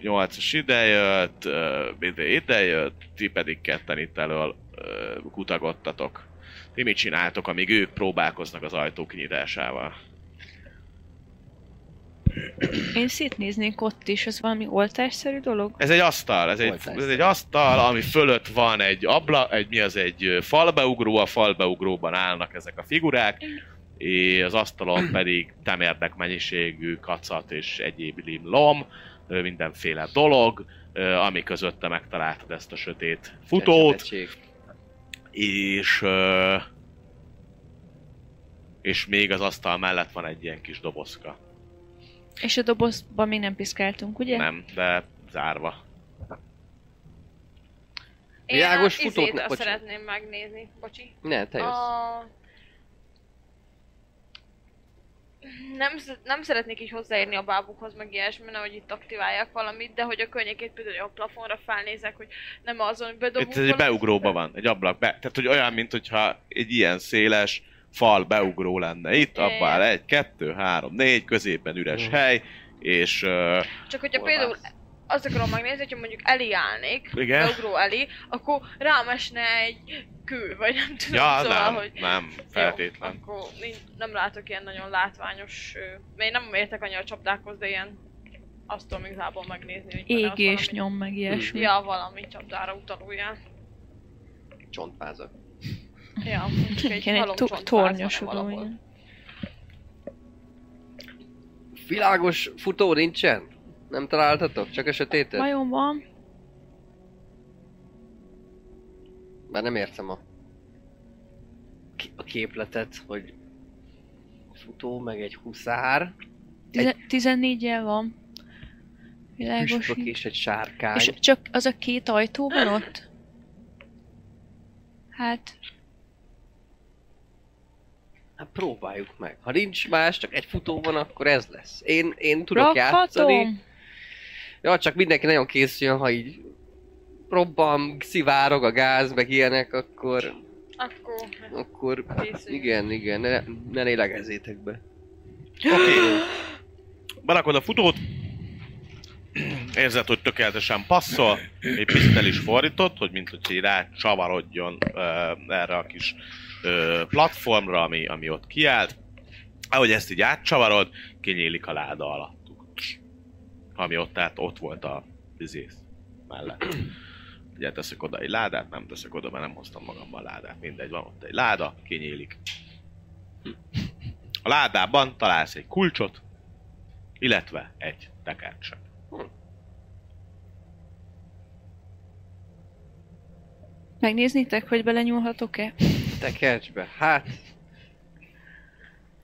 [SPEAKER 3] 8-as idejött, ö, ide idejött, ti pedig ketten itt elől ö, kutagodtatok. Ti mit csináltok, amíg ők próbálkoznak az ajtó kinyitásával?
[SPEAKER 4] én szétnéznék ott is, ez valami oltásszerű dolog?
[SPEAKER 3] Ez egy asztal, ez egy,
[SPEAKER 5] Oltás.
[SPEAKER 3] ez egy asztal, ami fölött van egy abla, egy mi az, egy ö, falbeugró, a falbeugróban állnak ezek a figurák, és az asztalon pedig temérdek mennyiségű kacat és egyéb limlom, ö, mindenféle dolog, ö, ami közötte megtaláltad ezt a sötét futót,
[SPEAKER 5] Csecsebetség.
[SPEAKER 3] és ö, és még az asztal mellett van egy ilyen kis dobozka.
[SPEAKER 4] És a dobozban még nem piszkáltunk, ugye?
[SPEAKER 3] Nem, de zárva.
[SPEAKER 6] Én
[SPEAKER 5] Világos
[SPEAKER 6] a izét
[SPEAKER 5] futót ne-
[SPEAKER 6] azt
[SPEAKER 5] bocsi.
[SPEAKER 6] szeretném megnézni. Bocsi.
[SPEAKER 5] Ne, te jössz.
[SPEAKER 6] A... Nem, sz- nem szeretnék így hozzáérni a bábukhoz, meg ilyesmi, mert hogy itt aktiválják valamit, de hogy a környékét például a plafonra felnézek, hogy nem azon, hogy bedobunk
[SPEAKER 3] Itt ez egy
[SPEAKER 6] valamit.
[SPEAKER 3] beugróba van, egy ablak. Be, tehát, hogy olyan, mint hogyha egy ilyen széles fal beugró lenne. Itt
[SPEAKER 6] Ja, ja.
[SPEAKER 3] abban áll egy, kettő, három, négy, középen üres
[SPEAKER 5] Mm.
[SPEAKER 3] hely, és uh,
[SPEAKER 6] Csak hogyha
[SPEAKER 5] Hol
[SPEAKER 6] például
[SPEAKER 5] vágsz?
[SPEAKER 6] azt akarom megnézni, hogyha mondjuk elé állnék,
[SPEAKER 3] igen.
[SPEAKER 6] beugró elé, akkor rám esne egy kő, vagy nem tudom,
[SPEAKER 3] Ja,
[SPEAKER 6] szóval,
[SPEAKER 3] nem,
[SPEAKER 6] hogy...
[SPEAKER 3] nem, feltétlen.
[SPEAKER 6] Jó, akkor nin- nem látok ilyen nagyon látványos... ö, Én nem értek annyira a csapdákhoz, de ilyen... Azt tudom igazából megnézni, hogy van-e ott
[SPEAKER 4] Égés
[SPEAKER 6] valami-
[SPEAKER 4] nyom, meg ilyesmi.
[SPEAKER 6] Ja, valami csapdára utalója.
[SPEAKER 5] Csontvázak.
[SPEAKER 6] Ja, csak egy
[SPEAKER 4] Igen, egy
[SPEAKER 6] halom
[SPEAKER 4] to-
[SPEAKER 6] csontvázban
[SPEAKER 4] tornyosodó.
[SPEAKER 6] valahol.
[SPEAKER 4] igen.
[SPEAKER 5] Világos futó nincsen? Nem találtatok? Csak a sötétet?
[SPEAKER 4] Vajon van?
[SPEAKER 5] Már nem értem a, ki- a képletet, hogy futó, meg egy huszár,
[SPEAKER 4] Tizen- 14 jel van. Világos.
[SPEAKER 5] püspök és egy sárkány.
[SPEAKER 4] És
[SPEAKER 5] És...
[SPEAKER 4] csak az a két ajtó van ott? Hát,
[SPEAKER 5] Hát próbáljuk meg. Ha nincs más, csak egy futó van, akkor ez lesz. Én, én tudok játszani.
[SPEAKER 4] rakhatom!
[SPEAKER 5] Ja, csak mindenki nagyon készüljön, ha így robban, szivárog a gáz, meg ilyenek, akkor,
[SPEAKER 6] Akkor...
[SPEAKER 5] akkor
[SPEAKER 6] Készüljünk.
[SPEAKER 5] igen, igen, ne, ne lélegezzétek be.
[SPEAKER 3] Berakod a futót, érzed, hogy tökéletesen passzol, egy pisztel is fordított, hogy mint hogy így rá csavarodjon ö, erre a kis ö, platformra, ami, ami ott kiállt. Ahogy ezt így átcsavarod, kinyílik a láda alattuk. Ami ott, tehát ott volt a vizész mellett. Ugye teszek oda egy ládát, nem teszek oda, mert nem hoztam magammal ládát. Mindegy, van ott egy láda, kinyílik. A ládában találsz egy kulcsot, illetve egy tekercset.
[SPEAKER 4] Megnéznétek, hogy belenyúlhatok-e?
[SPEAKER 5] Tekercsbe, hát...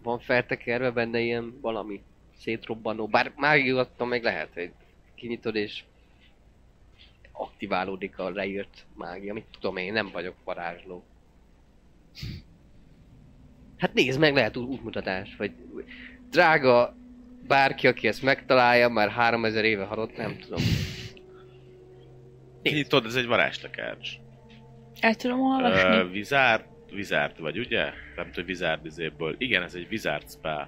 [SPEAKER 5] Van feltekerve benne ilyen valami szétrobbanó, bár mágiattal meg lehet, hogy kinyitod és aktiválódik a leírt mágia, mit tudom én, nem vagyok varázsló. Hát nézd meg, lehet ú- útmutatás, vagy drága bárki, aki ezt megtalálja, már 3000 éve halott, nem tudom.
[SPEAKER 3] Tudod, ez egy varázstekercs.
[SPEAKER 4] El tudom olvasni?
[SPEAKER 3] Ö, Vizárd, vizárd vagy, ugye? Nem tudom, hogy vizárd izéből. Igen, ez egy vizárd spell.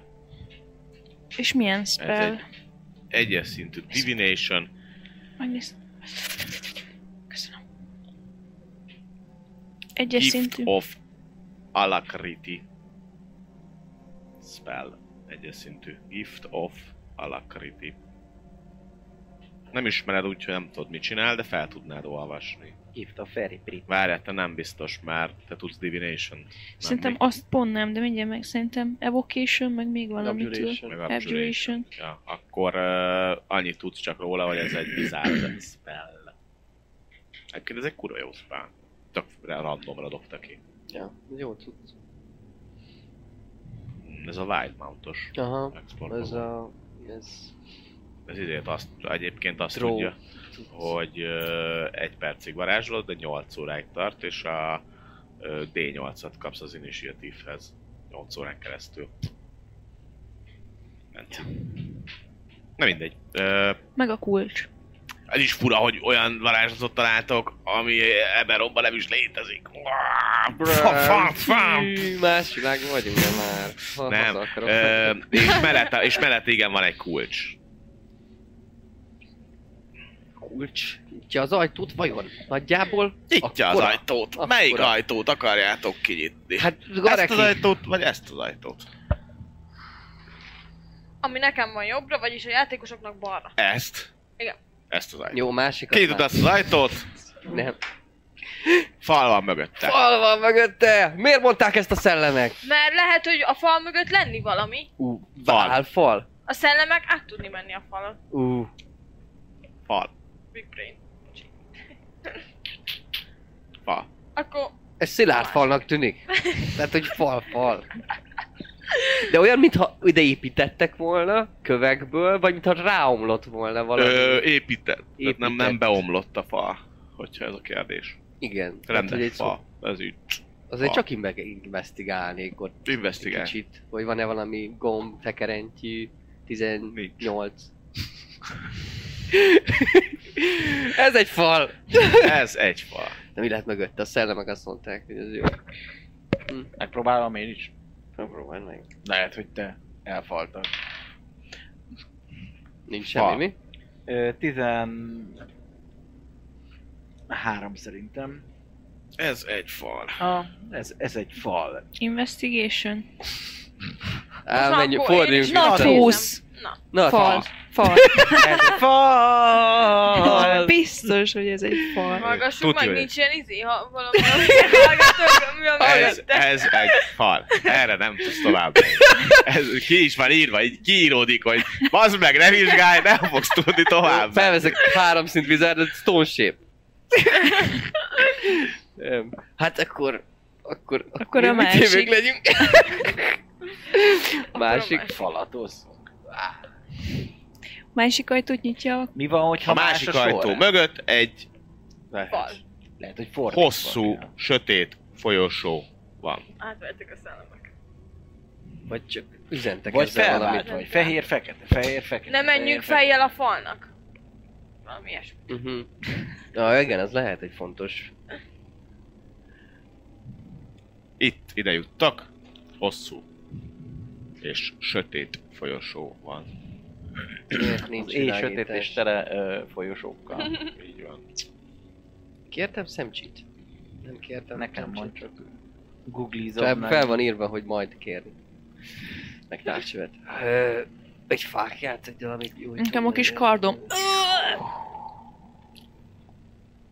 [SPEAKER 4] És milyen
[SPEAKER 3] Ez
[SPEAKER 4] spell?
[SPEAKER 3] egy egyes szintű divination.
[SPEAKER 4] Megnézem. Köszönöm. Egyes
[SPEAKER 3] Gift
[SPEAKER 4] szintű.
[SPEAKER 3] of Alacrity spell. Egyes szintű. Gift of Alacrity. Nem ismered úgy, hogy nem tudod mit csinál, de fel tudnád olvasni.
[SPEAKER 5] Hívta a Ferry Prit.
[SPEAKER 3] Várjál, te nem biztos már, te tudsz divination.
[SPEAKER 4] Szerintem
[SPEAKER 3] még.
[SPEAKER 4] azt pont nem, de mindjárt meg szerintem Evocation, meg még valamit. tudok.
[SPEAKER 5] Abjuration.
[SPEAKER 3] Meg
[SPEAKER 4] Abjuration.
[SPEAKER 3] Ja, akkor uh, annyit tudsz csak róla, hogy ez egy bizarre spell. Egyébként ez egy kurva jó spell. Tök randomra dobta ki.
[SPEAKER 5] Ja, jó tudsz.
[SPEAKER 3] Mm, Ez a Wild Mountos
[SPEAKER 5] Aha,
[SPEAKER 3] export.
[SPEAKER 5] ez a... ez...
[SPEAKER 3] ez izért azt, egyébként azt
[SPEAKER 5] Throw.
[SPEAKER 3] tudja, hogy uh, egy percig varázsolod, de 8 óráig tart, és a uh, D8-at kapsz az initiatívhez 8 órán keresztül. Ment. Na mindegy. Uh,
[SPEAKER 4] Meg a kulcs.
[SPEAKER 3] Ez is fura, hogy olyan varázslatot találtok, ami ebben robban nem is létezik. Uááá, fa, fa, fa.
[SPEAKER 5] Hű, Más világ vagyunk de már. Ha
[SPEAKER 3] Nem.
[SPEAKER 5] haza akarok hát
[SPEAKER 3] Ö, és, mellette, és mellette igen van egy kulcs.
[SPEAKER 5] kulcs. Nyitja az ajtót vajon? Nagyjából?
[SPEAKER 3] Nyitja az
[SPEAKER 5] Akkora?
[SPEAKER 3] ajtót.
[SPEAKER 5] Akkora.
[SPEAKER 3] Melyik ajtót akarjátok kinyitni?
[SPEAKER 5] Hát
[SPEAKER 3] ezt az
[SPEAKER 5] Gareki,
[SPEAKER 3] ajtót, vagy ezt az ajtót?
[SPEAKER 6] Ami nekem van jobbra, vagyis a játékosoknak balra.
[SPEAKER 3] Ezt?
[SPEAKER 6] Igen.
[SPEAKER 3] Ezt az ajtót.
[SPEAKER 5] jó másikat
[SPEAKER 3] Kinyitod
[SPEAKER 5] már.
[SPEAKER 3] ezt az ajtót,
[SPEAKER 5] Nem.
[SPEAKER 3] fal van mögötte.
[SPEAKER 5] Fal van mögötte! Miért mondták ezt a szellemek?
[SPEAKER 6] Mert lehet, hogy a fal mögött lenni valami.
[SPEAKER 5] Ú,
[SPEAKER 3] Fal.
[SPEAKER 5] fal. fal.
[SPEAKER 6] A szellemek át tudni menni a falat.
[SPEAKER 5] Ú,
[SPEAKER 3] Fal.
[SPEAKER 6] Big brain. Bocsi.
[SPEAKER 3] Fal.
[SPEAKER 6] Akkor
[SPEAKER 5] ez szilárd falnak tűnik. Tehát, hogy fal, fal. De olyan, mintha ide építettek volna, kövekből, vagy mintha ráomlott volna valami.
[SPEAKER 3] Ö, épített. Tehát nem, nem
[SPEAKER 5] Épített.
[SPEAKER 3] beomlott a fal, hogyha ez a kérdés.
[SPEAKER 5] Igen. Tehát, hogy
[SPEAKER 3] Rendes
[SPEAKER 5] egy szó-
[SPEAKER 3] fal. Ez így.
[SPEAKER 5] Azért
[SPEAKER 3] Fal.
[SPEAKER 5] csak így meginvestigálnék ott egy
[SPEAKER 3] Investigál.
[SPEAKER 5] kicsit, hogy van-e valami gomb, tekerentyű, 18. Ez egy fal!
[SPEAKER 3] Ez egy fal.
[SPEAKER 5] De mi lehet mögötte? A szellemek azt mondták, hogy ez jó.
[SPEAKER 7] Megpróbálom én is.
[SPEAKER 5] Megpróbáld meg.
[SPEAKER 7] Lehet, hogy te elfaltad.
[SPEAKER 5] Nincs
[SPEAKER 7] Fal.
[SPEAKER 5] semmi, mi?
[SPEAKER 7] Ö, 13 szerintem.
[SPEAKER 3] Ez egy fal.
[SPEAKER 7] Ah, ez, ez egy fal.
[SPEAKER 4] Investigation.
[SPEAKER 5] Á, menjünk,
[SPEAKER 6] akkor én
[SPEAKER 5] forduljunk
[SPEAKER 6] is Na,
[SPEAKER 5] vissza.
[SPEAKER 6] nézem.
[SPEAKER 4] Húsz.
[SPEAKER 6] Na.
[SPEAKER 5] Na, hát,
[SPEAKER 4] Fal. Fal.
[SPEAKER 5] fal. Ez egy
[SPEAKER 4] Ah,
[SPEAKER 5] fal!
[SPEAKER 4] Biztos, hogy ez egy fal.
[SPEAKER 6] hallgassuk
[SPEAKER 3] Tudja,
[SPEAKER 6] meg,
[SPEAKER 3] hogy-
[SPEAKER 6] nincs ilyen izé, ha valami hallgatók, mi a
[SPEAKER 3] Ez,
[SPEAKER 4] ah,
[SPEAKER 6] mögötte.
[SPEAKER 3] ez egy fal. Erre nem tudsz tovább. menni. Ez ki is van írva, így kiíródik, hogy bazd meg, ne vizsgálj, nem fogsz tudni tovább. menni.
[SPEAKER 5] Felveszek három szint vizárdat, stone shape. Em, hát akkor... Akkor,
[SPEAKER 4] Akkor a
[SPEAKER 5] mi- mit
[SPEAKER 4] másik.
[SPEAKER 5] hívők legyünk.
[SPEAKER 6] a
[SPEAKER 5] másik.
[SPEAKER 6] másik.
[SPEAKER 7] Falatozzunk.
[SPEAKER 4] Másik ajtót nyitja.
[SPEAKER 7] Mi van, hogyha
[SPEAKER 3] A másik
[SPEAKER 7] más a
[SPEAKER 3] ajtó
[SPEAKER 7] sor?
[SPEAKER 3] mögött egy
[SPEAKER 7] Lehet.
[SPEAKER 6] Fal.
[SPEAKER 7] Lehet, hogy fordítva.
[SPEAKER 3] hosszú, sötét folyosó van.
[SPEAKER 6] Átvertük a szellemek.
[SPEAKER 5] Vagy csak üzentek
[SPEAKER 7] Vagy
[SPEAKER 5] ezzel valamit.
[SPEAKER 7] felvált, vagy fehér, fekete, fehér, fekete.
[SPEAKER 6] Ne menjünk
[SPEAKER 7] fehér,
[SPEAKER 6] fejjel a falnak. valami ilyesmi.
[SPEAKER 5] Uh-huh. Na igen, az lehet egy fontos.
[SPEAKER 3] Itt ide juttak, hosszú és sötét folyosó van.
[SPEAKER 5] Miért nincs
[SPEAKER 7] Az éj sötét és
[SPEAKER 5] világítás?
[SPEAKER 7] tele ö, folyosókkal.
[SPEAKER 3] Így van.
[SPEAKER 5] Kértem szemcsit? Nem kértem
[SPEAKER 7] Nekem
[SPEAKER 5] szemcsit.
[SPEAKER 7] mond csak googlizom.
[SPEAKER 5] Fel,
[SPEAKER 7] meg.
[SPEAKER 5] fel van írva, hogy majd kérni. Meg távcsövet. Ö, Egy fákját, egy valamit jó.
[SPEAKER 4] Nekem a kis kardom.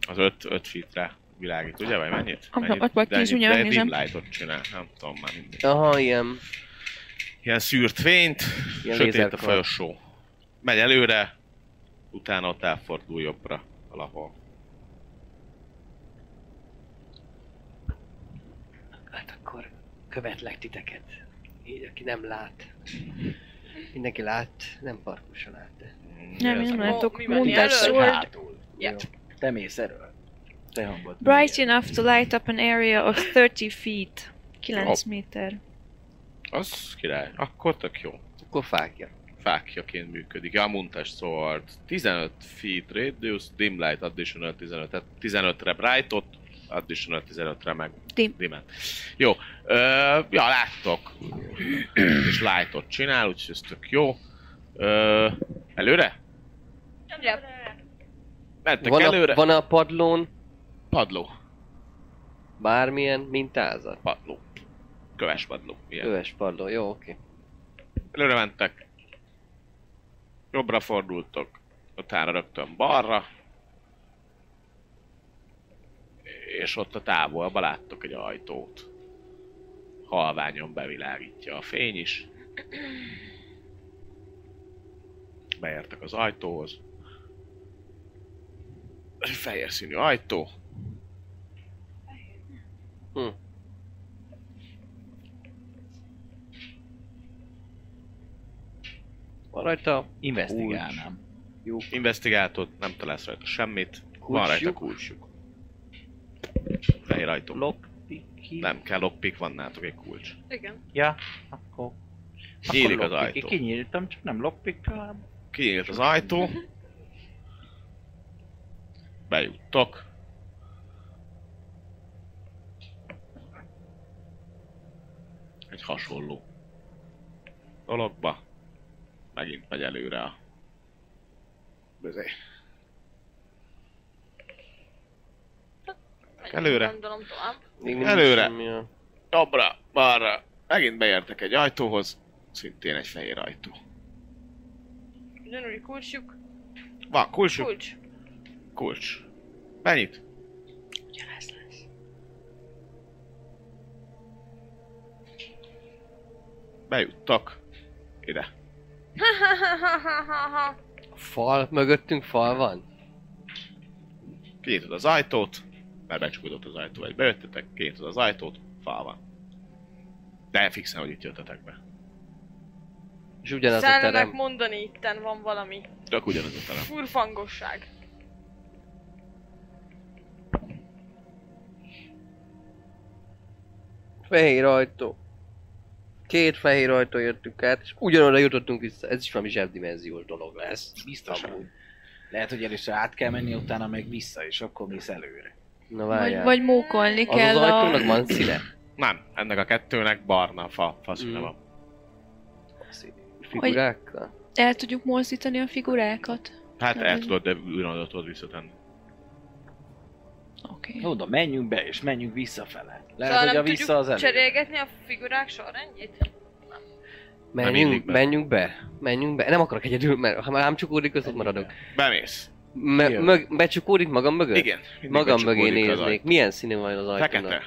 [SPEAKER 3] Az öt, öt fitre világít, ugye? Vagy mennyit?
[SPEAKER 4] Akkor
[SPEAKER 3] mennyit?
[SPEAKER 4] ott vagy
[SPEAKER 3] De
[SPEAKER 4] tíz,
[SPEAKER 3] ennyit,
[SPEAKER 4] ugye,
[SPEAKER 3] de
[SPEAKER 4] megnézem.
[SPEAKER 3] dim lightot csinál, nem tudom már mindig.
[SPEAKER 5] Aha, ilyen.
[SPEAKER 3] Ilyen szűrt fényt,
[SPEAKER 5] Ilyen
[SPEAKER 3] sötét a
[SPEAKER 5] lézerkar.
[SPEAKER 3] folyosó. Megy előre, utána ott elfordul jobbra valahol.
[SPEAKER 5] Hát akkor követlek titeket. Így, aki nem lát. Mindenki lát, nem parkuson át. De.
[SPEAKER 4] Nem, én
[SPEAKER 3] Ez-
[SPEAKER 4] nem
[SPEAKER 6] Ó,
[SPEAKER 4] látok.
[SPEAKER 6] mi van
[SPEAKER 4] Mondd el
[SPEAKER 6] jelöl?
[SPEAKER 4] szólt.
[SPEAKER 7] Hátul.
[SPEAKER 6] Ja.
[SPEAKER 5] Jó.
[SPEAKER 7] Te mész elől. Te hangod.
[SPEAKER 4] Bright enough to light up an area of 30 feet. 9 méter.
[SPEAKER 3] Az király. Akkor tök jó.
[SPEAKER 5] Akkor fákja.
[SPEAKER 3] Fákjaként működik. Ja, Muntas Sword. 15 feet radius, dim light additional 15 tehát 15-re brightot, additional 15-re meg
[SPEAKER 4] Dim.
[SPEAKER 3] dimet. Jó. Ö, ja, láttok. És lightot csinál, úgyhogy ez tök jó. Ö, előre?
[SPEAKER 6] Ja.
[SPEAKER 3] Mentek
[SPEAKER 5] Van
[SPEAKER 3] előre?
[SPEAKER 5] a, van a padlón
[SPEAKER 3] Padló.
[SPEAKER 5] bármilyen mintázat?
[SPEAKER 3] Padló. Köves padló. Ilyen.
[SPEAKER 5] Öves padló, jó, oké.
[SPEAKER 3] Előre mentek. Jobbra fordultok. Utána rögtön balra. És ott a távolba láttok egy ajtót. Halványon bevilágítja a fény is. Beértek az ajtóhoz. Fehér színű ajtó.
[SPEAKER 5] Hm. Van rajta
[SPEAKER 7] Investigálnám.
[SPEAKER 5] jó
[SPEAKER 3] Investigáltod, nem találsz rajta semmit. Van rajta kulcsuk. Fehér ajtó.
[SPEAKER 7] Lockpicking.
[SPEAKER 3] Nem kell lockpick, van nálatok egy kulcs.
[SPEAKER 6] Igen.
[SPEAKER 7] Ja, akkor...
[SPEAKER 3] Nyílik az
[SPEAKER 7] lockpicking.
[SPEAKER 3] ajtó.
[SPEAKER 7] Kinyíltam, csak nem lockpick, hanem
[SPEAKER 3] Kinyílt az ajtó. Bejuttok. Egy hasonló dologba. Megint megy előre a... Bizony. Előre.
[SPEAKER 6] Gondolom tovább.
[SPEAKER 5] Még mindig
[SPEAKER 3] Előre.
[SPEAKER 5] semmi a-
[SPEAKER 3] Jobbra, balra. Megint beértek egy ajtóhoz. Szintén egy fehér ajtó.
[SPEAKER 6] Gyönyörű kulcsjuk.
[SPEAKER 3] Van kulcsuk?
[SPEAKER 6] Kulcs.
[SPEAKER 3] Kulcs. Mennyit?
[SPEAKER 4] Ugyanez lesz.
[SPEAKER 3] Bejuttak. Ide.
[SPEAKER 6] Ha, ha, ha, ha, ha, ha, ha.
[SPEAKER 5] Fal, mögöttünk fal van?
[SPEAKER 3] Kinyitod az ajtót, mert becsukódott az ajtó, vagy bejöttetek, kinyitod az ajtót, fal van. De fixen, hogy itt jöttetek be.
[SPEAKER 5] És ugyanaz a
[SPEAKER 6] Szellemek
[SPEAKER 5] terem.
[SPEAKER 6] mondani itten van valami.
[SPEAKER 3] Tök ugyanaz a terem.
[SPEAKER 6] Furfangosság.
[SPEAKER 5] Fehér ajtó. Két fehér ajtó jöttünk át, és ugyanoda jutottunk vissza. Ez is valami zsebdimenziós dolog lesz. Amúgy.
[SPEAKER 7] biztosan. Lehet, hogy először át kell menni, utána meg vissza, és akkor mész előre.
[SPEAKER 5] Na
[SPEAKER 4] Vagy,
[SPEAKER 5] várjál.
[SPEAKER 4] vagy mókolni
[SPEAKER 5] az az
[SPEAKER 4] kell a...
[SPEAKER 5] ajtónak van színe?
[SPEAKER 3] Nem, ennek a kettőnek barna fa, faszüle
[SPEAKER 5] Mm.
[SPEAKER 3] van.
[SPEAKER 5] Figurákkal?
[SPEAKER 4] El tudjuk mozdítani a figurákat.
[SPEAKER 3] Hát
[SPEAKER 4] Nem,
[SPEAKER 3] el
[SPEAKER 4] ez-
[SPEAKER 3] tudod, de űrnagyot tudod visszatenni.
[SPEAKER 4] Oké.
[SPEAKER 7] Oda menjünk be, és menjünk visszafele. Lehet,
[SPEAKER 6] Szóval
[SPEAKER 7] hogy a
[SPEAKER 6] nem
[SPEAKER 7] vissza az
[SPEAKER 6] tudjuk
[SPEAKER 7] előre.
[SPEAKER 6] cserélgetni a figurák sorrendjét?
[SPEAKER 5] Menjünk,
[SPEAKER 3] mindig be.
[SPEAKER 5] menjünk be. Menjünk be. Nem akarok egyedül, mert ha már rám csukódik, az ott maradok.
[SPEAKER 3] Bemész.
[SPEAKER 5] Me-
[SPEAKER 7] Jön.
[SPEAKER 5] mög- becsukódik magam mögött?
[SPEAKER 3] Igen. mindig
[SPEAKER 5] Magam mögé
[SPEAKER 3] becsukódik az
[SPEAKER 5] néznék.
[SPEAKER 3] ajtó.
[SPEAKER 5] Milyen színű van az ajtónak?
[SPEAKER 3] Fekete.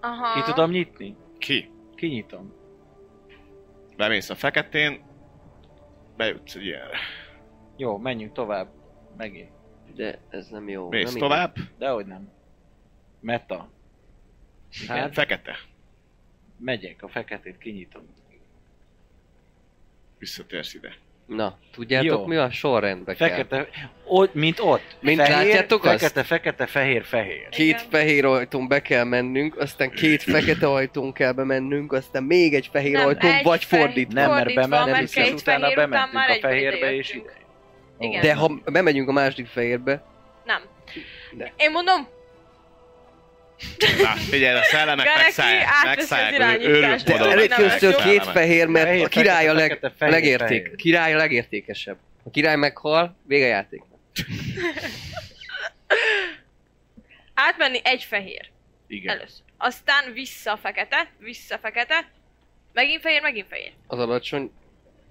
[SPEAKER 6] Aha.
[SPEAKER 7] Ki tudom nyitni?
[SPEAKER 3] Ki?
[SPEAKER 7] Kinyitom.
[SPEAKER 3] Bemész a feketén, bejutsz egy ilyenre.
[SPEAKER 7] Jó, menjünk tovább. Megint.
[SPEAKER 5] De ez nem jó.
[SPEAKER 3] Mész
[SPEAKER 5] nem Hát?
[SPEAKER 3] tovább,
[SPEAKER 7] Dehogy nem. Meta.
[SPEAKER 3] igen,
[SPEAKER 7] Hát,
[SPEAKER 3] fekete.
[SPEAKER 7] megyek, a feketét kinyitom.
[SPEAKER 3] Visszatérsz ide.
[SPEAKER 5] Igaz. Na, tudjátok
[SPEAKER 7] Jó.
[SPEAKER 5] mi a sorrendbe kell?
[SPEAKER 7] Fekete, ott, mint ott.
[SPEAKER 5] Mint látjátok azt?
[SPEAKER 7] fekete, fekete, fekete, fehér, fehér.
[SPEAKER 5] Két
[SPEAKER 6] Igen.
[SPEAKER 5] fehér ajtón be kell mennünk, aztán két fekete ajtón kell bemennünk, aztán még egy fehér
[SPEAKER 6] Nem,
[SPEAKER 5] ajtón,
[SPEAKER 6] egy
[SPEAKER 5] vagy
[SPEAKER 6] fehér-
[SPEAKER 5] fordítva.
[SPEAKER 7] Nem, mert
[SPEAKER 6] Fordítva,
[SPEAKER 7] bementem,
[SPEAKER 6] mert
[SPEAKER 7] és
[SPEAKER 6] két
[SPEAKER 7] utána
[SPEAKER 6] fehér után
[SPEAKER 7] bementünk
[SPEAKER 6] már
[SPEAKER 7] a
[SPEAKER 6] egybe
[SPEAKER 7] fehérbe, és
[SPEAKER 6] idejöttünk. Igen.
[SPEAKER 5] De ha bemegyünk a második fehérbe,
[SPEAKER 6] Nem.
[SPEAKER 5] De.
[SPEAKER 6] Én mondom,
[SPEAKER 3] Na, figyelj, a szellemek
[SPEAKER 6] Gareki
[SPEAKER 3] megszállják,
[SPEAKER 6] átveszi
[SPEAKER 3] megszállják,
[SPEAKER 6] az
[SPEAKER 3] ő-
[SPEAKER 6] irányítást.
[SPEAKER 3] őrült
[SPEAKER 5] de
[SPEAKER 6] Oda
[SPEAKER 3] módon
[SPEAKER 6] megy,
[SPEAKER 5] előtt köztől
[SPEAKER 3] megszállják.
[SPEAKER 5] két fehér, mert
[SPEAKER 8] Fehér,
[SPEAKER 5] a király a leg,
[SPEAKER 8] fekete, fekete, fehér,
[SPEAKER 5] legérték,
[SPEAKER 8] fehér.
[SPEAKER 5] király a legértékesebb. Ha a király meghal, vége a játék.
[SPEAKER 6] átmenni egy fehér
[SPEAKER 7] Igen.
[SPEAKER 6] először. Aztán vissza a fekete, vissza a fekete, megint fehér, megint fehér.
[SPEAKER 5] Az alacsony...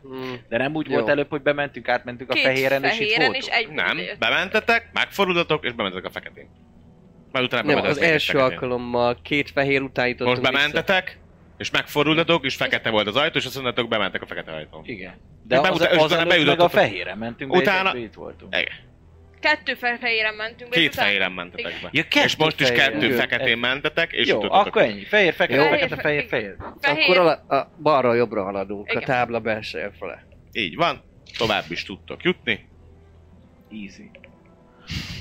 [SPEAKER 5] Hmm.
[SPEAKER 8] De nem úgy
[SPEAKER 5] Jó.
[SPEAKER 8] volt előbb, hogy bementünk, átmentünk a
[SPEAKER 6] Két
[SPEAKER 8] fehéren, és itt
[SPEAKER 6] fehéren és
[SPEAKER 8] voltunk.
[SPEAKER 6] egy
[SPEAKER 3] Nem,
[SPEAKER 6] bordér.
[SPEAKER 3] bementetek, megfordultatok, és bementetek a feketén. Már utána
[SPEAKER 5] Nem,
[SPEAKER 3] bementetek
[SPEAKER 5] az
[SPEAKER 3] még egy
[SPEAKER 5] első
[SPEAKER 3] feketén.
[SPEAKER 5] alkalommal két fehér után jutottunk
[SPEAKER 3] Most
[SPEAKER 5] vissza.
[SPEAKER 3] bementetek, és megfordultatok, és fekete volt az ajtó, és azt mondtátok, bementek a fekete ajtón.
[SPEAKER 8] Igen.
[SPEAKER 3] És
[SPEAKER 8] De az,
[SPEAKER 3] bemutat- és
[SPEAKER 8] az
[SPEAKER 3] utána
[SPEAKER 8] előtt meg a
[SPEAKER 3] bejutott a-
[SPEAKER 8] fehéren mentünk,
[SPEAKER 3] Utána-
[SPEAKER 8] utána... itt voltunk.
[SPEAKER 6] Kettő fehéren mentünk. és
[SPEAKER 3] Két
[SPEAKER 6] utána-
[SPEAKER 3] fehéren mentetek
[SPEAKER 6] Igen.
[SPEAKER 3] be.
[SPEAKER 1] Ja, kettő
[SPEAKER 3] és most is
[SPEAKER 1] fehéren.
[SPEAKER 3] kettő
[SPEAKER 5] Igen.
[SPEAKER 3] feketén mentetek, és
[SPEAKER 8] Jó,
[SPEAKER 3] jutottatok
[SPEAKER 8] akkor
[SPEAKER 3] vissza.
[SPEAKER 8] ennyi. Fehér, fekete,
[SPEAKER 5] Jó.
[SPEAKER 8] fekete, fehér,
[SPEAKER 6] Fehér,
[SPEAKER 8] fehér.
[SPEAKER 6] Fehér,
[SPEAKER 5] Akkor a, a balra jobbra haladunk,
[SPEAKER 6] Igen.
[SPEAKER 5] a tábla belseje fele.
[SPEAKER 3] Így van, tovább is tudtok jutni.
[SPEAKER 7] Easy.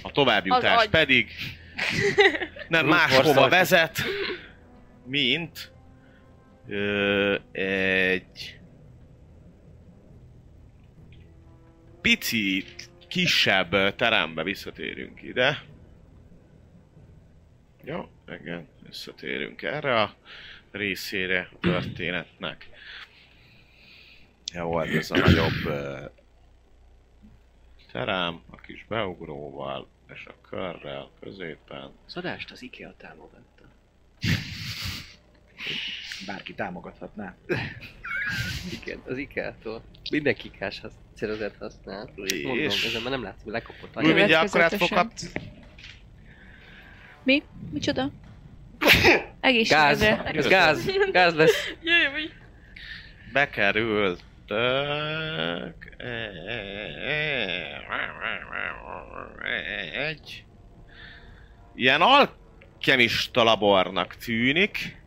[SPEAKER 3] A továbbjutás
[SPEAKER 6] Az agy.
[SPEAKER 3] pedig nem
[SPEAKER 8] Brute
[SPEAKER 3] máshova
[SPEAKER 8] force-os.
[SPEAKER 3] vezet, mint ö, egy pici kisebb ö, terembe visszatérünk ide. Jó, igen, visszatérünk erre a részére a történetnek. Ja, volt ez a nagyobb ö, terem, a kis beugróval és a körrel középen.
[SPEAKER 5] Az adást az IKEA támogatta.
[SPEAKER 7] Bárki támogathatná.
[SPEAKER 5] Igen, az IKEA-tól. Mindenki kás hasz- szerezet használ.
[SPEAKER 3] És?
[SPEAKER 5] Mondom, ezen már nem látom, hogy lekopott
[SPEAKER 3] Úgy
[SPEAKER 5] anyag.
[SPEAKER 4] Következetesen.
[SPEAKER 3] mindjárt akkor át fog kapni.
[SPEAKER 4] Mi? Micsoda?
[SPEAKER 5] Gáz,
[SPEAKER 4] Egészségedre.
[SPEAKER 5] ez gáz, gáz lesz.
[SPEAKER 6] Jöjjön, hogy
[SPEAKER 3] Bekerültök e, egy ilyen alkemista labornak tűnik.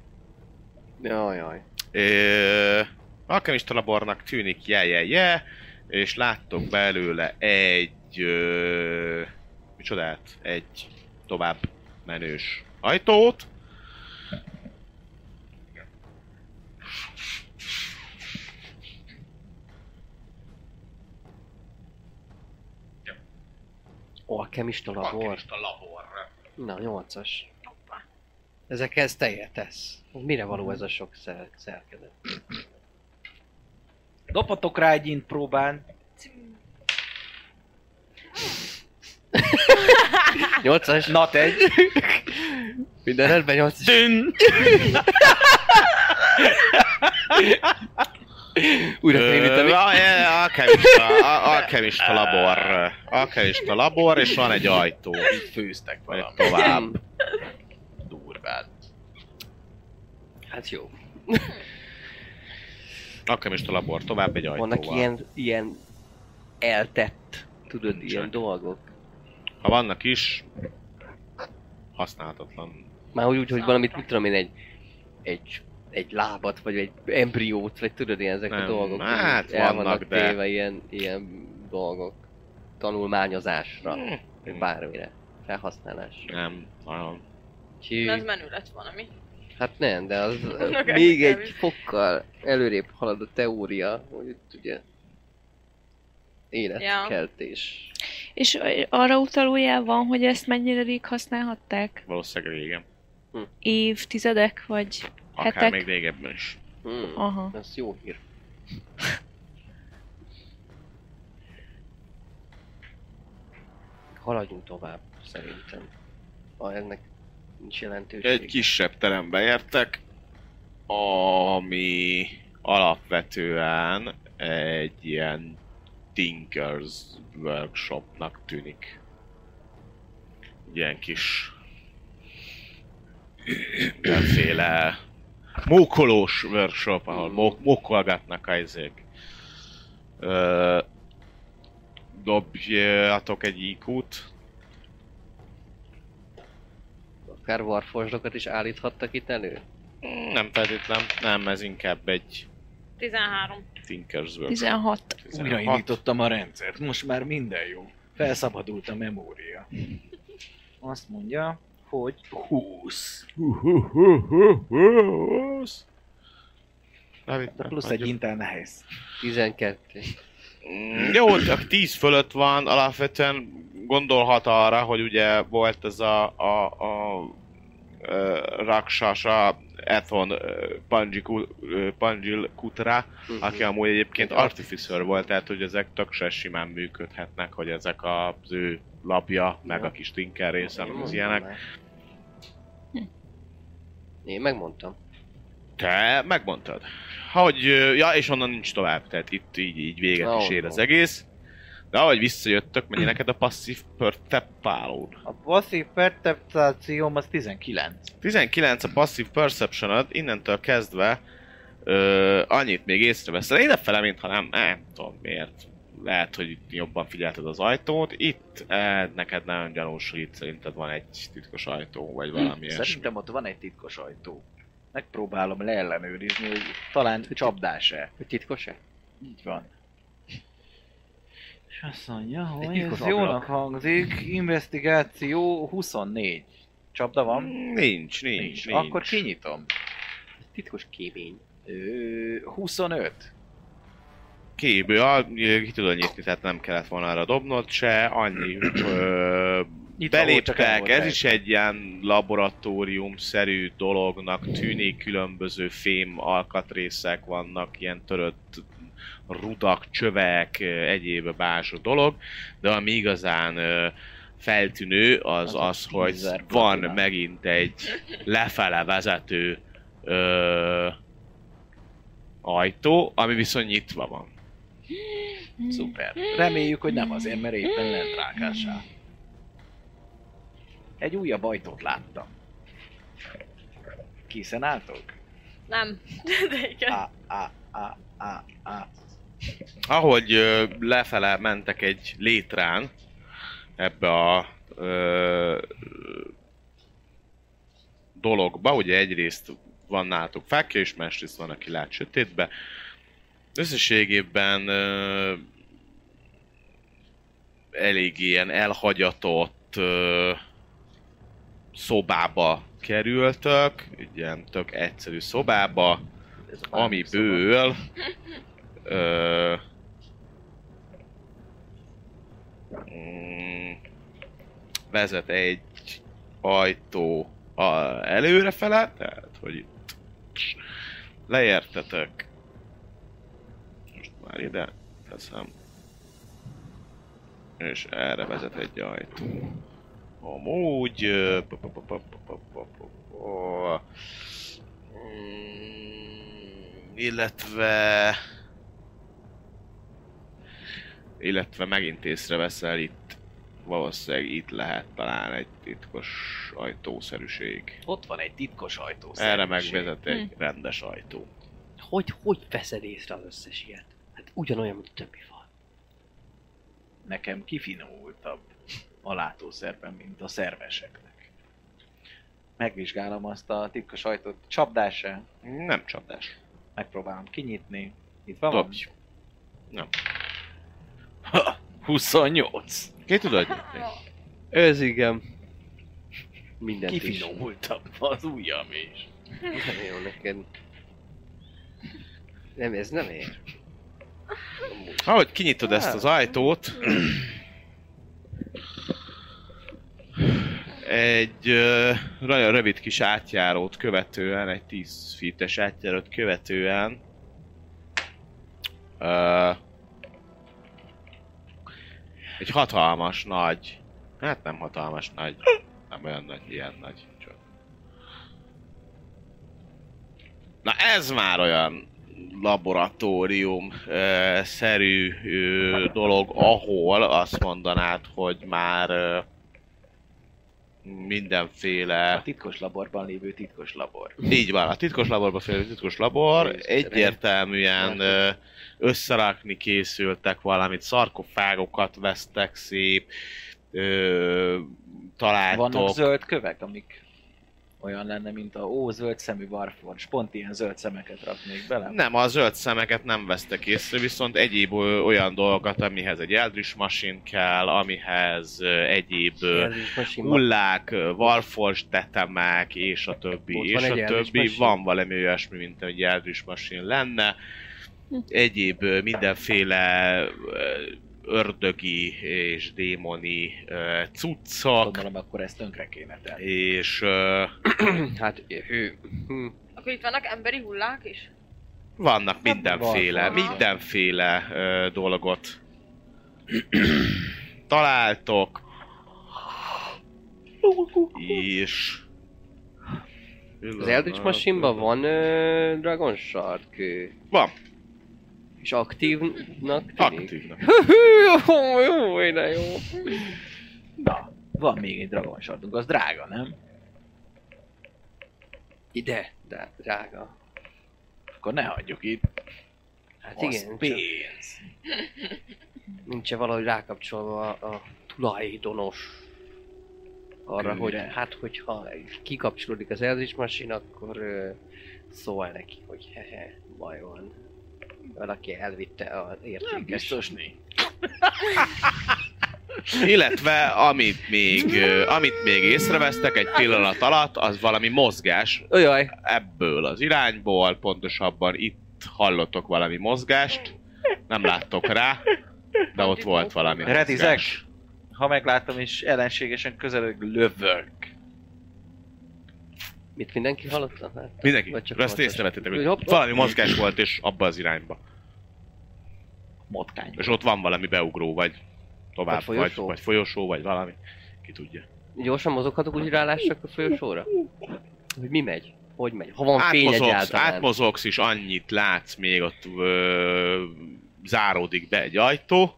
[SPEAKER 5] Jaj, jaj.
[SPEAKER 3] Ö, alkemista labornak tűnik je, je, je, és láttok belőle egy... Ö, micsodát? Egy tovább menős ajtót.
[SPEAKER 5] Alkemista labor.
[SPEAKER 2] A labor.
[SPEAKER 5] Na, nyolcas. Ezekhez tejet tesz. Mire való ez a sok szer- szerkezet?
[SPEAKER 8] Dopatok rá egy int próbán.
[SPEAKER 5] Nyolcas? Na.
[SPEAKER 8] Na te
[SPEAKER 5] Minden rendben nyolcas.
[SPEAKER 8] Dün!
[SPEAKER 5] Újra
[SPEAKER 3] Ö,
[SPEAKER 5] tévítem.
[SPEAKER 3] a- e, Alkemista, a- alkemista labor. Alkemista labor, és van egy ajtó.
[SPEAKER 7] Így főztek
[SPEAKER 3] Megy
[SPEAKER 7] valami.
[SPEAKER 3] tovább.
[SPEAKER 7] Durván.
[SPEAKER 5] Hát jó.
[SPEAKER 3] Alkemista labor, tovább egy ajtóval.
[SPEAKER 5] Vannak ilyen, ilyen eltett, tudod,
[SPEAKER 3] Nincsenek.
[SPEAKER 5] ilyen dolgok.
[SPEAKER 3] Ha vannak is, használhatatlan.
[SPEAKER 5] Már úgy, hogy valamit, mit tudom én, egy, egy, egy lábat, vagy egy embriót, vagy tudod, ilyen ezek a
[SPEAKER 3] Nem,
[SPEAKER 5] dolgok.
[SPEAKER 3] hát
[SPEAKER 5] így el
[SPEAKER 3] vannak,
[SPEAKER 5] vannak
[SPEAKER 3] de-
[SPEAKER 5] téve ilyen, ilyen dolgok. Tanulmányozásra, vagy bármire. Felhasználásra.
[SPEAKER 3] Nem, nagyon.
[SPEAKER 6] az
[SPEAKER 5] Úgyhogy,
[SPEAKER 6] menő lett valami.
[SPEAKER 5] hát nem, de az
[SPEAKER 6] Annak
[SPEAKER 5] még
[SPEAKER 6] elviselni.
[SPEAKER 5] egy fokkal előrébb halad a teória, hogy itt ugye életkeltés.
[SPEAKER 4] És arra utaló jel van, hogy ezt mennyire rég használhatták?
[SPEAKER 3] Valószínűleg régen.
[SPEAKER 4] Évtizedek, vagy...
[SPEAKER 3] Akár
[SPEAKER 4] Hetek.
[SPEAKER 3] még régebben is.
[SPEAKER 5] Hmm.
[SPEAKER 4] Aha.
[SPEAKER 5] Ez jó hír. Haladjunk tovább, szerintem. Ha ennek nincs jelentőség.
[SPEAKER 3] Egy kisebb terembe értek, ami alapvetően egy ilyen Tinkers workshopnak tűnik. Ilyen kis mindenféle mókolós workshop, ahol mó- mókolgatnak a izék. Ö, Dobjatok egy IQ-t.
[SPEAKER 5] Akár varforzsokat is állíthattak itt elő?
[SPEAKER 3] Nem feltétlen, nem, ez inkább egy
[SPEAKER 6] 13.
[SPEAKER 3] Tinkers workshop.
[SPEAKER 4] 16.
[SPEAKER 7] Újraindítottam a rendszert, most már minden jó. Felszabadult a memória.
[SPEAKER 8] Azt mondja, hogy 20.
[SPEAKER 3] Na, mit
[SPEAKER 8] De plusz egy
[SPEAKER 3] adjuk?
[SPEAKER 8] intál nehéz.
[SPEAKER 5] 12.
[SPEAKER 3] Mm, Jó, csak 10 fölött van, alapvetően gondolhat arra, hogy ugye volt ez a, a, a, ö, Raksasa Ethon ö, Panji Ku- ö, Panjil Kutra, aki amúgy egyébként Artificer volt, tehát hogy ezek tök se simán működhetnek, hogy ezek az ő lapja, meg
[SPEAKER 5] Ja.
[SPEAKER 3] a kis tinker része, meg az ilyenek.
[SPEAKER 5] Én megmondtam.
[SPEAKER 3] Te megmondtad. Hogy, ö, ja, és onnan nincs tovább, tehát itt így, így véget
[SPEAKER 5] Na,
[SPEAKER 3] is ér
[SPEAKER 5] ott
[SPEAKER 3] az
[SPEAKER 5] van.
[SPEAKER 3] egész. De ahogy visszajöttök, mennyi neked a passzív percepálód?
[SPEAKER 8] A passzív perceptációm az 19.
[SPEAKER 3] 19 a passzív perceptionod, innentől kezdve ö, annyit még észreveszel. Idefele, mintha nem, nem tudom miért. Lehet, hogy jobban figyelted az ajtót. Itt eh, neked nem gyanús, hogy itt szerinted van egy titkos ajtó, vagy valami ilyesmi.
[SPEAKER 7] Szerintem ott van egy titkos ajtó. Megpróbálom leellenőrizni, hogy talán csapdás-e.
[SPEAKER 5] Hogy titkos-e?
[SPEAKER 7] Így van.
[SPEAKER 8] És azt mondja, hogy
[SPEAKER 5] titkos
[SPEAKER 8] ez jónak
[SPEAKER 5] ablak.
[SPEAKER 8] hangzik, investigáció 24. Csapda van?
[SPEAKER 3] Nincs, nincs, nincs.
[SPEAKER 8] Akkor kinyitom.
[SPEAKER 5] Titkos kémény.
[SPEAKER 7] Ö, 25.
[SPEAKER 3] Kébő, a- ki tudod nyitni, tehát nem kellett volna arra dobnod se, annyi ö,
[SPEAKER 7] Nyitva volt, csak nem
[SPEAKER 3] beléptek, ez
[SPEAKER 7] volt rajta.
[SPEAKER 3] is egy ilyen laboratórium-szerű dolognak tűnik, különböző fém alkatrészek vannak, ilyen törött rudak, csövek, ö, egyéb bázsú dolog, de ami igazán ö, feltűnő az az,
[SPEAKER 7] Az a
[SPEAKER 3] az hogy
[SPEAKER 7] tízer
[SPEAKER 3] van
[SPEAKER 7] platina.
[SPEAKER 3] megint egy lefele vezető ö, ajtó, ami viszont nyitva van.
[SPEAKER 7] Szuper. Reméljük, hogy nem azért, mert éppen lent rákásá. Egy újabb ajtót láttam. Készen álltok?
[SPEAKER 6] Nem, de
[SPEAKER 3] Eh.
[SPEAKER 6] igen.
[SPEAKER 7] Á, á, á, á, á.
[SPEAKER 3] ahogy ö, lefele mentek egy létrán ebbe a ö, dologba, ugye egyrészt van nálatok fákja, és másrészt van, aki lát sötétbe. Összességében ö, elég ilyen elhagyatott ö, szobába kerültök, egy ilyen tök egyszerű szobába,
[SPEAKER 5] Ez a bármi
[SPEAKER 3] ami
[SPEAKER 5] szoba.
[SPEAKER 3] ből Szóval ö, mm, vezet egy ajtó a, előrefele, tehát hogy itt leértetek. Most már ide teszem. És erre vezet egy ajtó. Amúgy... ö, pa, pa, pa, pa, pa, pa, pa, pa, pa. Mm, Illetve... Illetve megint észreveszel itt valószínűleg itt lehet talán egy titkos ajtószerűség.
[SPEAKER 7] Ott van egy titkos ajtó.
[SPEAKER 3] Erre
[SPEAKER 7] szerűség.
[SPEAKER 3] megvezet egy rendes ajtó.
[SPEAKER 5] Hogy, hogy veszed észre az összes ilyet? Hát ugyanolyan, mint a többi fal.
[SPEAKER 7] Nekem kifinomultabb a látószerben, mint a szerveseknek. Megvizsgálom azt a titkos ajtót. Csapdás-e?
[SPEAKER 3] Nem csapdás.
[SPEAKER 7] Megpróbálom kinyitni. Itt van?
[SPEAKER 3] Dobj. Nem.
[SPEAKER 7] 28.
[SPEAKER 3] Ki tudod nyitni?
[SPEAKER 5] Ez igen. Mindent is.
[SPEAKER 7] Kifinomultabb az ujjam is.
[SPEAKER 5] Nem jó neked. Nem, ez nem ér. Amúgy.
[SPEAKER 3] Ahogy kinyitod ezt az ajtót, egy ö, nagyon rövid kis átjárót követően, egy 10 fites átjárót követően ö, egy hatalmas nagy, hát nem hatalmas nagy, nem olyan nagy, ilyen nagy, csak. Na ez már olyan laboratórium-szerű dolog, ahol azt mondanád, hogy már ö,
[SPEAKER 7] A
[SPEAKER 3] mindenféle...
[SPEAKER 7] titkos laborban lévő titkos labor.
[SPEAKER 3] Így van, a titkos laborba félő titkos labor, egyértelműen ö, összerakni készültek valamit, szarkofágokat vesztek szép, ö,
[SPEAKER 7] Vannak
[SPEAKER 3] találtok...
[SPEAKER 7] zöld kövek, amik olyan lenne, mint a ó, zöld szemű varforcs. Pont ilyen zöld szemeket raknék bele.
[SPEAKER 3] Nem, a zöld szemeket nem vesztek észre, viszont egyéb ö, olyan dolgokat, amihez egy eldris masin kell, amihez ö, egyéb ö,
[SPEAKER 5] Ez is most sima.
[SPEAKER 3] hullák, ö, varfors tetemek, és a többi,
[SPEAKER 5] Ott
[SPEAKER 3] és
[SPEAKER 5] van egy
[SPEAKER 3] a
[SPEAKER 5] eldris
[SPEAKER 3] többi.
[SPEAKER 5] machine?
[SPEAKER 3] Van valami olyasmi, mint egy eldris masin lenne. egyéb ö, mindenféle ö, ördögi és démoni ö, cuccok,
[SPEAKER 7] Gondolom, akkor ezt tönkre kéne tenni.
[SPEAKER 3] és ö,
[SPEAKER 5] Hát, hő. Hm.
[SPEAKER 6] Akkor itt vannak emberi hullák is?
[SPEAKER 3] vannak mindenféle,
[SPEAKER 6] van.
[SPEAKER 3] mindenféle ö, dolgot találtok, és...
[SPEAKER 5] Az Eldritch Machine-ban van ö, Dragon Shard kő.
[SPEAKER 3] Van,
[SPEAKER 5] És aktívnak tűnik?
[SPEAKER 3] aktívnak.
[SPEAKER 5] Hű, jó, jó, jó, de jó.
[SPEAKER 7] Na, van még egy dragon shardunk, az drága, nem?
[SPEAKER 5] Ide, de drága.
[SPEAKER 7] Akkor ne hagyjuk itt.
[SPEAKER 5] Hát
[SPEAKER 7] Az
[SPEAKER 5] igen, csak
[SPEAKER 7] pénz.
[SPEAKER 5] nincs valahogy rákapcsolva a, a tulajdonos arra,
[SPEAKER 7] Kőre.
[SPEAKER 5] hogy hát hogyha kikapcsolódik az Eldritch Machine, akkor ö, szól neki, hogy hehe, baj van. Valaki elvitte az
[SPEAKER 7] Nem
[SPEAKER 5] értékes
[SPEAKER 7] biztos nincs.
[SPEAKER 3] Illetve amit még, ö, amit még észrevesztek egy pillanat alatt, az valami mozgás
[SPEAKER 5] Ojaj,
[SPEAKER 3] ebből az irányból, pontosabban itt hallottok valami mozgást, nem láttok rá, de ott volt valami
[SPEAKER 8] Retizek?
[SPEAKER 3] mozgás.
[SPEAKER 8] Ha meglátom és ellenségesen közelög, lövök.
[SPEAKER 5] mit mindenki hallotta? Hát,
[SPEAKER 3] Mindenki,
[SPEAKER 5] Vagy csak
[SPEAKER 3] ezt
[SPEAKER 5] volt
[SPEAKER 3] észrevettétek,
[SPEAKER 5] Hopp,
[SPEAKER 3] hogy
[SPEAKER 5] hopp.
[SPEAKER 3] valami mozgás volt, és abba az irányba.
[SPEAKER 7] Motkány.
[SPEAKER 3] És ott van valami beugró, vagy tovább,
[SPEAKER 5] Vagy
[SPEAKER 3] vagy
[SPEAKER 5] folyosó.
[SPEAKER 3] folyosó, vagy, vagy, folyosó, vagy valami. Ki tudja.
[SPEAKER 5] Gyorsan mozoghatok, úgy rálássak a folyosóra? Hogy mi megy? Hogy megy? Ha van fény
[SPEAKER 3] Átmozogsz,
[SPEAKER 5] egyáltalán?
[SPEAKER 3] átmozogsz, és annyit látsz még, ott ö, záródik be egy ajtó,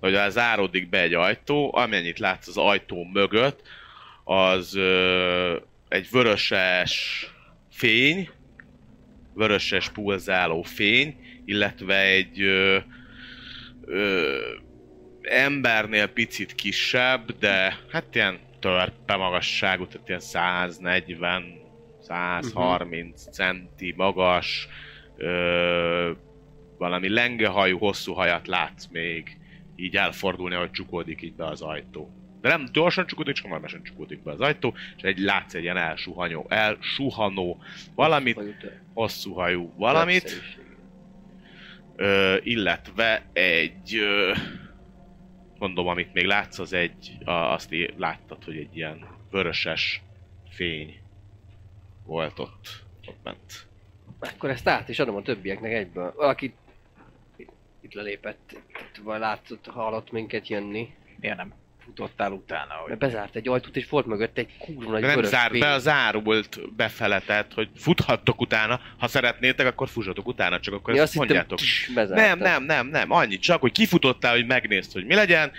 [SPEAKER 3] vagy az záródik be egy ajtó, amennyit látsz az ajtó mögött, az ö, egy vöröses fény, vöröses pulzáló fény, illetve egy ö, ö, embernél picit kisebb, de hát ilyen törpe magasságú, tehát ilyen 140 130 centi magas, ö, valami lengehajú, hosszú hajat látsz még így elfordulni, ahogy csukódik így be az ajtó. De nem gyorsan csukódik, csak normálisan csukódik be az ajtó, és egy, látsz egy ilyen elsuhanó, elsuhanó valamit,
[SPEAKER 5] Vagy ut-
[SPEAKER 3] hosszú hajú valamit,
[SPEAKER 5] Nagyszerűség.
[SPEAKER 3] ö, illetve egy, ö, mondom, amit még látsz, az egy, a, azt é- láttad, hogy egy ilyen vöröses fény volt ott, ott bent.
[SPEAKER 5] Akkor ezt át is adom a többieknek egyből. Valaki itt- itt lelépett, itt vagy látott, hallott minket jönni.
[SPEAKER 7] Miért nem futottál utána,
[SPEAKER 5] Mert
[SPEAKER 7] hogy
[SPEAKER 5] bezárt egy ajtót, és volt mögött egy kurva nagy
[SPEAKER 3] De nem
[SPEAKER 5] vörös
[SPEAKER 3] zárt
[SPEAKER 5] fény.
[SPEAKER 3] be, az árult befele, tehát, hogy futhattok utána, ha szeretnétek, akkor fussatok utána, csak akkor
[SPEAKER 5] Mi
[SPEAKER 3] ezt
[SPEAKER 5] azt hittem,
[SPEAKER 3] mondjátok.
[SPEAKER 5] tss, bezárt.
[SPEAKER 3] nem, nem, nem, nem, annyit csak, hogy kifutottál, hogy megnézd, hogy mi legyen,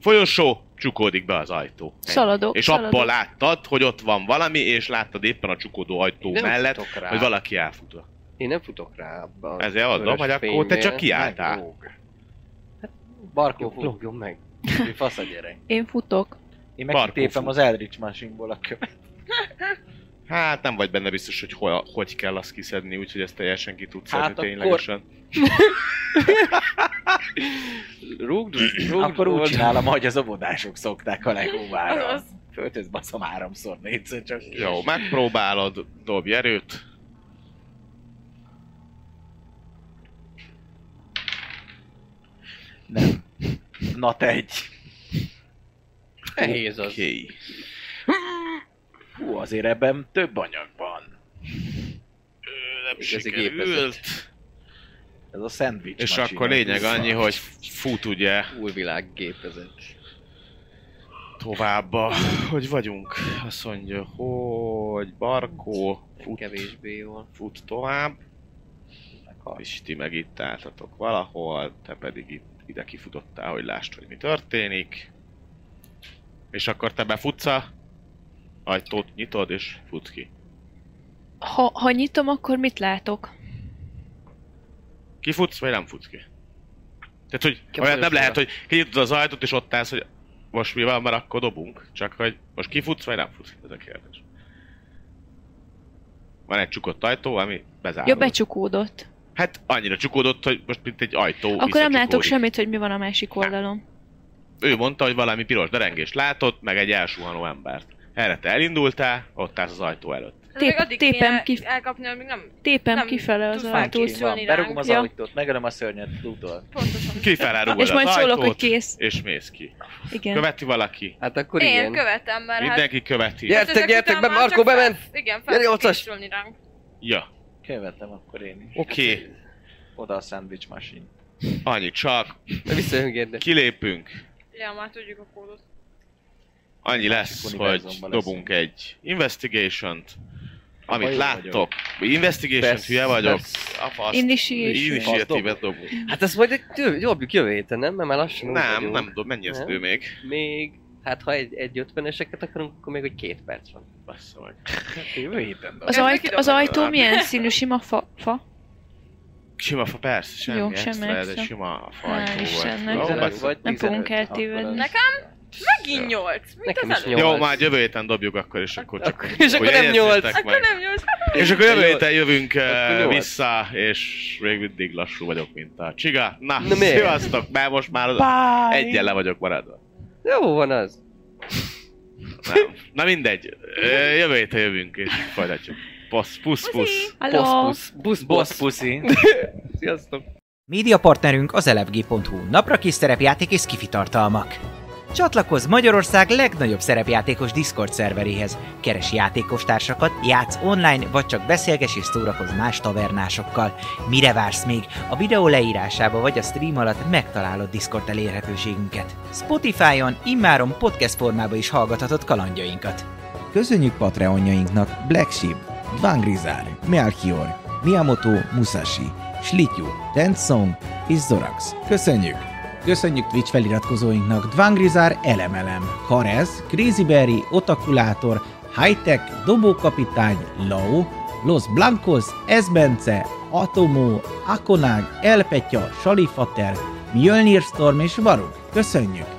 [SPEAKER 3] folyosó, csukódik be az ajtó.
[SPEAKER 4] Szaladok,
[SPEAKER 3] És
[SPEAKER 4] szaladok.
[SPEAKER 3] abban láttad, hogy ott van valami, és láttad éppen a csukódó ajtó
[SPEAKER 5] Én nem
[SPEAKER 3] mellett,
[SPEAKER 5] futok rá.
[SPEAKER 3] hogy valaki elfut.
[SPEAKER 5] Én nem futok rá abba a
[SPEAKER 3] Ezért adom,
[SPEAKER 5] vörös
[SPEAKER 3] hogy akkor te
[SPEAKER 5] fénynél.
[SPEAKER 3] csak kiálltál.
[SPEAKER 5] Meglóg.
[SPEAKER 8] Barkó
[SPEAKER 5] Jó,
[SPEAKER 8] fut.
[SPEAKER 5] lógjon meg.
[SPEAKER 8] Fasz a gyerek.
[SPEAKER 4] Én futok.
[SPEAKER 8] Én
[SPEAKER 3] Barkó
[SPEAKER 8] megkitépem
[SPEAKER 3] fut.
[SPEAKER 8] az Eldritch Machine-ból a követ.
[SPEAKER 3] Hát nem vagy benne biztos, hogy hol, hogy kell azt kiszedni, úgyhogy ezt teljesen ki tudsz
[SPEAKER 7] Hát
[SPEAKER 3] szedni
[SPEAKER 7] akkor-
[SPEAKER 3] ténylegesen.
[SPEAKER 5] Rúgd, rúgd,
[SPEAKER 7] Akkor úgy
[SPEAKER 5] rúgd.
[SPEAKER 7] csinálom, ahogy az óvodások szokták a legóvára.
[SPEAKER 6] Azaz.
[SPEAKER 7] Föltöz baszom háromszor, négyszer csak.
[SPEAKER 3] Jó, megpróbálod, dobj erőt.
[SPEAKER 7] Na te egy.
[SPEAKER 5] Nehéz az.
[SPEAKER 3] Oké.
[SPEAKER 7] Hú, azért ebben több anyag van.
[SPEAKER 3] Ö, Nem
[SPEAKER 5] Igazi
[SPEAKER 3] sikerült.
[SPEAKER 7] Ez a szendvics
[SPEAKER 3] És
[SPEAKER 7] machine,
[SPEAKER 3] akkor lényeg
[SPEAKER 7] vissza.
[SPEAKER 3] annyi, hogy fut ugye
[SPEAKER 5] Újvilág gépezet.
[SPEAKER 3] tovább a... Hogy vagyunk? Azt mondja, hogy Barkó fut,
[SPEAKER 5] Kevésbé jól.
[SPEAKER 3] fut tovább. És ti meg itt álltatok valahol, te pedig itt ide kifutottál, hogy lásd, hogy mi történik. És akkor te befutsz a ajtót, nyitod és fut ki.
[SPEAKER 4] Ha, ha nyitom, akkor mit látok?
[SPEAKER 3] Kifutsz, vagy nem futsz ki? Tehát, hogy
[SPEAKER 5] Ki a
[SPEAKER 3] olyan nem
[SPEAKER 5] folyosóra?
[SPEAKER 3] lehet, hogy kinyitod az ajtót, és ott állsz, hogy most mi van, mert akkor dobunk. Csak, hogy most kifutsz, vagy nem futsz ki, ez a kérdés. Van egy csukott ajtó, ami bezárul.
[SPEAKER 4] Ja, becsukódott.
[SPEAKER 3] Hát annyira csukódott, hogy most mint egy ajtó
[SPEAKER 4] Akkor nem látok
[SPEAKER 3] visszacsukódik.
[SPEAKER 4] semmit, hogy mi van a másik oldalon.
[SPEAKER 3] Ő mondta, hogy valami piros derengést látott, meg egy elsuhanó embert. Erre te elindultál, ott állsz az ajtó előtt.
[SPEAKER 6] Tép,
[SPEAKER 4] Tép-
[SPEAKER 6] addig
[SPEAKER 4] tépem
[SPEAKER 6] kéne
[SPEAKER 4] ki-
[SPEAKER 6] elkapni, amíg nem
[SPEAKER 4] Tépem
[SPEAKER 6] Nem
[SPEAKER 4] kifele az
[SPEAKER 6] tud
[SPEAKER 4] ajtót.
[SPEAKER 6] felkészülni.
[SPEAKER 4] Ja.
[SPEAKER 6] ránk.
[SPEAKER 8] Berugom az
[SPEAKER 4] Ja.
[SPEAKER 8] ajtót, megölöm a szörnyet, lútol.
[SPEAKER 6] pontosan.
[SPEAKER 3] Kifele rúgod
[SPEAKER 4] És majd
[SPEAKER 3] az
[SPEAKER 4] szólok,
[SPEAKER 3] ajtót,
[SPEAKER 4] hogy kész.
[SPEAKER 3] és mész ki.
[SPEAKER 4] Igen.
[SPEAKER 3] Követi valaki?
[SPEAKER 5] Hát akkor
[SPEAKER 6] Én
[SPEAKER 5] igen.
[SPEAKER 6] követem, mert hát...
[SPEAKER 3] Mindenki követi.
[SPEAKER 5] Gyertek,
[SPEAKER 6] ezek
[SPEAKER 5] gyertek
[SPEAKER 6] után
[SPEAKER 5] be,
[SPEAKER 6] már
[SPEAKER 5] Markó,
[SPEAKER 6] csak fel-
[SPEAKER 5] bement!
[SPEAKER 6] Igen, fel
[SPEAKER 5] Gyere,
[SPEAKER 6] kell
[SPEAKER 5] nyolcas!
[SPEAKER 6] készülni ránk.
[SPEAKER 3] Ja.
[SPEAKER 8] Követem akkor én is.
[SPEAKER 3] Oké, okay.
[SPEAKER 8] Oda a sandwich machine.
[SPEAKER 3] annyi csak.
[SPEAKER 5] Visszajön Gerde.
[SPEAKER 3] Kilépünk.
[SPEAKER 6] Ja, már tudjuk a kódot.
[SPEAKER 3] Annyi lesz,
[SPEAKER 8] Másik
[SPEAKER 3] hogy
[SPEAKER 8] univerzumban
[SPEAKER 3] dobunk egy investigation-t, amit
[SPEAKER 8] Hajó
[SPEAKER 3] láttok. Investigation
[SPEAKER 5] Persze,
[SPEAKER 3] hülye vagyok.
[SPEAKER 5] persze.
[SPEAKER 3] A fasz.
[SPEAKER 4] Initiation.
[SPEAKER 3] Initiative-et dobunk.
[SPEAKER 5] Hát ezt majd egy jövő- jobbjuk jövő héten, nem? Mert már lassan úgy
[SPEAKER 3] Nem,
[SPEAKER 5] vagyunk.
[SPEAKER 3] nem tudom, mennyi az
[SPEAKER 5] Nem.
[SPEAKER 3] idő még.
[SPEAKER 5] Még, hát ha egy, egy ötveneseket akarunk, akkor még hogy két perc van.
[SPEAKER 3] Bassza meg.
[SPEAKER 7] Jövő héten
[SPEAKER 4] Az,
[SPEAKER 6] Ez
[SPEAKER 4] ajt,
[SPEAKER 6] neki
[SPEAKER 4] az
[SPEAKER 6] dobálom.
[SPEAKER 4] ajtó milyen színű sima fa? fa?
[SPEAKER 3] Sima fa, persze, semmi
[SPEAKER 4] Jó,
[SPEAKER 3] Jó,
[SPEAKER 4] semmi
[SPEAKER 3] extra, semmi ez
[SPEAKER 4] extra.
[SPEAKER 3] egy sima
[SPEAKER 4] Hál'
[SPEAKER 3] fajtó
[SPEAKER 4] Istennek.
[SPEAKER 3] volt. Jó, bassza.
[SPEAKER 8] vagy
[SPEAKER 4] Nem
[SPEAKER 8] 15,
[SPEAKER 4] fogunk eltévedni.
[SPEAKER 8] akkor az-
[SPEAKER 6] Nekem megint nyolc, mint
[SPEAKER 5] Nekem
[SPEAKER 6] az
[SPEAKER 5] is
[SPEAKER 6] előbb.
[SPEAKER 5] nyolc.
[SPEAKER 3] Jó, már jövő héten dobjuk akkor, és akkor csak...
[SPEAKER 5] Akkor- és
[SPEAKER 3] hogy
[SPEAKER 5] akkor nem
[SPEAKER 3] jegyezzétek
[SPEAKER 5] nyolc.
[SPEAKER 3] meg.
[SPEAKER 6] Akkor nem nyolc.
[SPEAKER 3] És akkor jövő
[SPEAKER 5] Jó.
[SPEAKER 3] héten jövünk eh,
[SPEAKER 5] Akkor nyolc.
[SPEAKER 3] vissza, és még mindig lassú vagyok, mint a csiga. Na,
[SPEAKER 5] Na, miért?
[SPEAKER 3] szívasztok, mert most már az- egyen le vagyok maradva.
[SPEAKER 5] Jó van az.
[SPEAKER 3] Nem. Na mindegy, Ö, jövő héten jövünk, és folytatjuk. Pusz, pusz, pusz.
[SPEAKER 4] Hello.
[SPEAKER 5] Busz, busz,
[SPEAKER 8] Boss
[SPEAKER 5] busz, busz.
[SPEAKER 8] puszi.
[SPEAKER 5] Sziasztok.
[SPEAKER 1] Média partnerünk az elefg.hu, napra kis szerepjáték és skifi tartalmak. Csatlakozz Magyarország legnagyobb szerepjátékos Discord szerveréhez. Keres játékostársakat, játsz online, vagy csak beszélges és szórakozz más tavernásokkal. Mire vársz még? A videó leírásába vagy a stream alatt megtalálod Discord elérhetőségünket. Spotify-on immáron podcast formába is hallgathatod kalandjainkat.
[SPEAKER 9] Köszönjük Patreonjainknak Black Sheep, Dvangrizár, Melchior, Miyamoto Musashi, Slityu, Tensong és Zorax. Köszönjük! Köszönjük Twitch feliratkozóinknak Dvangrizár Elemelem, Karez, Crazy Berry, Otakulátor, Hightech, Dobókapitány, Lao, Los Blancos, Esbence, Atomó, Akonág, Elpetya, Salifater, Mjölnir Storm és Varug. Köszönjük!